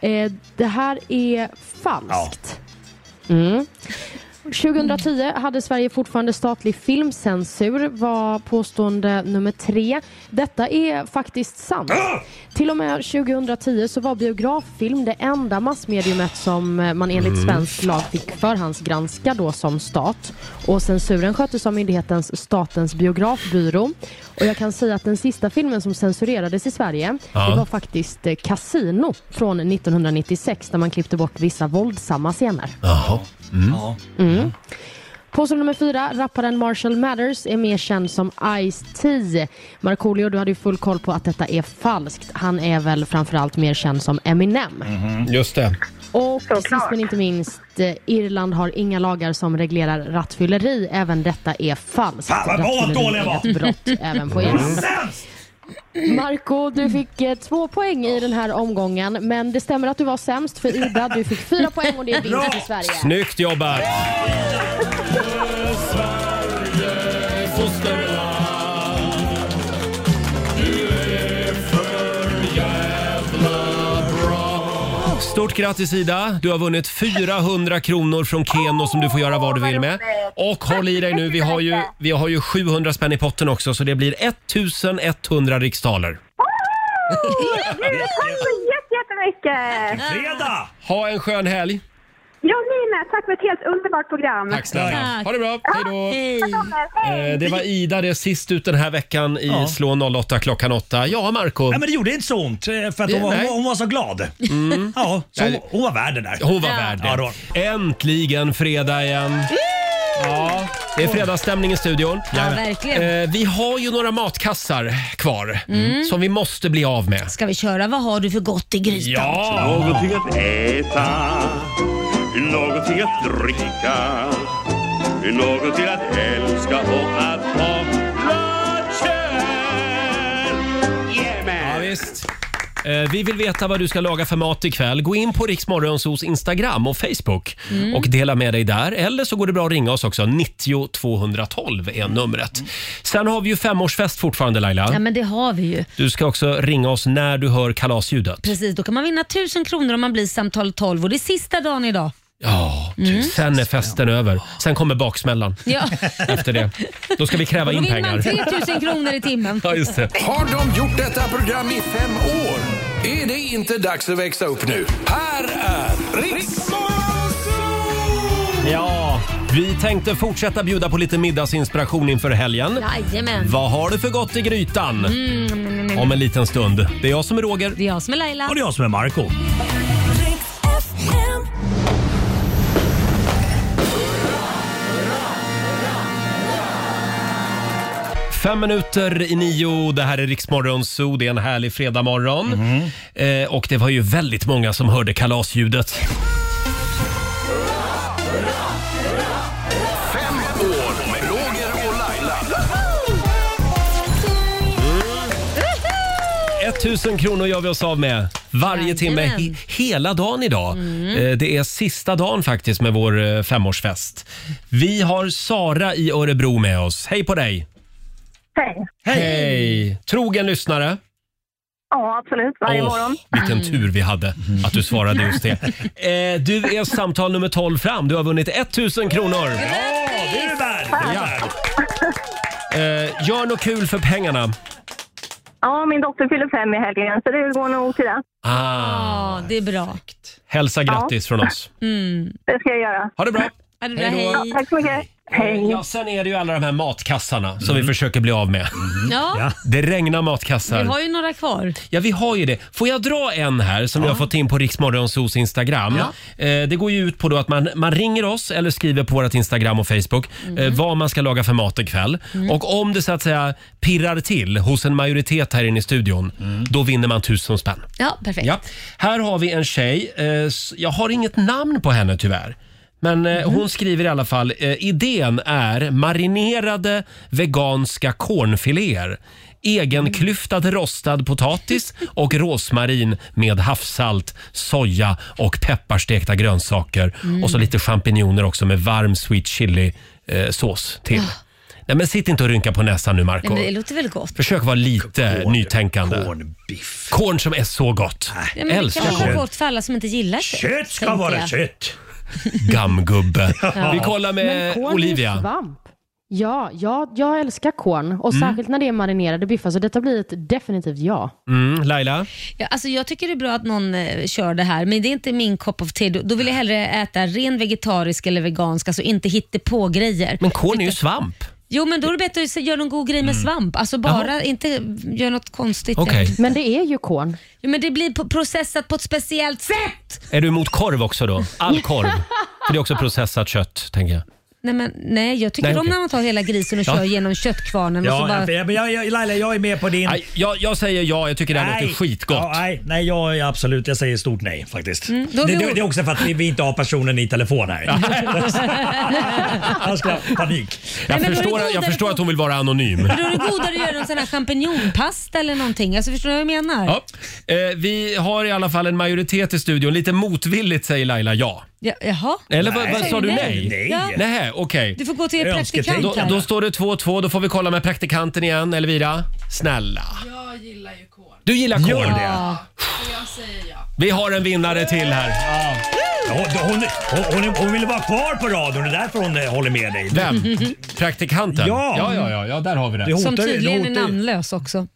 Speaker 6: Eh, det här är falskt. Mm. 2010 hade Sverige fortfarande statlig filmcensur var påstående nummer tre. Detta är faktiskt sant. Till och med 2010 så var biograffilm det enda massmediumet som eh, man enligt
Speaker 9: Mm.
Speaker 6: svensk lag fick förhandsgranska då som stat. Och censuren sköttes av myndighetens Statens biografbyrå. Och jag kan säga att den sista filmen som censurerades i Sverige
Speaker 9: Ja.
Speaker 6: det var faktiskt eh, Casino från 1996 där man klippte bort vissa våldsamma scener.
Speaker 1: Jaha. Mm.
Speaker 6: Mm. Påstående nummer fyra, rapparen Marshall Mathers är mer känd som Ice-T. Markoolio, du hade ju full koll på att detta är falskt. Han är väl framförallt mer känd som Eminem.
Speaker 1: Just det.
Speaker 6: Och sist men inte minst, eh, Irland har inga lagar som reglerar rattfylleri. Även detta är falskt.
Speaker 9: Fan, vad bra att
Speaker 6: Rattfylleri
Speaker 9: dåliga
Speaker 6: är
Speaker 9: var.
Speaker 6: ett brott även på
Speaker 1: Mm.
Speaker 6: Irland.
Speaker 9: Sämst!
Speaker 6: Marco, du fick eh, två poäng i den här omgången, men det stämmer att du var sämst för Ida, du fick
Speaker 9: [LAUGHS]
Speaker 6: fyra poäng och det är vinst i Sverige.
Speaker 1: Snyggt jobbat! Stort grattis Ida! Du har vunnit 400 kronor från Keno som du får göra vad du vill med. Och håll i dig nu, vi har ju, vi har ju 700 spänn i potten också så det blir 1100 riksdaaler.
Speaker 19: Tack så jätte- jättemycket!
Speaker 8: Fredag!
Speaker 1: Ha en skön helg!
Speaker 19: Ja, ni med. Tack för ett helt underbart program.
Speaker 1: Tack snälla. Ha det bra. Hej då. Eh,
Speaker 19: Hej.
Speaker 1: Det var Ida det sist ut den här veckan i
Speaker 8: Ja.
Speaker 1: Slå 08 klockan 8. Ja, Marco.
Speaker 8: Nej, men det gjorde inte så ont eh, för att hon, var,
Speaker 1: Nej.
Speaker 8: hon, hon var så glad.
Speaker 1: Mm.
Speaker 8: Ja, så hon, hon var värd det där.
Speaker 1: Hon var
Speaker 8: Ja.
Speaker 1: värd
Speaker 8: Ja,
Speaker 1: det.
Speaker 8: då.
Speaker 1: Äntligen fredag igen. Ja, det är fredagsstämning i studion.
Speaker 2: Ja, verkligen.
Speaker 1: Eh, Vi har ju några matkassar kvar
Speaker 2: Mm.
Speaker 1: som vi måste bli av med.
Speaker 2: Ska vi köra Vad har du för gott i grytan?
Speaker 12: Någonting att äta, någonting att dricka, någonting att älska och att ha
Speaker 1: Ja, visst. Eh, Vi vill veta vad du ska laga för mat ikväll. Gå in på Riksmorgonsos Instagram och Facebook
Speaker 4: Mm.
Speaker 1: och dela med dig där. Eller så går det bra att ringa oss också. 90 212 är numret. Sen har vi ju femårsfest fortfarande Laila.
Speaker 2: Mm. Ja, men det har vi ju.
Speaker 1: Du ska också ringa oss när du hör kalasljudet.
Speaker 2: Precis, då kan man vinna 1000 kronor om man blir samtal 12 och det är sista dagen idag.
Speaker 1: Ja, du,
Speaker 2: Mm.
Speaker 1: sen är festen över. Sen kommer
Speaker 2: [LAUGHS]
Speaker 1: baksmällan [LAUGHS]
Speaker 2: Ja.
Speaker 1: efter det. Då ska vi kräva
Speaker 2: Då
Speaker 1: in
Speaker 2: vinner man
Speaker 1: pengar.
Speaker 2: 3000 kronor i timmen.
Speaker 1: [LAUGHS] Ja, just det.
Speaker 3: Har de gjort detta program i fem år? Är det inte dags att växa upp nu? Här är Riks...
Speaker 1: Ja, vi tänkte fortsätta bjuda på lite middagsinspiration inför helgen.
Speaker 2: Jajamän.
Speaker 1: Vad har du för gott i grytan?
Speaker 2: Mm, mm, mm, mm.
Speaker 1: Om en liten stund. Det är jag som är Roger.
Speaker 2: Det är jag som är Laila.
Speaker 1: Och det är jag som är Marco. Fem minuter i nio, det här är Riksmorgon Zoo, det är en härlig fredagmorgon. Eh, och det var ju väldigt många som hörde kalasljudet.
Speaker 3: Fem år med Roger och Laila.
Speaker 1: 000 Mm. kronor gör vi oss av med varje timme
Speaker 2: Jajamän.
Speaker 1: he- hela dagen idag.
Speaker 2: Mm.
Speaker 1: Eh, Det är sista dagen faktiskt med vår eh, femårsfest. Vi har Sara i Örebro med oss. Hej på dig!
Speaker 19: Hej.
Speaker 1: Hej! Trogen lyssnare.
Speaker 19: Ja, absolut. Varje
Speaker 1: Åh,
Speaker 19: morgon.
Speaker 1: Vilken tur vi hade att du svarade just [LAUGHS] det. Eh, Du är samtal nummer 12 fram. Du har vunnit 1000 kronor.
Speaker 8: det är du värd!
Speaker 1: Eh, Gör något kul för pengarna.
Speaker 19: Ja, min dotter fyller fem i helgen, så det går nog till det.
Speaker 1: Ah,
Speaker 2: Ja, det är bra.
Speaker 1: hälsa grattis från oss.
Speaker 2: Mm.
Speaker 19: Det ska jag göra.
Speaker 1: Ha det bra.
Speaker 2: Ha det bra,
Speaker 1: Hej då.
Speaker 2: hej.
Speaker 19: Ja, tack så mycket. Hej.
Speaker 1: Ja, sen är det ju alla de här matkassarna som vi försöker bli av med.
Speaker 2: Ja. Ja.
Speaker 1: Det regnar
Speaker 2: Vi
Speaker 1: matkassar.
Speaker 2: har ju några kvar.
Speaker 1: Ja, vi har ju det. Får jag dra en här som vi har fått in på Riksmorgonsos Instagram? Eh, det går ju ut på då att man, man ringer oss eller skriver på vårt Instagram och Facebook eh, vad man ska laga för mat ikväll. Och om det så att säga pirrar till hos en majoritet här inne i studion, då vinner man tusen spänn.
Speaker 2: Ja, perfekt.
Speaker 1: Ja. Här har vi en tjej. Eh, s- Jag har inget namn på henne tyvärr. Men eh,
Speaker 2: Mhm.
Speaker 1: hon skriver i alla fall, eh, idén är marinerade veganska kornfiléer. Egenklyftad rostad potatis och rosmarin med havssalt, soja och pepparstekta grönsaker.
Speaker 2: Mm.
Speaker 1: Och så lite champinjoner också med varm sweet chili eh, sås till. Nej men sitt inte och rynka på näsan nu
Speaker 2: Ah. Nej,
Speaker 1: Marco.
Speaker 2: men det låter väl gott?
Speaker 1: Försök vara lite nytänkande. Kornbiff. Korn som är så gott.
Speaker 2: Ja, men det
Speaker 1: Älskar
Speaker 2: kan vara
Speaker 1: korn.
Speaker 2: gott för alla som inte gillar kött. tänkte
Speaker 1: [LAUGHS]
Speaker 2: jag.
Speaker 1: kött. Gammgubbe.
Speaker 2: Ja.
Speaker 1: Vi kollar
Speaker 6: Men
Speaker 1: med
Speaker 6: korn är ju
Speaker 1: Olivia.
Speaker 6: svamp. Ja, ja, jag älskar korn och
Speaker 1: Mm.
Speaker 6: särskilt när det är marinerade biffar så detta blir ett definitivt ja.
Speaker 1: Mm, Laila?
Speaker 2: Ja, alltså jag tycker det är bra att någon eh, kör det här, men det är inte min kopp of te. Då då vill jag hellre äta ren vegetarisk eller vegansk, alltså inte hitta på grejer.
Speaker 1: Men korn är ju svamp.
Speaker 2: Jo, men då är det bättre att göra någon god grej med
Speaker 1: Mm.
Speaker 2: svamp. Alltså bara inte göra något konstigt.
Speaker 1: Okej.
Speaker 6: Men det är ju korn.
Speaker 2: Jo, men det blir po- processat på ett speciellt sätt.
Speaker 1: Är du emot korv också då? All korv? För det är också processat kött, tänker jag.
Speaker 2: Nej, men, nej jag tycker
Speaker 1: Nej,
Speaker 2: om
Speaker 1: okej.
Speaker 2: när man tar hela grisen och
Speaker 1: Ja.
Speaker 2: kör genom köttkvarnen. och så bara...
Speaker 8: jag, jag, jag, Laila, jag är med på din...
Speaker 1: Nej, jag, jag säger ja, jag tycker det här låter skitgott.
Speaker 8: Ja, nej, nej jag, är absolut. Jag säger stort nej faktiskt.
Speaker 2: Mm,
Speaker 8: det,
Speaker 2: då
Speaker 8: det,
Speaker 2: blir-
Speaker 8: det är också för att vi, vi inte har personen i telefon här. Annars skulle [LAUGHS] jag ha panik.
Speaker 1: Jag,
Speaker 2: men då är det
Speaker 1: förstår, jag
Speaker 2: godare
Speaker 1: förstår att hon vill vara anonym.
Speaker 2: Då är det godare att göra någon sån här champinjonpasta eller någonting. Alltså, förstår du vad jag menar?
Speaker 1: Ja. Eh, vi har i alla fall en majoritet i studion. Lite motvilligt säger Laila ja.
Speaker 2: Ja, jaha?
Speaker 1: Eller vad, vad sa du nej?
Speaker 2: Ja.
Speaker 1: Nej, okej.
Speaker 2: Du får gå till er praktikant
Speaker 1: Då,
Speaker 2: här.
Speaker 1: då står det 2-2. Då får vi kolla med praktikanten igen. Elvira, snälla.
Speaker 15: Jag gillar ju korn.
Speaker 1: [LAUGHS] Du gillar korn.
Speaker 15: Gör det? Ja. Så jag säger ja.
Speaker 1: Vi har en vinnare till här.
Speaker 8: Hon, hon, hon, hon, hon vill vara kvar på radion. Det är därför hon eh, håller med dig.
Speaker 1: Vem? Praktikanten?
Speaker 8: Ja.
Speaker 1: Ja, ja, ja, ja där har vi det.
Speaker 2: Som tydligen är namnlös också.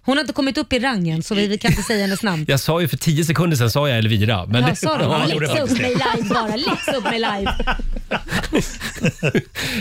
Speaker 2: Hon har inte kommit upp i rangen så vi, vi kan inte säga hennes namn.
Speaker 1: Jag sa ju för tio sekunder sedan sa jag Elvira. [LAUGHS] Men
Speaker 2: Jag sa
Speaker 1: [LAUGHS]
Speaker 2: det.
Speaker 1: Ja,
Speaker 2: Läxa upp mig live bara. Läxa upp mig live.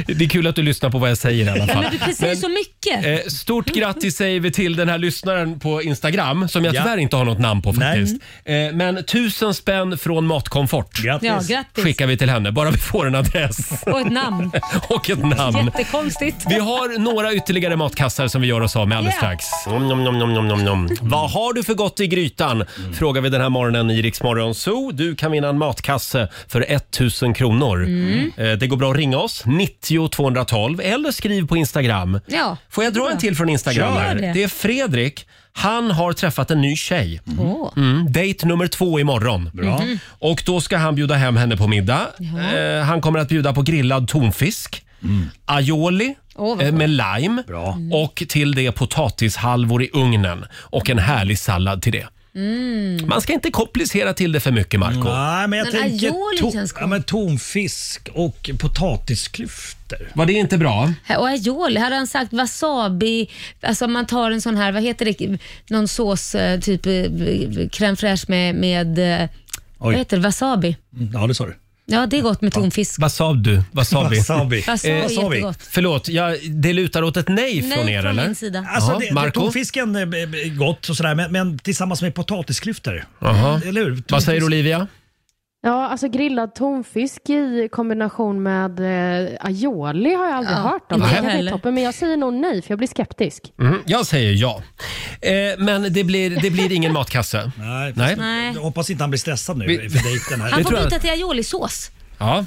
Speaker 1: det är kul att du lyssnar på vad jag säger i alla
Speaker 2: Ja,
Speaker 1: fall.
Speaker 2: men du precis så mycket.
Speaker 1: Eh, Stort grattis säger vi till den här lyssnaren på Instagram som jag
Speaker 8: Ja.
Speaker 1: tyvärr inte har något namn på faktiskt. Eh, Men tusen spänn från Matkomfort
Speaker 2: Grattis. Ja, grattis.
Speaker 1: skickar vi till henne, bara vi får en adress.
Speaker 2: Och ett namn.
Speaker 1: [LAUGHS] Och ett namn.
Speaker 2: Jättekonstigt.
Speaker 1: Vi har några ytterligare matkassar som vi gör oss av med alldeles
Speaker 2: Ja.
Speaker 1: strax. Nom, nom, nom, nom, nom, nom, nom. Vad har du för gott i grytan? Frågar vi den här morgonen i Rix Morgon Zoo. Du kan vinna en matkasse för 1000 kronor.
Speaker 2: Mm.
Speaker 1: Eh, Det går bra att ringa oss, 90 212 eller skriv på Instagram.
Speaker 2: Ja.
Speaker 1: Får jag dra en till från Instagram?
Speaker 2: Kör.
Speaker 1: här?
Speaker 2: Gör det.
Speaker 1: Det är Fredrik. Han har träffat en ny tjej.
Speaker 2: Åh.
Speaker 1: Mm, date nummer två imorgon.
Speaker 2: Bra. Mhm.
Speaker 1: Och då ska han bjuda hem henne på middag.
Speaker 2: Ja.
Speaker 1: Eh, han kommer att bjuda på grillad tonfisk, aioli
Speaker 2: Åh, vad Mm.
Speaker 1: eh,
Speaker 2: gott.
Speaker 1: med lime och till det potatishalvor i ugnen och en härlig sallad till det.
Speaker 2: Mm.
Speaker 1: Man ska inte komplicera till det för mycket, Marco.
Speaker 8: Nej, men jag
Speaker 2: Men
Speaker 8: tänker
Speaker 2: aioli
Speaker 8: to-
Speaker 2: känns
Speaker 8: ja, men tonfisk och potatisklyftor.
Speaker 1: Var det inte bra?
Speaker 2: Och aioli, här har han sagt wasabi, alltså om man tar en sån här, vad heter det, någon sås, eh, typ eh, crème fraîche med, med eh, vad heter det, wasabi.
Speaker 8: Ja, det sa du.
Speaker 2: Ja, det är gott med tonfisk.
Speaker 1: Vad sa du? Wasabi.
Speaker 8: Wasabi.
Speaker 2: Wasabi är Wasabi. jättegott.
Speaker 1: Förlåt, jag, det lutar åt ett nej från
Speaker 2: Nej,
Speaker 1: er
Speaker 2: från
Speaker 1: eller?
Speaker 2: min sida.
Speaker 8: Alltså,
Speaker 1: Jaha,
Speaker 8: det, det,
Speaker 1: Marco?
Speaker 8: tonfisken är är gott och sådär, men, men tillsammans med potatisklyftor.
Speaker 1: Jaha.
Speaker 8: Eller hur?
Speaker 1: Vad säger Olivia?
Speaker 6: Ja, alltså grillad tonfisk i kombination med eh, aioli har jag aldrig
Speaker 2: Ja,
Speaker 6: hört
Speaker 1: inte
Speaker 6: om. Det
Speaker 1: jag
Speaker 6: kanske är
Speaker 1: heller.
Speaker 6: toppen, men jag säger nog nej för jag blir skeptisk.
Speaker 1: Mm, jag säger ja. Eh, men det blir, det blir ingen matkasse.
Speaker 8: Nej, fast
Speaker 1: Nej.
Speaker 8: Jag hoppas inte han blir stressad nu
Speaker 1: Vi-
Speaker 8: för dejten här.
Speaker 2: Han får
Speaker 1: tror jag-
Speaker 2: byta till aioli-sås.
Speaker 1: Ja.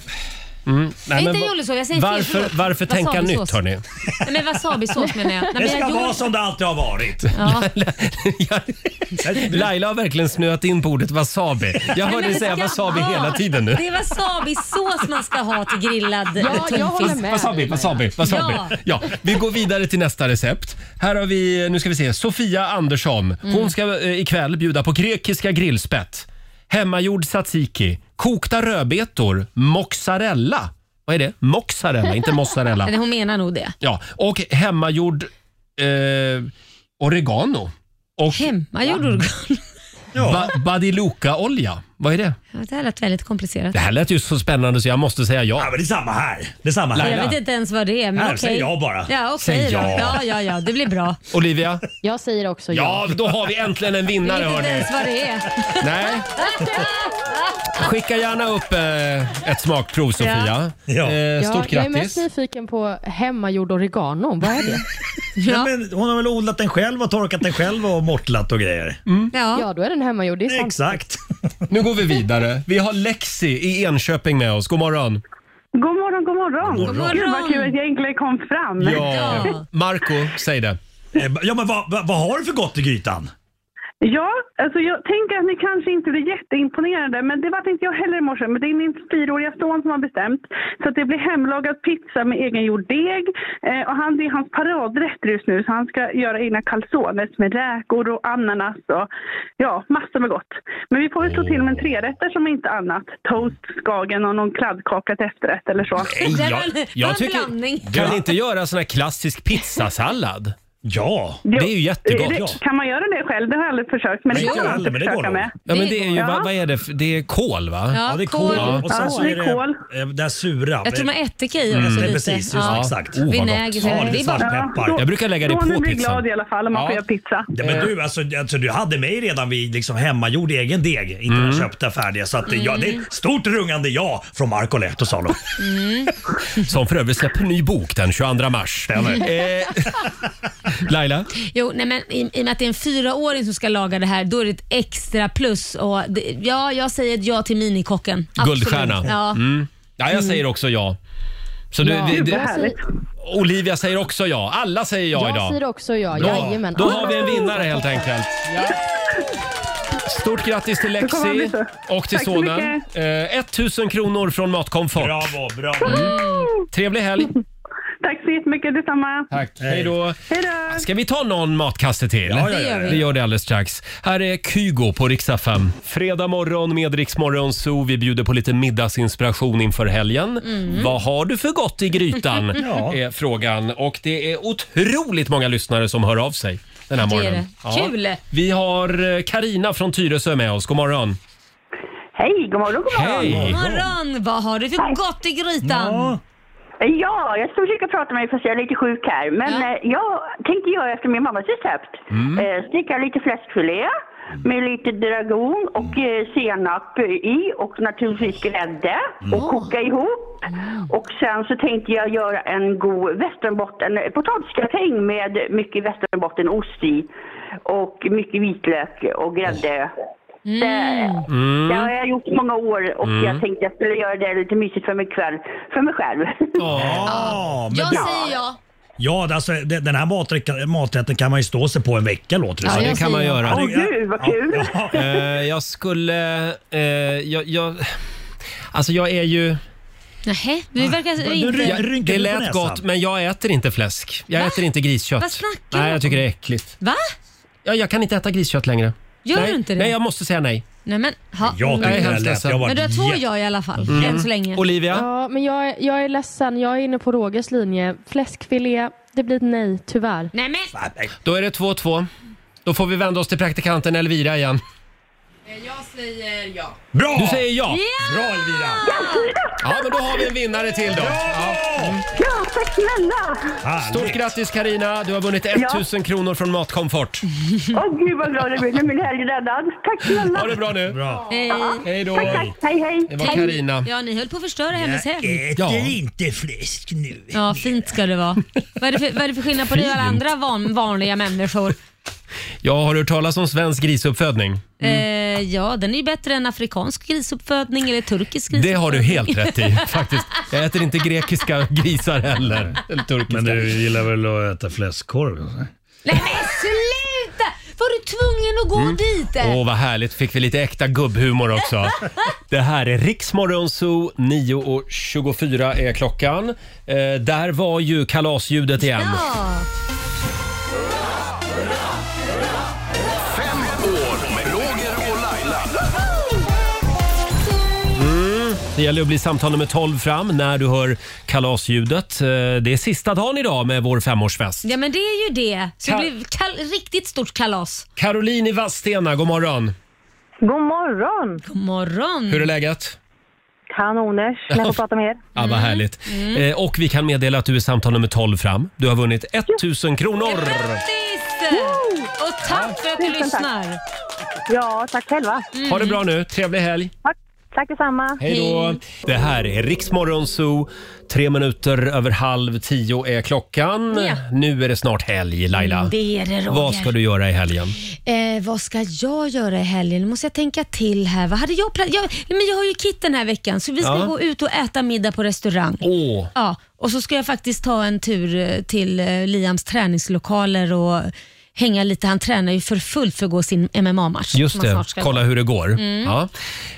Speaker 1: Mm.
Speaker 2: Nej, inte
Speaker 1: va-
Speaker 2: jollisås, jag säger fel,
Speaker 1: varför,
Speaker 2: förlåt.
Speaker 1: Varför tänka
Speaker 2: Wasabisås.
Speaker 1: nytt hörni?
Speaker 2: Nej, men wasabisås menar jag. Nej, men
Speaker 8: Det ska
Speaker 2: jag
Speaker 8: vara som det alltid har varit.
Speaker 2: Ja.
Speaker 1: Laila har verkligen snöat in på ordet wasabi. Jag
Speaker 2: Nej,
Speaker 1: hör
Speaker 2: men
Speaker 1: dig
Speaker 2: det
Speaker 1: säga
Speaker 2: ska
Speaker 1: wasabi
Speaker 2: vara-
Speaker 1: hela tiden nu.
Speaker 2: Det är wasabisås man ska ha till grillad
Speaker 1: Ja,
Speaker 2: eh,
Speaker 1: jag håller
Speaker 2: tonfisk.
Speaker 1: med. Wasabi, wasabi, wasabi. Ja.
Speaker 2: Ja.
Speaker 1: vi går vidare till nästa recept. Här har vi, nu ska vi se, Sofia Andersson.
Speaker 2: Mm.
Speaker 1: Hon ska eh, ikväll bjuda på grekiska grillspett, hemmagjord tzatziki, kokta rödbetor, mozzarella. Vad är det? Mozzarella, inte mozzarella.
Speaker 2: Nej, Hon menar nog det.
Speaker 1: Ja, och hemmagjord eh, oregano. Och
Speaker 2: Hemmagjord organ.
Speaker 1: ba Badiluka-olja. Vad är det?
Speaker 2: Ja, det här lät väldigt komplicerat.
Speaker 1: Det här lät ju så spännande så jag måste säga ja.
Speaker 8: Ja, men det är samma här. Det är samma
Speaker 2: Jag vet inte ens vad det är, men
Speaker 1: Här,
Speaker 2: okej.
Speaker 1: säg ja bara.
Speaker 2: Ja, okej
Speaker 1: Säg
Speaker 2: då.
Speaker 1: ja.
Speaker 2: Ja, ja, ja, det blir bra.
Speaker 1: Olivia?
Speaker 6: Jag säger också
Speaker 1: Ja, då har vi äntligen en
Speaker 2: Jag
Speaker 1: vinnare
Speaker 2: vet inte
Speaker 1: hörni.
Speaker 2: ens vad det är.
Speaker 1: Nej. Skicka gärna upp eh, ett smakprov Sofia. Eh,
Speaker 6: Ja,
Speaker 1: stort
Speaker 6: jag är
Speaker 1: grattis.
Speaker 6: mest nyfiken på hemmagjord oregano. Vad är det?
Speaker 8: Ja, men hon har väl odlat den själv och torkat den själv och mortlat och grejer.
Speaker 1: Mm.
Speaker 6: Ja. då är den hemmagjord. Det är sant.
Speaker 8: Exakt.
Speaker 1: Nu går vi vidare. Vi har Lexi i Enköping med oss. God morgon.
Speaker 17: God morgon, god morgon.
Speaker 1: God morgon.
Speaker 17: Gud vad kul att jag äntligen kom fram.
Speaker 1: Ja. Marco, säg det.
Speaker 8: Eh, Ja, men vad, vad, vad har du för gott i grytan?
Speaker 17: [LAUGHS] Ja, alltså jag tänker att ni kanske inte blir jätteimponerade, men det var inte jag heller i morse. Men det är min fyraåriga son som har bestämt. Så att det blir hemlagad pizza med egengjord deg. Eh, och han, det är hans paradrätt just nu, så han ska göra egna calzones med räkor och ananas och ja, massor med gott. Men vi får väl slå till med en trerätter som inte annat. Toast, skagen och någon kladdkaka till efterrätt eller så.
Speaker 1: Kan ni inte göra sån här klassisk pizzasallad?
Speaker 8: Ja,
Speaker 1: det är ju jättegott.
Speaker 17: Eh, Det- det- Kan man göra det själv? Det har jag aldrig försökt, men det
Speaker 1: Nej,
Speaker 17: kan man
Speaker 1: inte,
Speaker 17: alltid
Speaker 1: men det går
Speaker 17: försöka
Speaker 1: nog.
Speaker 17: med.
Speaker 1: Ja, men det är ju,
Speaker 17: Ja.
Speaker 1: vad, vad är det? för- Det är kål va?
Speaker 17: Ja, Ja, det är kål. kål.
Speaker 8: Och sen
Speaker 17: Ja,
Speaker 8: så
Speaker 17: det
Speaker 8: är
Speaker 17: är
Speaker 8: det
Speaker 17: kål.
Speaker 8: eh, det här sura.
Speaker 2: Jag tror man ättika i också
Speaker 17: Alltså,
Speaker 8: Mm.
Speaker 2: lite.
Speaker 8: Precis, just det,
Speaker 2: Ja.
Speaker 8: exakt.
Speaker 1: Oh, vad
Speaker 2: Vinäger.
Speaker 8: Ja,
Speaker 2: det är bara-
Speaker 8: svartpeppar.
Speaker 1: Jag brukar lägga det på pizzan.
Speaker 17: får göra pizza.
Speaker 8: Ja, men du, alltså, alltså, du hade mig redan vid liksom, hemmagjord egen deg, inte den
Speaker 1: Mm.
Speaker 8: köpta färdiga. Så att, ja, det är ett stort rungande ja från Marco Lehtosalo.
Speaker 1: [LAUGHS]
Speaker 19: Mm.
Speaker 1: Som för övrigt släpper ny bok den 22 mars. Eh, Laila?
Speaker 2: Jo, nej, men i, I och med att det är en fyraåring som ska laga det här, då är det ett extra plus. Och det, ja, jag säger ett ja till minikocken. Absolut.
Speaker 1: Guldstjärna.
Speaker 2: Ja.
Speaker 1: Mm. Ja, jag säger också ja. Så du,
Speaker 6: Ja.
Speaker 1: det,
Speaker 6: Gud, vad
Speaker 1: det,
Speaker 6: härligt.
Speaker 1: Olivia säger också ja. Alla säger ja
Speaker 6: jag
Speaker 1: idag.
Speaker 6: säger också ja.
Speaker 1: Bra.
Speaker 6: Jajamän.
Speaker 1: Då har vi en vinnare helt enkelt. Stort grattis till
Speaker 6: Då kommer han
Speaker 1: Lexi
Speaker 6: bli så.
Speaker 1: och till
Speaker 6: Tack så
Speaker 1: sonen. Eh, 1000 kronor från Matkomfort. Mm.
Speaker 8: Bravo, bra.
Speaker 1: Trevlig helg.
Speaker 17: Tack så jättemycket, detsamma.
Speaker 1: Tack. Hej då.
Speaker 17: Hej då.
Speaker 1: Ska vi ta någon matkasse till?
Speaker 17: Ja, ja, ja, ja.
Speaker 1: Vi gör det alldeles strax. Här är Kygo på riksdag 5. Fredag morgon med Rix Morgon Zoo. Vi bjuder på lite middagsinspiration inför helgen.
Speaker 4: Mm.
Speaker 1: Vad har du för gott i grytan?
Speaker 4: Ja.
Speaker 1: är frågan. Och det är otroligt många lyssnare som hör av sig den här
Speaker 2: Det är
Speaker 1: morgonen.
Speaker 2: det. Kul.
Speaker 1: Vi har Karina från Tyresö med oss. God morgon.
Speaker 20: Hej, god morgon, god morgon.
Speaker 1: Hej.
Speaker 2: God morgon! Vad har du för gott i grytan?
Speaker 20: Ja, jag ska försöka prata med dig fast jag är lite sjuk här. Men eh, jag tänkte göra efter min mammas recept.
Speaker 21: Mm.
Speaker 20: Eh, sticka lite fläskfilé med lite dragon och eh, senap i och naturligtvis grädde och koka ihop. Och sen så tänkte jag göra en god västernbotten, eh, potatisgratäng med mycket västerbottenost i och mycket vitlök och grädde. Det,
Speaker 1: Mm.
Speaker 20: det har jag gjort många år och
Speaker 1: Mm.
Speaker 20: jag tänkte jag skulle göra det lite mysigt för mig, kväll, för mig själv. [LAUGHS]
Speaker 8: Ja, men det-
Speaker 2: ja.
Speaker 8: Ja, alltså, det- den här maträtten, maträtten kan man ju stå sig på en vecka låter det
Speaker 1: Ja,
Speaker 8: som.
Speaker 1: det kan man göra.
Speaker 8: Ja, det-
Speaker 1: Eh, jag skulle... eh, jag, jag, alltså jag är ju...
Speaker 2: Nähä, du verkar
Speaker 1: Jag-
Speaker 2: inte...
Speaker 1: det lät gott men jag äter inte fläsk. Jag
Speaker 2: Va?
Speaker 1: äter inte griskött.
Speaker 2: Vad snackar du
Speaker 1: Nej,
Speaker 2: om?
Speaker 1: jag tycker det är äckligt.
Speaker 2: Va?
Speaker 1: Ja, jag kan inte äta griskött längre.
Speaker 2: Gör
Speaker 1: nej,
Speaker 2: du inte det?
Speaker 1: Nej, jag måste säga nej.
Speaker 2: Nej, men, ha.
Speaker 1: Jag tycker det lät- jag har varit
Speaker 2: Men du har två
Speaker 1: jätte-
Speaker 2: ja i alla fall,
Speaker 1: Mm.
Speaker 2: än så länge.
Speaker 6: Ja, men jag, är- jag är ledsen. Jag är inne på Rogers linje. Fläskfilé, det blir ett nej tyvärr.
Speaker 2: Nej, men.
Speaker 1: Då är det 2-2. Då får vi vända oss till praktikanten Elvira igen.
Speaker 15: Eh, Jag säger ja.
Speaker 1: Bra! Du säger ja.
Speaker 8: Bra Elvira!
Speaker 1: Ja, men då har vi en vinnare till då.
Speaker 20: Ja, tack snälla!
Speaker 1: Stort grattis Karina, du har vunnit 1000 kronor från Matkomfort.
Speaker 20: Åh gud vad glad jag blir, nu är min helg räddad. Tack snälla!
Speaker 1: Ha det bra nu.
Speaker 2: Hej.
Speaker 1: Hej då.
Speaker 20: Tack, tack. Hej, hej.
Speaker 1: Det var Karina.
Speaker 2: Eh, Ja, ni höll på att förstöra hennes hem.
Speaker 8: inte fläsk nu.
Speaker 2: Ja, fint ska det vara. Vad är det för, vad är det för skillnad på dig och alla
Speaker 1: Fint.
Speaker 2: andra van, vanliga människor?
Speaker 1: Jag har hört talas om svensk grisuppfödning. Mm.
Speaker 2: Eh, ja, den är ju bättre än afrikansk grisuppfödning eller turkisk
Speaker 1: Det
Speaker 2: grisuppfödning.
Speaker 1: har du helt rätt i
Speaker 2: [LAUGHS]
Speaker 1: faktiskt. Jag äter inte grekiska [LAUGHS] grisar heller. Eller turkiska.
Speaker 8: Men du gillar väl att äta fläskkorv? eller?
Speaker 2: Nej men sluta! Var du tvungen att gå
Speaker 1: Mm.
Speaker 2: dit?
Speaker 1: Åh, vad härligt. Fick vi lite äkta gubbhumor också.
Speaker 2: [LAUGHS]
Speaker 1: Det här är Riksmorgon Zoo. 9.24 är klockan. Eh, där var ju kalasljudet igen.
Speaker 2: Ja.
Speaker 3: Fem år med Roger och Laila.
Speaker 1: Mm. Det gäller att bli samtal nummer 12 fram när du hör kalasljudet. Eh, det är sista dagen idag med vår femårsfest.
Speaker 2: ja, men det är ju det. Så det
Speaker 1: Ka-
Speaker 2: blir kal- riktigt stort kalas.
Speaker 1: Caroline i Vadstena, god morgon.
Speaker 19: God morgon!
Speaker 2: God morgon!
Speaker 1: Hur är läget?
Speaker 19: Kanoners, när jag får prata med er.
Speaker 1: Ja,
Speaker 2: Mm.
Speaker 1: vad härligt. Eh, och vi kan meddela att du är samtal nummer 12 fram. Du har vunnit 1000 kronor.
Speaker 2: Grattis! Och tack för att du
Speaker 19: Tusen tack.
Speaker 2: lyssnar.
Speaker 19: Ja, tack själva.
Speaker 1: Ha det bra nu. Trevlig helg.
Speaker 19: Tack detsamma.
Speaker 1: Hej då! Det här är Riksmorgon Zoo. Tre minuter över halv tio är klockan.
Speaker 2: Ja.
Speaker 1: Nu är det snart helg, Laila.
Speaker 2: Det är det, Roger.
Speaker 1: Vad ska du göra i helgen?
Speaker 2: Eh, vad ska jag göra i helgen? Nu måste jag tänka till här. Vad hade jag planerat? Jag, nej, men jag har ju kit den här veckan så vi ska
Speaker 1: Ja.
Speaker 2: gå ut och äta middag på restaurang.
Speaker 1: Åh,
Speaker 2: Ja, och så ska jag faktiskt ta en tur eh, till eh, Liams träningslokaler och hänga lite. Han tränar ju för fullt för att gå sin MMA-match.
Speaker 1: just
Speaker 2: som han
Speaker 1: det.
Speaker 2: snart ska
Speaker 1: Kolla
Speaker 2: gå.
Speaker 1: hur det går.
Speaker 2: Mm.
Speaker 1: Ja.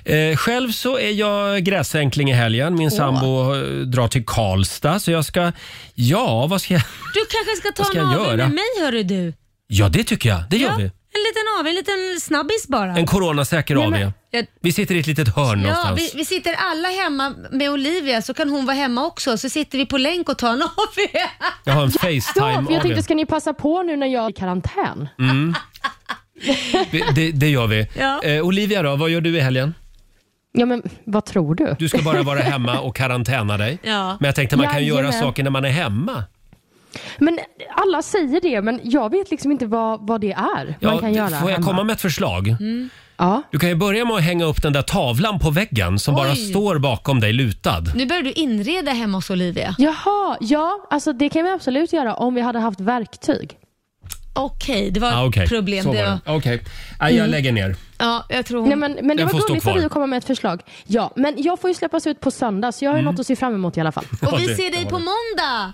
Speaker 1: Eh, själv så är jag gräsänkling i helgen. Min
Speaker 2: Åh.
Speaker 1: sambo eh, drar till Karlstad, så jag ska... Ja, vad ska jag...
Speaker 2: Du kanske ska
Speaker 1: Vad
Speaker 2: ta
Speaker 1: ska
Speaker 2: en
Speaker 1: jag
Speaker 2: AW
Speaker 1: göra?
Speaker 2: med mig hörru du.
Speaker 1: Ja, det tycker jag. Det gör
Speaker 2: Ja,
Speaker 1: vi.
Speaker 2: En liten AW, en liten snabbis bara.
Speaker 1: En coronasäker
Speaker 2: Nej,
Speaker 1: AW.
Speaker 2: men- Jag-
Speaker 1: Vi sitter i ett litet hörn
Speaker 2: Ja,
Speaker 1: någonstans.
Speaker 2: vi, vi sitter alla hemma med Olivia så kan hon vara hemma också. Så sitter vi på länk och tar en [LAUGHS] AW.
Speaker 1: Jag har en
Speaker 6: Ja, för jag
Speaker 1: Facetime-AW.
Speaker 6: tänkte ska ni passa på nu när jag är i karantän?
Speaker 1: Mm. Vi- Det, det gör vi.
Speaker 6: Ja.
Speaker 1: Eh, Olivia då, vad gör du i helgen?
Speaker 6: Ja men vad tror du?
Speaker 1: Du ska bara vara hemma och karantäna dig.
Speaker 6: Ja.
Speaker 1: Men jag tänkte man kan göra
Speaker 6: Jajamän.
Speaker 1: saker när man är hemma.
Speaker 6: Men alla säger det, men jag vet liksom inte vad, vad det är man kan
Speaker 1: d-
Speaker 6: göra
Speaker 1: får jag
Speaker 6: hemma.
Speaker 1: komma med ett förslag?
Speaker 6: Mm. Ja.
Speaker 1: Du kan ju börja med att hänga upp den där tavlan på väggen som bara
Speaker 2: Oj.
Speaker 1: står bakom dig lutad.
Speaker 2: Nu börjar du inreda hemma hos Olivia.
Speaker 6: Jaha, ja, alltså det kan vi absolut göra om vi hade haft verktyg.
Speaker 2: Okej, det var
Speaker 1: Ah, okej.
Speaker 2: problem.
Speaker 1: Så
Speaker 2: det
Speaker 1: var
Speaker 2: var.
Speaker 1: det. Okej. Nej, jag
Speaker 6: Mm.
Speaker 1: lägger ner.
Speaker 2: Ja, jag tror
Speaker 6: Nej, men, men det
Speaker 1: Den får
Speaker 6: var
Speaker 1: stå
Speaker 6: gulligt
Speaker 1: kvar.
Speaker 6: av dig att komma med ett förslag. Ja, men jag får ju släppas ut på söndag så jag har ju
Speaker 1: Mm.
Speaker 6: något att se fram emot i alla fall.
Speaker 1: Ja,
Speaker 2: [LAUGHS] Och vi
Speaker 1: det-
Speaker 2: ser dig
Speaker 1: det
Speaker 2: på
Speaker 1: har
Speaker 2: måndag!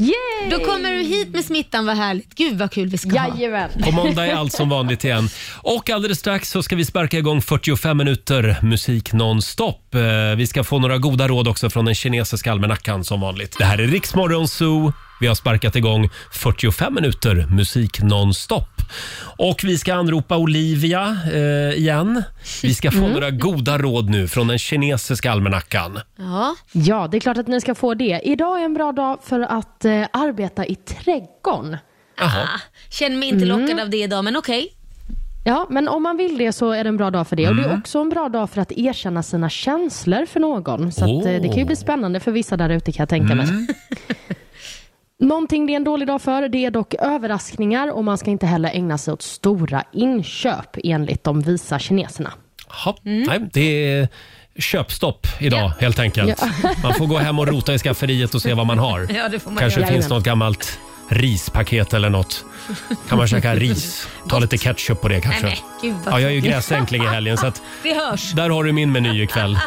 Speaker 6: Yay!
Speaker 2: Då kommer du hit med smittan, vad härligt. Gud vad kul vi ska
Speaker 6: Jajamän.
Speaker 1: På måndag är allt som vanligt igen. Och alldeles strax så ska vi sparka igång 45 minuter musik nonstop. Eh, Vi ska få några goda råd också från den kinesiska almanackan som vanligt. Det här är Riksmorgon Zoo. Vi har sparkat igång 45 minuter musik nonstop. Och vi ska anropa Olivia eh, igen. Vi ska få några goda råd nu från den kinesiska almanackan.
Speaker 6: Ja. det är klart att ni ska få det. Idag är en bra dag för att eh, arbeta i trädgården.
Speaker 1: Jaha.
Speaker 2: Känner mig inte
Speaker 6: Mm.
Speaker 2: lockad av det idag, men okej.
Speaker 6: Ja, men om man vill det så är det en bra dag för det. Och Det är
Speaker 2: Mm.
Speaker 6: också en bra dag för att erkänna sina känslor för någon. Så att, eh, det kan ju bli spännande för vissa där ute kan jag tänka mig.
Speaker 1: Mm.
Speaker 6: Någonting det är en dålig dag för det är dock överraskningar och man ska inte heller ägna sig åt stora inköp enligt de visa kineserna.
Speaker 1: Jaha. Nej, det är köpstopp idag helt enkelt.
Speaker 6: Ja.
Speaker 1: [LAUGHS] Man får gå hem och rota i skafferiet och se vad man har.
Speaker 2: Ja, det får man
Speaker 1: Kanske
Speaker 2: göra.
Speaker 1: finns
Speaker 2: Jajamän.
Speaker 1: något gammalt rispaket eller något. Kan man käka ris? Ta lite ketchup på det kanske.
Speaker 2: Nej, men gud vad
Speaker 1: ja, jag är ju
Speaker 2: tråkigt.
Speaker 1: gräsänkling i helgen så att
Speaker 2: [LAUGHS] Det hörs.
Speaker 1: där har du min meny
Speaker 2: [LAUGHS]
Speaker 1: ikväll.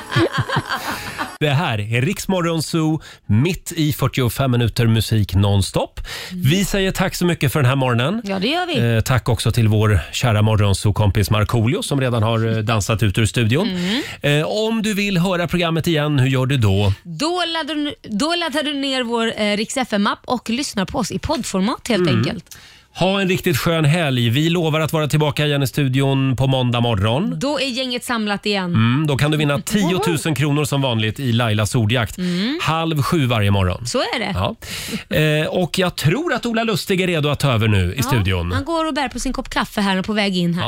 Speaker 1: Det här är Riksmorgon Zoo, mitt i 45 minuter musik nonstop. Vi säger tack så mycket för den här morgonen.
Speaker 2: Ja, det gör vi.
Speaker 1: Eh, tack också till vår kära morgonsokompis Markoolio som redan har eh, dansat ut ur studion.
Speaker 2: Mm.
Speaker 1: Eh, om du vill höra programmet igen, hur gör du då?
Speaker 2: Då laddar, du, då laddar du ner vår eh, Rix FM-app och lyssnar på oss i poddformat helt
Speaker 1: Mm.
Speaker 2: enkelt.
Speaker 1: Ha en riktigt skön helg. Vi lovar att vara tillbaka igen i studion på måndag morgon.
Speaker 2: Då är gänget samlat igen.
Speaker 1: Mm, då kan du vinna 10 000 kronor som vanligt i Lailas ordjakt.
Speaker 2: Mm.
Speaker 1: Halv sju varje morgon.
Speaker 2: Så är det.
Speaker 1: Ja. Eh, och jag tror att Ola Lustig är redo att ta över nu i
Speaker 2: Ja,
Speaker 1: studion.
Speaker 2: Han går och bär på sin kopp kaffe här och på väg in här.